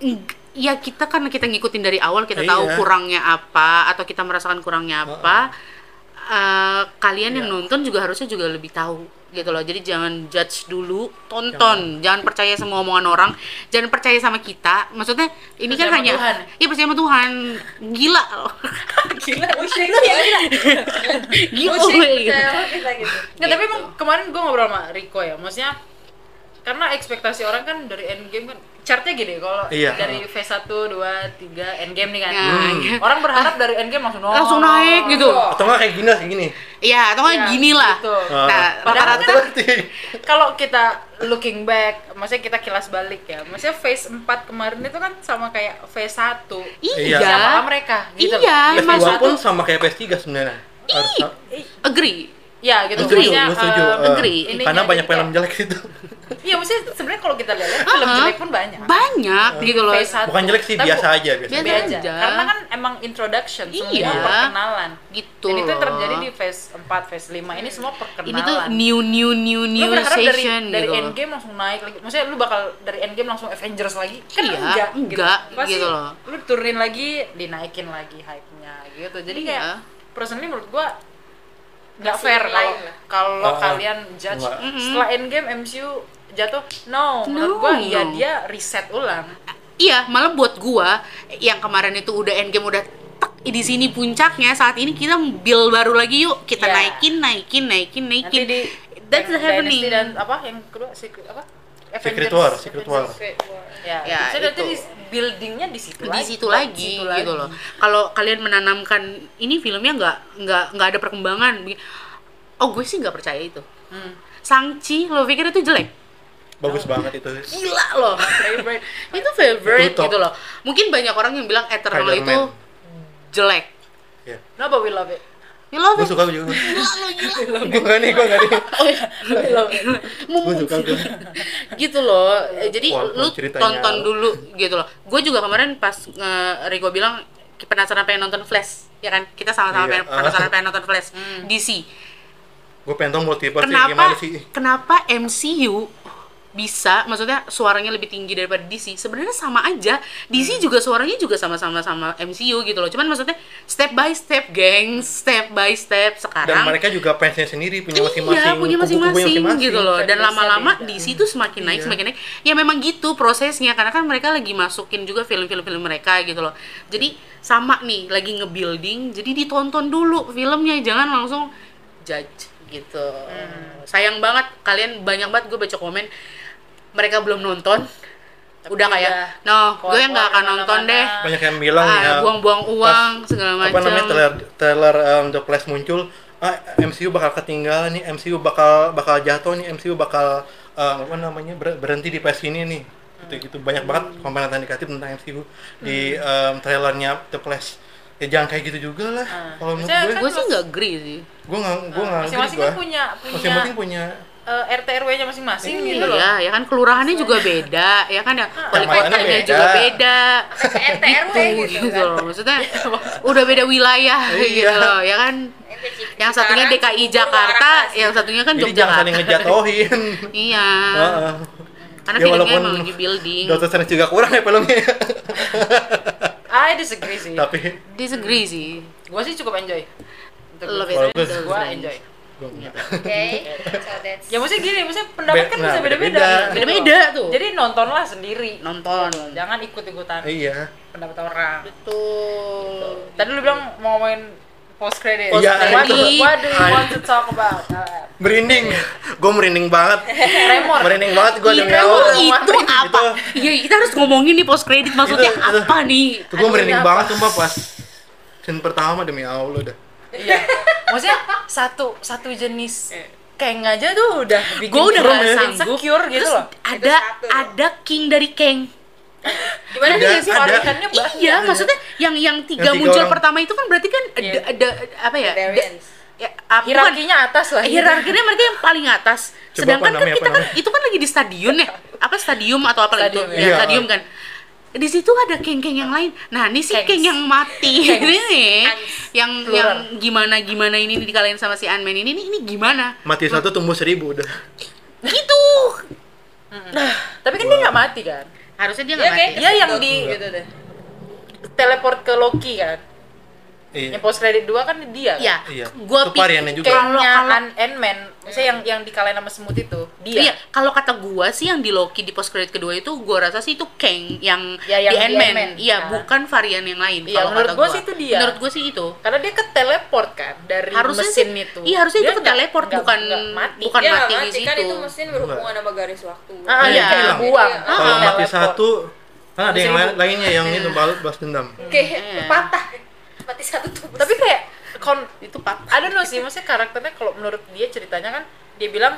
[SPEAKER 1] ng- ya kita karena kita ngikutin dari awal kita
[SPEAKER 3] Iya.
[SPEAKER 1] tahu kurangnya apa atau kita merasakan kurangnya apa. eh, kalian yang nonton juga harusnya juga lebih tahu gitu loh. Jadi jangan judge dulu, tonton. Jangan, percaya sama omongan orang, jangan percaya sama kita. Maksudnya ini kan
[SPEAKER 2] Percaya sama
[SPEAKER 1] hanya
[SPEAKER 2] Tuhan.
[SPEAKER 1] iya percaya sama Tuhan. Gila loh.
[SPEAKER 4] gila bullshit ya
[SPEAKER 1] Gila.
[SPEAKER 4] bullshit kita gitu
[SPEAKER 2] Nggak, tapi emang kemarin gue ngobrol sama Riko ya, maksudnya karena ekspektasi orang kan dari endgame kan chartnya gini kalau
[SPEAKER 3] Iya. Hmm.
[SPEAKER 2] dari phase 1, 2, 3 endgame nih kan.
[SPEAKER 1] Ya, iya.
[SPEAKER 2] Orang berharap dari endgame langsung naik.
[SPEAKER 1] Langsung naik gitu.
[SPEAKER 3] Atau nggak kayak gini kayak gini.
[SPEAKER 1] Iya, atau nggak
[SPEAKER 2] Iya,
[SPEAKER 1] gini lah.
[SPEAKER 2] gitu.
[SPEAKER 1] Nah,
[SPEAKER 3] Ah.
[SPEAKER 1] rata-rata
[SPEAKER 2] Kalau kita looking back, maksudnya kita kilas balik ya. Maksudnya phase 4 kemarin itu kan sama kayak phase 1.
[SPEAKER 1] iya.
[SPEAKER 2] Sama mereka gitu. loh.
[SPEAKER 1] Iya,
[SPEAKER 2] Di
[SPEAKER 1] emang
[SPEAKER 2] phase
[SPEAKER 3] PS2
[SPEAKER 1] satu-
[SPEAKER 3] pun sama kayak PS3 sebenarnya. Harus-
[SPEAKER 1] Agree.
[SPEAKER 2] Ya gitu
[SPEAKER 3] Setuju,
[SPEAKER 2] maksudnya,
[SPEAKER 3] gue setuju.
[SPEAKER 2] eh,
[SPEAKER 3] Eh,
[SPEAKER 1] negeri.
[SPEAKER 2] ininya
[SPEAKER 3] Karena banyak
[SPEAKER 2] jadi
[SPEAKER 3] film
[SPEAKER 2] kayak-
[SPEAKER 3] jelek itu.
[SPEAKER 2] Iya, maksudnya sebenarnya kalau kita lihat film
[SPEAKER 1] Uh-uh.
[SPEAKER 2] jelek pun banyak.
[SPEAKER 1] Banyak gitu loh.
[SPEAKER 2] Phase satu.
[SPEAKER 3] Bukan jelek sih,
[SPEAKER 2] Tapi
[SPEAKER 3] biasa aja biasa.
[SPEAKER 1] Biasa
[SPEAKER 2] biasa aja.
[SPEAKER 1] aja.
[SPEAKER 2] Karena kan emang introduction semua
[SPEAKER 1] Iya.
[SPEAKER 2] perkenalan.
[SPEAKER 1] Gitu
[SPEAKER 2] Dan itu
[SPEAKER 1] loh.
[SPEAKER 2] terjadi di phase 4, phase 5. Ini semua perkenalan.
[SPEAKER 1] Ini tuh new new new new
[SPEAKER 2] lu berharap dari,
[SPEAKER 1] session
[SPEAKER 2] dari
[SPEAKER 1] gitu. loh.
[SPEAKER 2] endgame langsung naik lagi. Maksudnya lu bakal dari endgame langsung Avengers lagi? Kan
[SPEAKER 1] Iya,
[SPEAKER 2] enggak.
[SPEAKER 1] enggak,
[SPEAKER 2] Pasti
[SPEAKER 1] gitu loh.
[SPEAKER 2] Lu turunin lagi, dinaikin lagi hype-nya gitu. Jadi
[SPEAKER 1] Iya.
[SPEAKER 2] kayak personally menurut gua nggak
[SPEAKER 4] Masih
[SPEAKER 2] fair kalau
[SPEAKER 4] lain lah.
[SPEAKER 2] kalau
[SPEAKER 3] Ah,
[SPEAKER 2] kalian judge
[SPEAKER 3] enggak.
[SPEAKER 2] setelah endgame MCU jatuh no,
[SPEAKER 1] No.
[SPEAKER 2] menurut gua ya dia reset ulang
[SPEAKER 1] Iya, malah buat gua yang kemarin itu udah endgame udah tek, di sini puncaknya saat ini kita bill baru lagi yuk kita
[SPEAKER 2] Iya.
[SPEAKER 1] naikin naikin naikin naikin
[SPEAKER 2] nanti di
[SPEAKER 1] that's
[SPEAKER 2] Dynasty
[SPEAKER 1] happening
[SPEAKER 2] dan apa yang kedua secret apa
[SPEAKER 3] Secret War, Secret War.
[SPEAKER 4] gitu.
[SPEAKER 2] Ya,
[SPEAKER 1] Ya,
[SPEAKER 2] itu nanti
[SPEAKER 1] itu.
[SPEAKER 2] di- buildingnya di situ
[SPEAKER 1] di situ lagi, gitu loh. Kalau kalian menanamkan ini filmnya nggak nggak nggak ada perkembangan. Begi- Oh gue sih nggak percaya itu.
[SPEAKER 2] Hmm.
[SPEAKER 1] Sangchi lo pikir itu jelek?
[SPEAKER 3] bagus banget itu Iya.
[SPEAKER 1] Gila loh.
[SPEAKER 2] Favorite.
[SPEAKER 1] itu favorite
[SPEAKER 3] Itu top.
[SPEAKER 1] gitu loh. Mungkin banyak orang yang bilang Eternal
[SPEAKER 3] Spider-Man.
[SPEAKER 1] itu jelek.
[SPEAKER 2] No, but we love it.
[SPEAKER 1] You love
[SPEAKER 3] gue
[SPEAKER 1] it?
[SPEAKER 3] suka gue juga gue gak nih gue gak nih
[SPEAKER 2] We love it.
[SPEAKER 1] Mum-
[SPEAKER 3] gue suka gue
[SPEAKER 1] gitu loh. Eh, Jadi
[SPEAKER 3] Wah,
[SPEAKER 1] lu
[SPEAKER 3] ceritanya.
[SPEAKER 1] tonton dulu gitu loh. Gue juga kemarin pas nge- Rego bilang penasaran pengen nonton Flash, ya kan? Kita sama-sama
[SPEAKER 3] Iya.
[SPEAKER 1] pengen- penasaran pengen nonton Flash. DC.
[SPEAKER 3] gue pengen tau multiverse sih,
[SPEAKER 1] kenapa
[SPEAKER 3] gimana sih
[SPEAKER 1] kenapa MCU bisa maksudnya suaranya lebih tinggi daripada DC sebenarnya sama aja DC
[SPEAKER 3] Hmm.
[SPEAKER 1] juga suaranya juga sama-sama sama MCU gitu loh cuman maksudnya step by step geng step by step
[SPEAKER 3] dan
[SPEAKER 1] sekarang
[SPEAKER 3] mereka juga fansnya sendiri punya masing-masing
[SPEAKER 1] iya punya
[SPEAKER 3] kubu-kubunya
[SPEAKER 1] masing-masing gitu loh dan
[SPEAKER 3] iya,
[SPEAKER 2] Fanbase-nya
[SPEAKER 1] lama-lama
[SPEAKER 2] beda.
[SPEAKER 1] DC tuh semakin naik semakin naik ya memang gitu prosesnya karena kan mereka lagi masukin juga film-film film mereka gitu loh jadi sama nih lagi ngebuilding jadi ditonton dulu filmnya jangan langsung judge gitu
[SPEAKER 2] Hmm.
[SPEAKER 1] sayang banget kalian banyak banget gue baca komen mereka belum nonton
[SPEAKER 2] Tapi
[SPEAKER 1] udah kayak
[SPEAKER 2] udah
[SPEAKER 1] no gue
[SPEAKER 2] keluar-keluar
[SPEAKER 1] nggak akan nonton
[SPEAKER 2] kemana-mana."
[SPEAKER 1] deh
[SPEAKER 3] banyak yang bilang
[SPEAKER 1] Ah,
[SPEAKER 3] ya
[SPEAKER 1] buang-buang uang segala
[SPEAKER 3] pas, apa
[SPEAKER 1] macam
[SPEAKER 3] namanya trailer trailer um, The Flash muncul ah, MCU bakal ketinggalan nih MCU bakal bakal jatuh nih MCU bakal um, apa namanya ber- berhenti di PS ini nih gitu gitu banyak banget komentar negatif tentang MCU di um, trailernya The Flash ya jangan kayak gitu juga lah kalau menurut
[SPEAKER 2] Maksudnya
[SPEAKER 3] gue
[SPEAKER 2] kan
[SPEAKER 1] gue sih nggak agree sih
[SPEAKER 3] gue nggak gue nggak ngerti
[SPEAKER 2] Masing-masing
[SPEAKER 3] gua.
[SPEAKER 2] kan punya punya
[SPEAKER 3] masing-masing punya
[SPEAKER 2] eh, RT RW-nya masing-masing gitu loh.
[SPEAKER 1] Iya, ya kan kelurahannya juga beda, ya kan ya wali
[SPEAKER 3] Kecamatannya
[SPEAKER 1] kotanya
[SPEAKER 3] beda.
[SPEAKER 1] juga beda.
[SPEAKER 4] RTRW
[SPEAKER 1] Tuh,
[SPEAKER 4] gitu
[SPEAKER 1] gitu
[SPEAKER 4] kan
[SPEAKER 1] loh, maksudnya udah beda wilayah gitu
[SPEAKER 3] Iya.
[SPEAKER 1] loh, ya kan.
[SPEAKER 4] gitu.
[SPEAKER 1] Yang satunya DKI Jakarta, yang satunya kan
[SPEAKER 3] jadi jangan saling
[SPEAKER 1] Yogyakarta.
[SPEAKER 3] ngejatohin
[SPEAKER 1] Iya.
[SPEAKER 3] Heeh.
[SPEAKER 1] Karena
[SPEAKER 3] Ya,
[SPEAKER 1] filmnya
[SPEAKER 3] walaupun
[SPEAKER 1] emang lagi
[SPEAKER 2] Iya.
[SPEAKER 1] building.
[SPEAKER 3] Doctor Strange juga kurang ya filmnya
[SPEAKER 2] I disagree sih.
[SPEAKER 3] tapi
[SPEAKER 1] Disagree sih.
[SPEAKER 2] Gue sih cukup enjoy. Untuk
[SPEAKER 1] Love
[SPEAKER 3] it. Bagus.
[SPEAKER 2] Gue enjoy.
[SPEAKER 3] gua nggak.
[SPEAKER 4] oke so that's
[SPEAKER 1] Iya,
[SPEAKER 2] Ya maksudnya gini, maksudnya pendapat kan
[SPEAKER 3] Be- nah,
[SPEAKER 2] bisa beda-beda. gitu
[SPEAKER 3] beda-beda.
[SPEAKER 2] loh.
[SPEAKER 1] Beda-beda tuh.
[SPEAKER 2] Jadi nontonlah sendiri.
[SPEAKER 1] Nonton.
[SPEAKER 2] Jangan ikut-ikutan
[SPEAKER 3] iya
[SPEAKER 2] pendapat orang.
[SPEAKER 1] Betul.
[SPEAKER 2] Tadi lu bilang mau ngomongin post credit.
[SPEAKER 1] Post
[SPEAKER 3] Iya,
[SPEAKER 2] what, do,
[SPEAKER 1] credit.
[SPEAKER 2] what do you want to talk about? Uh,
[SPEAKER 3] merinding gue merinding banget
[SPEAKER 2] Tremor.
[SPEAKER 3] merinding banget gue
[SPEAKER 1] Itu,
[SPEAKER 3] demi Allah
[SPEAKER 1] Iya, itu
[SPEAKER 3] gitu.
[SPEAKER 1] apa? Iya, kita harus ngomongin nih post credit maksudnya
[SPEAKER 3] Itu- itu.
[SPEAKER 1] apa nih?
[SPEAKER 3] itu gue
[SPEAKER 2] Aduh,
[SPEAKER 3] merinding
[SPEAKER 2] kenapa?
[SPEAKER 3] banget sumpah pas scene pertama demi Allah dah
[SPEAKER 2] Iya. Maksudnya satu satu jenis keng aja tuh Iya. udah bikin
[SPEAKER 1] Gue udah
[SPEAKER 2] kita
[SPEAKER 1] gak sanggup.
[SPEAKER 2] insecure gitu
[SPEAKER 1] Terus
[SPEAKER 2] loh.
[SPEAKER 1] Ada
[SPEAKER 4] satu loh.
[SPEAKER 1] ada king dari keng.
[SPEAKER 2] Gimana
[SPEAKER 3] Ada,
[SPEAKER 2] sih
[SPEAKER 3] ada.
[SPEAKER 2] variannya bah?
[SPEAKER 1] Iya, maksudnya yang yang tiga,
[SPEAKER 3] gitu. Yang tiga
[SPEAKER 1] muncul
[SPEAKER 3] orang.
[SPEAKER 1] pertama itu kan berarti kan ada,
[SPEAKER 2] Iya.
[SPEAKER 1] ada apa ya?
[SPEAKER 4] variants
[SPEAKER 1] da- ya, ah, bukan. Eh,
[SPEAKER 2] Hierarkinya atas lah.
[SPEAKER 1] hierarkinya mereka yang paling atas.
[SPEAKER 3] Coba
[SPEAKER 1] Sedangkan kan
[SPEAKER 3] apa namanya,
[SPEAKER 1] kita
[SPEAKER 3] apa
[SPEAKER 1] kan
[SPEAKER 3] namanya?
[SPEAKER 1] itu kan lagi di stadion ya. Apa stadium atau apa lagi itu?
[SPEAKER 2] Stadium,
[SPEAKER 1] Ya,
[SPEAKER 3] iya.
[SPEAKER 1] stadium kan. Di situ ada keng-keng yang lain. Nah, ini sih
[SPEAKER 2] Kengs.
[SPEAKER 1] keng yang mati.
[SPEAKER 2] Kengs.
[SPEAKER 1] ini nih, yang
[SPEAKER 2] Plural.
[SPEAKER 1] yang gimana gimana ini dikalahin sama si Anman ini ini, ini gimana?
[SPEAKER 3] mati satu tumbuh seribu udah
[SPEAKER 1] Gitu.
[SPEAKER 2] Tapi kan dia nggak mati kan?
[SPEAKER 1] Harusnya dia
[SPEAKER 2] Iya
[SPEAKER 1] nggak
[SPEAKER 2] kan?
[SPEAKER 1] mati.
[SPEAKER 2] Dia yang di gitu deh. Teleport ke Loki kan?
[SPEAKER 3] iya
[SPEAKER 2] Yang post credit 2 kan dia kan?
[SPEAKER 1] Iya.
[SPEAKER 3] iya
[SPEAKER 1] Gua
[SPEAKER 3] itu variannya
[SPEAKER 1] pikir-
[SPEAKER 3] juga
[SPEAKER 1] Kalau-
[SPEAKER 2] Kayaknya
[SPEAKER 1] kalau-
[SPEAKER 2] Iya, An- Ant-Man, maksudnya yang yang dikalahin sama semut itu,
[SPEAKER 1] Iya,
[SPEAKER 2] dia.
[SPEAKER 1] kalau kata gua sih yang di Loki di post credit kedua itu gua rasa sih itu Kang yang,
[SPEAKER 2] Ya,
[SPEAKER 1] di
[SPEAKER 2] yang di
[SPEAKER 1] Ant-Man.
[SPEAKER 2] Ant-Man.
[SPEAKER 1] Iya,
[SPEAKER 2] Nah.
[SPEAKER 1] bukan varian yang lain.
[SPEAKER 2] Iya,
[SPEAKER 1] kalau
[SPEAKER 2] menurut
[SPEAKER 1] kata
[SPEAKER 2] gua sih itu dia.
[SPEAKER 1] Menurut gua sih itu.
[SPEAKER 2] Karena dia ke teleport kan dari
[SPEAKER 1] Harusnya
[SPEAKER 2] mesin
[SPEAKER 1] sih-
[SPEAKER 2] itu.
[SPEAKER 1] iya, harusnya itu
[SPEAKER 2] Dia nggak-
[SPEAKER 1] keteleport,
[SPEAKER 2] nggak-
[SPEAKER 1] bukan-
[SPEAKER 2] nggak mati.
[SPEAKER 1] bukan
[SPEAKER 4] Dia
[SPEAKER 1] mati
[SPEAKER 4] nggak
[SPEAKER 1] di
[SPEAKER 4] kan
[SPEAKER 1] situ.
[SPEAKER 4] itu mesin berhubungan sama garis waktu
[SPEAKER 2] Ah,
[SPEAKER 3] Iya,
[SPEAKER 2] iya,
[SPEAKER 3] dia
[SPEAKER 2] kayak
[SPEAKER 3] hilang.
[SPEAKER 2] buang.
[SPEAKER 4] Iya.
[SPEAKER 3] kalau
[SPEAKER 2] Ah,
[SPEAKER 3] mati
[SPEAKER 2] teleport.
[SPEAKER 3] satu kan ada yang
[SPEAKER 2] Seribu. Iya.
[SPEAKER 3] lain lainnya yang itu balas balas dendam
[SPEAKER 4] oke
[SPEAKER 1] Iya.
[SPEAKER 4] patah mati satu tubuh
[SPEAKER 2] Tapi kayak kon
[SPEAKER 1] Itu patah.
[SPEAKER 2] I don't know sih, maksudnya karakternya kalau menurut dia ceritanya kan dia bilang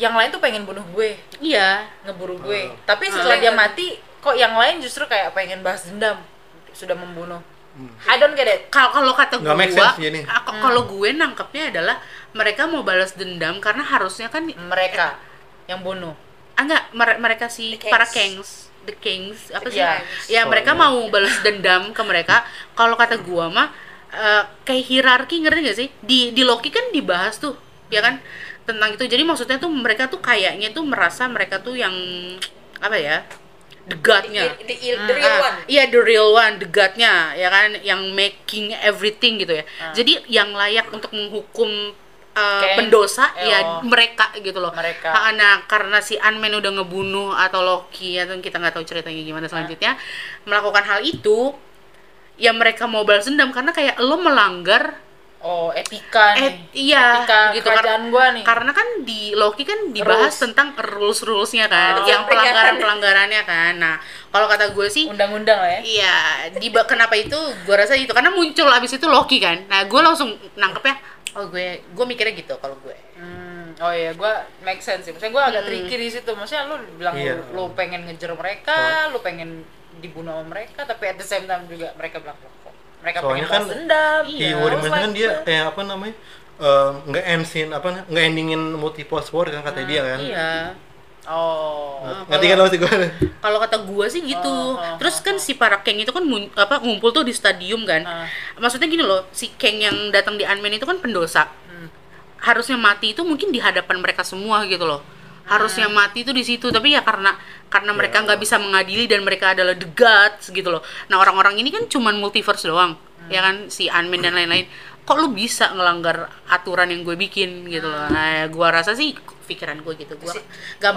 [SPEAKER 2] yang lain tuh pengen bunuh gue,
[SPEAKER 1] Iya.
[SPEAKER 2] ngeburu gue.
[SPEAKER 3] Ah.
[SPEAKER 1] Ah.
[SPEAKER 2] Tapi setelah dia mati, kok yang lain justru kayak pengen balas dendam, sudah membunuh.
[SPEAKER 3] Hmm.
[SPEAKER 2] I don't get it.
[SPEAKER 1] Kalau kalau kata
[SPEAKER 3] Nggak make
[SPEAKER 1] gua,
[SPEAKER 3] sense jadi.
[SPEAKER 1] ah,
[SPEAKER 2] Hmm.
[SPEAKER 1] k- kalau gue nangkepnya adalah mereka mau balas dendam karena harusnya kan
[SPEAKER 2] Mereka yang bunuh.
[SPEAKER 1] ah, enggak mere- mereka si
[SPEAKER 4] The
[SPEAKER 1] para
[SPEAKER 4] Kangs.
[SPEAKER 1] Kangs the Kings apa sih?
[SPEAKER 2] Iya.
[SPEAKER 1] Ya, mereka
[SPEAKER 3] Soalnya.
[SPEAKER 1] mau balas dendam ke mereka. Kalau kata gua mah eh, kayak hierarki ngerti gak sih? Di di Loki kan dibahas tuh, ya kan? Tentang itu. Jadi maksudnya tuh mereka tuh kayaknya tuh merasa mereka tuh yang apa ya? The God-nya.
[SPEAKER 4] the, the, the real
[SPEAKER 1] Ah,
[SPEAKER 4] one
[SPEAKER 1] Iya, the real one, the God-nya, ya kan? Yang making everything gitu ya.
[SPEAKER 2] Ah.
[SPEAKER 1] Jadi yang layak untuk menghukum uh,
[SPEAKER 2] Kayak-
[SPEAKER 1] pendosa
[SPEAKER 2] eh,
[SPEAKER 1] ya
[SPEAKER 2] oh.
[SPEAKER 1] mereka gitu loh.
[SPEAKER 2] Mereka.
[SPEAKER 1] Ah, Nah, karena si Anmen udah
[SPEAKER 2] Ah.
[SPEAKER 1] ngebunuh atau Loki atau kita nggak tahu ceritanya gimana selanjutnya melakukan hal itu ya mereka mau balas dendam karena kayak lo melanggar
[SPEAKER 2] oh etika nih
[SPEAKER 1] et, iya
[SPEAKER 2] etika
[SPEAKER 1] gitu kar-
[SPEAKER 2] kerajaan gua nih
[SPEAKER 1] karena kan di Loki kan dibahas
[SPEAKER 2] Rules.
[SPEAKER 1] tentang rules rulesnya kan
[SPEAKER 2] Oh.
[SPEAKER 1] yang pelanggaran pelanggarannya kan nah kalau kata gue sih
[SPEAKER 2] undang-undang lah ya
[SPEAKER 1] Iya, di ba- kenapa itu gue rasa itu karena muncul abis itu Loki kan. Nah, gue langsung nangkepnya oh gue gue mikirnya gitu kalau gue.
[SPEAKER 2] Hmm, oh iya, gue make sense sih. Maksudnya gue agak tricky di situ. Maksudnya lu bilang
[SPEAKER 3] Iya.
[SPEAKER 2] lu, lu pengen ngejar mereka, lu pengen dibunuh sama mereka, tapi at the same time juga mereka bilang "Loh, kok mereka
[SPEAKER 3] Soalnya
[SPEAKER 2] pengen
[SPEAKER 3] kan
[SPEAKER 2] balas dendam.
[SPEAKER 3] di
[SPEAKER 2] Iya,
[SPEAKER 3] Warrior
[SPEAKER 2] terus
[SPEAKER 3] Machine kan
[SPEAKER 2] like,
[SPEAKER 3] dia kayak apa namanya em, nggak endsin apa na- nggak endingin multiple war kan kata dia kan
[SPEAKER 1] Iya.
[SPEAKER 2] Oh,
[SPEAKER 3] ngerti kan lo sih gue
[SPEAKER 1] Kalau kata gue sih gitu.
[SPEAKER 2] Oh, oh,
[SPEAKER 1] Terus kan si para Kang itu kan mun- apa ngumpul tuh di stadium kan.
[SPEAKER 2] Ah.
[SPEAKER 1] Maksudnya gini loh, si Kang yang datang di Ant-Man itu kan pendosa.
[SPEAKER 2] Hmm.
[SPEAKER 1] Harusnya mati itu mungkin di hadapan mereka semua gitu loh. Harusnya mati itu di situ, tapi ya karena karena mereka nggak bisa mengadili dan mereka adalah the gods gitu loh. Nah, orang-orang ini kan cuman multiverse doang. Ya kan si Ant-Man dan lain-lain. Kok lu bisa ngelanggar aturan yang gue bikin gitu loh. Nah, gua rasa sih pikiran gue gitu. Gua nggak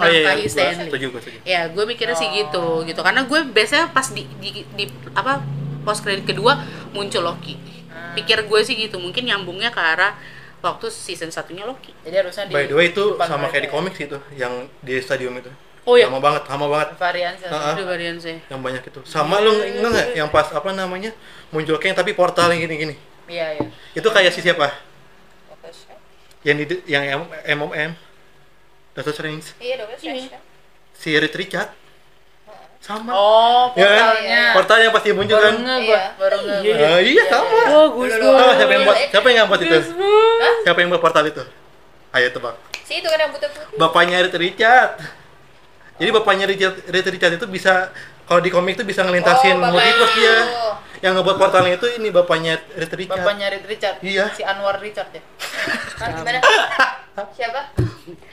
[SPEAKER 3] oh iya,
[SPEAKER 1] melangkahi
[SPEAKER 3] iya gue
[SPEAKER 1] Stanley
[SPEAKER 3] setuju gue setuju
[SPEAKER 1] ya gue mikirnya
[SPEAKER 3] Oh.
[SPEAKER 1] sih gitu gitu karena gue biasanya pas di di, di- apa post kredit kedua muncul Loki
[SPEAKER 3] Ah.
[SPEAKER 1] pikir gue sih gitu mungkin nyambungnya ke arah waktu season satunya Loki
[SPEAKER 2] jadi harusnya di
[SPEAKER 3] by the way itu
[SPEAKER 2] depan
[SPEAKER 3] sama
[SPEAKER 2] mereka
[SPEAKER 3] kayak di
[SPEAKER 2] ya.
[SPEAKER 3] komik sih itu yang di stadium itu
[SPEAKER 1] Oh iya.
[SPEAKER 3] sama banget sama banget
[SPEAKER 2] Varian sih.
[SPEAKER 3] Heeh.
[SPEAKER 1] Aduh, varian sih
[SPEAKER 3] yang banyak itu
[SPEAKER 2] Iya,
[SPEAKER 3] sama lo inget nggak yang pas apa namanya muncul kayak tapi portalnya gini gini
[SPEAKER 2] Iya, iya.
[SPEAKER 3] itu kayak si siapa
[SPEAKER 4] Doctor Strange.
[SPEAKER 3] yang di yang MMM Doctor Strange
[SPEAKER 4] Iya, Doctor Strange. kan?
[SPEAKER 3] si Reed Richard sama
[SPEAKER 2] Oh,
[SPEAKER 3] Ya kan?
[SPEAKER 2] portalnya.
[SPEAKER 3] portalnya pasti muncul
[SPEAKER 2] Baru
[SPEAKER 3] kan
[SPEAKER 2] nge gua,
[SPEAKER 4] Iya.
[SPEAKER 2] baru nge gua.
[SPEAKER 3] Ah, iya sama
[SPEAKER 1] oh gue
[SPEAKER 3] Tahu siapa yang buat siapa yang buat itu siapa yang buat portal itu ayo tebak
[SPEAKER 4] Si itu kan rambutnya putih.
[SPEAKER 3] bapaknya Reed Richard jadi bapaknya Richard, Reed Richard itu bisa kalau di komik itu bisa ngelintasin
[SPEAKER 4] Oh, bapaknya
[SPEAKER 3] multiverse
[SPEAKER 4] itu.
[SPEAKER 3] dia yang ngebuat portalnya itu ini bapaknya Reed Richard
[SPEAKER 2] Bapak nyari Richard.
[SPEAKER 3] Iya.
[SPEAKER 2] Si Anwar Richard ya.
[SPEAKER 4] Hah, gimana? Siapa?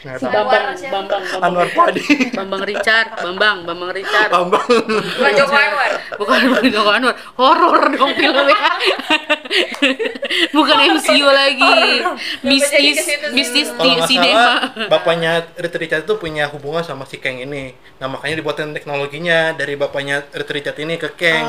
[SPEAKER 3] Nggak
[SPEAKER 1] si
[SPEAKER 3] tahu.
[SPEAKER 1] Bambang
[SPEAKER 4] Anwar siapa?
[SPEAKER 1] Bambang Bambang
[SPEAKER 3] Nah, Anwar Padi
[SPEAKER 1] Bambang Richard Bambang Bambang Richard
[SPEAKER 3] Bambang
[SPEAKER 4] Bukan Joko Anwar.
[SPEAKER 1] bukan bukan Joko Anwar horor dong filmnya bukan MCU lagi mistis mistis di
[SPEAKER 3] kalau nggak salah
[SPEAKER 1] sinema
[SPEAKER 3] bapaknya Reed Richard itu punya hubungan sama si Kang ini nah makanya dibuatin teknologinya dari bapaknya Reed Richard ini ke Kang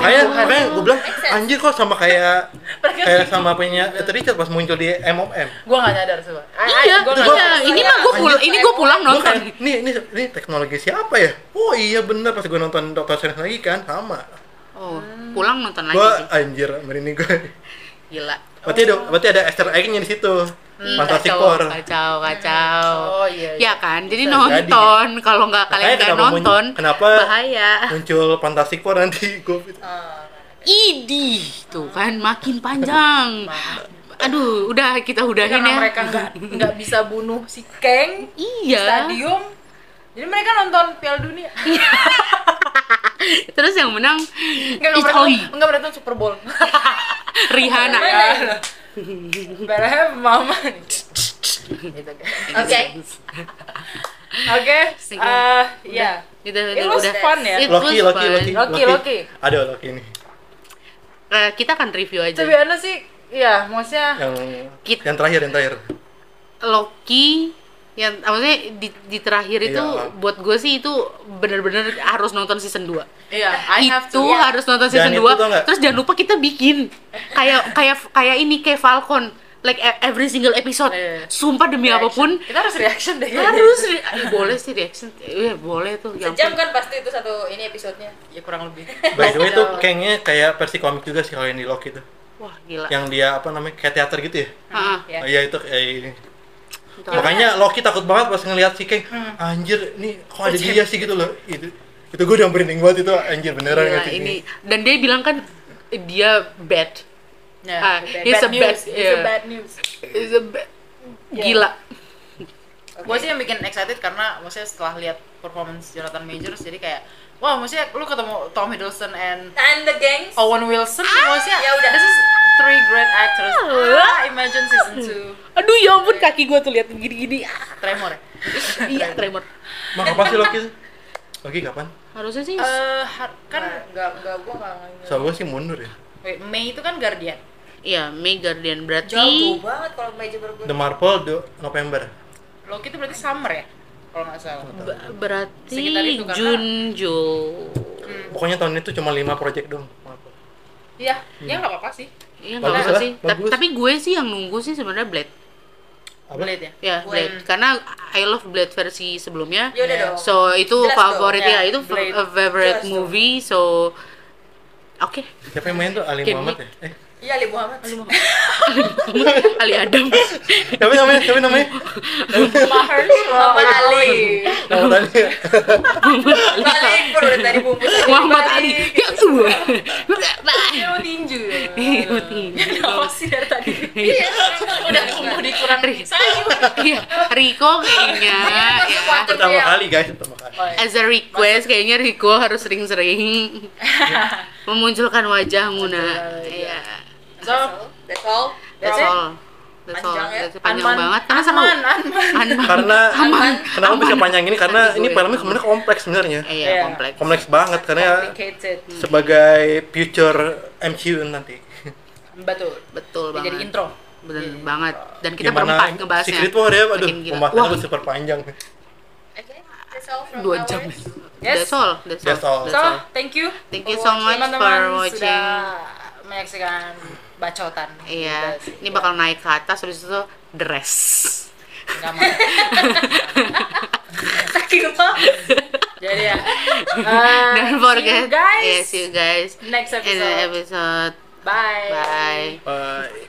[SPEAKER 3] makanya makanya gue bilang anjir kok sama kayak kayak sama punya Reed Richard pas muncul di MOM
[SPEAKER 2] Gua nggak nyadar coba.
[SPEAKER 1] iya iya ini mah gue pulang ini gue pulang
[SPEAKER 3] Gua
[SPEAKER 1] nonton
[SPEAKER 3] kan- kayak, ini, ini, ini teknologi siapa ya? Oh iya bener, pas gue nonton Doctor Strange lagi kan, sama
[SPEAKER 1] Oh, pulang nonton lagi
[SPEAKER 3] Gue
[SPEAKER 1] sih. Oh.
[SPEAKER 3] anjir, merinding gue
[SPEAKER 1] Gila.
[SPEAKER 3] Berarti ada, berarti ada Easter egg-nya di situ
[SPEAKER 1] Hmm,
[SPEAKER 3] Fantastic
[SPEAKER 1] kacau,
[SPEAKER 3] Four
[SPEAKER 1] kacau, kacau.
[SPEAKER 2] Oh iya. iya.
[SPEAKER 1] Ya kan, jadi nonton kalau nggak kalian
[SPEAKER 3] Makanya
[SPEAKER 1] nggak
[SPEAKER 3] kenapa mun-
[SPEAKER 1] nonton,
[SPEAKER 3] kenapa
[SPEAKER 1] bahaya.
[SPEAKER 3] muncul Fantastic Four nanti gue
[SPEAKER 4] Ah,
[SPEAKER 1] Idi, tuh kan makin panjang. Aduh, udah kita udahin
[SPEAKER 2] karena
[SPEAKER 1] ya.
[SPEAKER 2] mereka nggak nggak bisa bunuh si Kang di
[SPEAKER 1] Iya.
[SPEAKER 2] stadium jadi mereka nonton Piala Dunia
[SPEAKER 1] Terus yang menang
[SPEAKER 2] nggak nggak mereka
[SPEAKER 1] Italy,
[SPEAKER 2] nggak mereka nonton Super Bowl
[SPEAKER 1] Rihanna. Iya.
[SPEAKER 2] Iya. Berapa mama nih gitu kan
[SPEAKER 4] Oke.
[SPEAKER 2] oke eh ya
[SPEAKER 1] Gitu,
[SPEAKER 2] it
[SPEAKER 1] gitu,
[SPEAKER 2] was
[SPEAKER 1] udah.
[SPEAKER 2] fun ya
[SPEAKER 1] It
[SPEAKER 3] Loki,
[SPEAKER 1] was
[SPEAKER 3] Loki,
[SPEAKER 1] fun.
[SPEAKER 3] Loki,
[SPEAKER 2] Loki, Loki.
[SPEAKER 3] Ada Loki ini
[SPEAKER 1] Eh, kita akan review aja.
[SPEAKER 2] to be honest sih ya maksudnya
[SPEAKER 3] Yang,
[SPEAKER 1] Kit-
[SPEAKER 3] yang terakhir, yang terakhir
[SPEAKER 1] Loki yang maksudnya di, di terakhir itu
[SPEAKER 3] Iya.
[SPEAKER 1] buat gue sih itu bener-bener harus nonton season 2
[SPEAKER 2] iya I have
[SPEAKER 1] itu
[SPEAKER 2] to
[SPEAKER 1] harus nonton
[SPEAKER 3] Dan
[SPEAKER 1] season
[SPEAKER 3] itu
[SPEAKER 1] 2
[SPEAKER 3] tau nggak?
[SPEAKER 1] terus jangan lupa kita bikin kayak kayak kayak ini kayak Falcon like e- every single episode
[SPEAKER 2] Iya.
[SPEAKER 1] sumpah demi
[SPEAKER 2] Reaction.
[SPEAKER 1] apapun
[SPEAKER 2] kita harus reaction deh kayaknya.
[SPEAKER 1] harus re- Aduh, boleh sih reaction Eh, boleh tuh ya
[SPEAKER 4] Sejam
[SPEAKER 1] ampun.
[SPEAKER 4] kan pasti itu satu ini episodenya.
[SPEAKER 2] ya kurang lebih
[SPEAKER 3] By the way itu kayaknya kayak versi komik juga sih kalau yang di Loki itu
[SPEAKER 1] wah gila
[SPEAKER 3] Yang dia apa namanya, kayak teater gitu ya
[SPEAKER 1] Ha-ha.
[SPEAKER 2] Ya.
[SPEAKER 3] Oh iya itu kayak ini
[SPEAKER 1] Tuh.
[SPEAKER 3] Makanya Loki takut banget pas ngelihat si Kang.
[SPEAKER 1] Hmm.
[SPEAKER 3] Anjir, nih kok ada dia sih gitu loh. Itu itu gue udah merinding banget itu anjir
[SPEAKER 1] Gila,
[SPEAKER 3] beneran nggak sih
[SPEAKER 1] ini dan dia bilang kan eh, dia bad Ah,
[SPEAKER 2] ya
[SPEAKER 1] it's a bad-
[SPEAKER 2] news it's a
[SPEAKER 1] yeah.
[SPEAKER 2] bad news
[SPEAKER 1] Is a bad. gila
[SPEAKER 2] gue sih yang bikin excited karena maksudnya setelah lihat performance Jonathan Majors jadi kayak wah maksudnya lu ketemu Tom Hiddleston and
[SPEAKER 4] And the gangs.
[SPEAKER 2] Owen Wilson maksudnya
[SPEAKER 4] Ya udah.
[SPEAKER 2] this is three great actors ah, imagine season 2
[SPEAKER 1] aduh ya ampun kaki gue tuh lihat gini-gini Ah,
[SPEAKER 2] Tremor ya
[SPEAKER 1] iya tremor
[SPEAKER 3] Mak kapan sih Loki? Loki kapan?
[SPEAKER 1] harusnya sih
[SPEAKER 2] Eh, har- kan
[SPEAKER 4] Enggak, enggak gua enggak ngerti.
[SPEAKER 3] Soal gue sih mundur ya.
[SPEAKER 2] wait, Mei itu kan Guardian
[SPEAKER 1] Iya, Mei Guardian
[SPEAKER 4] Jauh
[SPEAKER 1] berarti
[SPEAKER 4] banget kalau meja berbunyi.
[SPEAKER 3] The Marvel do November.
[SPEAKER 2] Loki itu berarti summer ya kalau nggak salah
[SPEAKER 1] ba- berarti
[SPEAKER 2] Sekitar itu, karena-
[SPEAKER 1] Jun Jul.
[SPEAKER 3] Pokoknya tahun itu cuma 5 project dong. Marvel.
[SPEAKER 2] Iya, ya nggak apa-apa sih.
[SPEAKER 1] Iya nggak
[SPEAKER 3] Bagus
[SPEAKER 1] apa
[SPEAKER 3] lah,
[SPEAKER 1] sih. Ta-
[SPEAKER 3] bagus.
[SPEAKER 1] Tapi gue sih yang nunggu sih sebenarnya Blade.
[SPEAKER 3] Apa?
[SPEAKER 2] Blade ya.
[SPEAKER 1] Ya, Blade. Karena I love Blade versi sebelumnya.
[SPEAKER 4] Ya udah
[SPEAKER 2] Iya.
[SPEAKER 4] dong.
[SPEAKER 1] So itu
[SPEAKER 4] Jelas dong,
[SPEAKER 1] favorit
[SPEAKER 2] ya,
[SPEAKER 1] ya, itu
[SPEAKER 2] Blade.
[SPEAKER 1] fa- favorite
[SPEAKER 4] Jelas dong.
[SPEAKER 1] movie. So oke.
[SPEAKER 3] Siapa yang main tuh Ali
[SPEAKER 1] Kimi.
[SPEAKER 3] Muhammad ya? Eh,
[SPEAKER 4] Iya, Ali Muhammad.
[SPEAKER 1] Ali Adam.
[SPEAKER 3] siapa namanya? Siapa namanya?
[SPEAKER 2] Mahershala
[SPEAKER 4] Muhammad Ali.
[SPEAKER 3] Nama tadi.
[SPEAKER 4] Ali Pur udah tadi bungkus.
[SPEAKER 1] Muhammad Ali. Ya udah. Udah. bye.
[SPEAKER 2] Ilmu tinju.
[SPEAKER 1] Iya, penting.
[SPEAKER 2] Apa Ya, sih dari tadi? Udah umur dikurangi.
[SPEAKER 1] Iya, Rico kayaknya ya.
[SPEAKER 3] Pertama kali guys, pertama kali.
[SPEAKER 1] As a request kayaknya Rico harus sering-sering memunculkan wajahmu nak. Iya.
[SPEAKER 2] So,
[SPEAKER 4] That's all.
[SPEAKER 1] That's
[SPEAKER 2] That's it.
[SPEAKER 1] all. That's all.
[SPEAKER 4] Panjang ya.
[SPEAKER 1] That's panjang banget. Karena seru.
[SPEAKER 2] Anman, Anman.
[SPEAKER 1] Anman.
[SPEAKER 3] Karena
[SPEAKER 1] Aman.
[SPEAKER 3] kenapa bisa panjang ini? Karena
[SPEAKER 1] Aman.
[SPEAKER 3] ini filmnya sebenarnya kompleks sebenarnya.
[SPEAKER 1] Iya,
[SPEAKER 2] Iya.
[SPEAKER 1] kompleks.
[SPEAKER 3] Kompleks banget karena ya.
[SPEAKER 2] Complicated.
[SPEAKER 3] sebagai future MCU nanti.
[SPEAKER 2] Betul.
[SPEAKER 1] Betul
[SPEAKER 2] Ini
[SPEAKER 1] banget.
[SPEAKER 2] Jadi intro. Iya.
[SPEAKER 1] Bener banget. Dan kita berempat ngebahasnya.
[SPEAKER 3] Secret War ya, aduh,
[SPEAKER 1] Makin gila.
[SPEAKER 3] pembahasannya
[SPEAKER 1] Wah.
[SPEAKER 3] udah super panjang.
[SPEAKER 4] Okay, that's all from
[SPEAKER 1] Dua
[SPEAKER 4] ours.
[SPEAKER 1] jam.
[SPEAKER 2] ya? Yes.
[SPEAKER 1] That's all. That's all.
[SPEAKER 3] That's all.
[SPEAKER 2] So, thank you.
[SPEAKER 1] Thank you so much for
[SPEAKER 2] Teman-teman
[SPEAKER 1] watching.
[SPEAKER 2] sudah menyaksikan bacotan.
[SPEAKER 1] Iya,
[SPEAKER 2] Kita-
[SPEAKER 1] ini bakal naik ke atas habis itu dress.
[SPEAKER 2] Nggak mau.
[SPEAKER 4] Saking apa?
[SPEAKER 2] Jadi ya. uh,
[SPEAKER 1] Don't forget.
[SPEAKER 2] See you guys.
[SPEAKER 1] Yes, you guys.
[SPEAKER 2] Next
[SPEAKER 1] In the episode.
[SPEAKER 2] episode. Bye.
[SPEAKER 1] Bye.
[SPEAKER 3] Bye.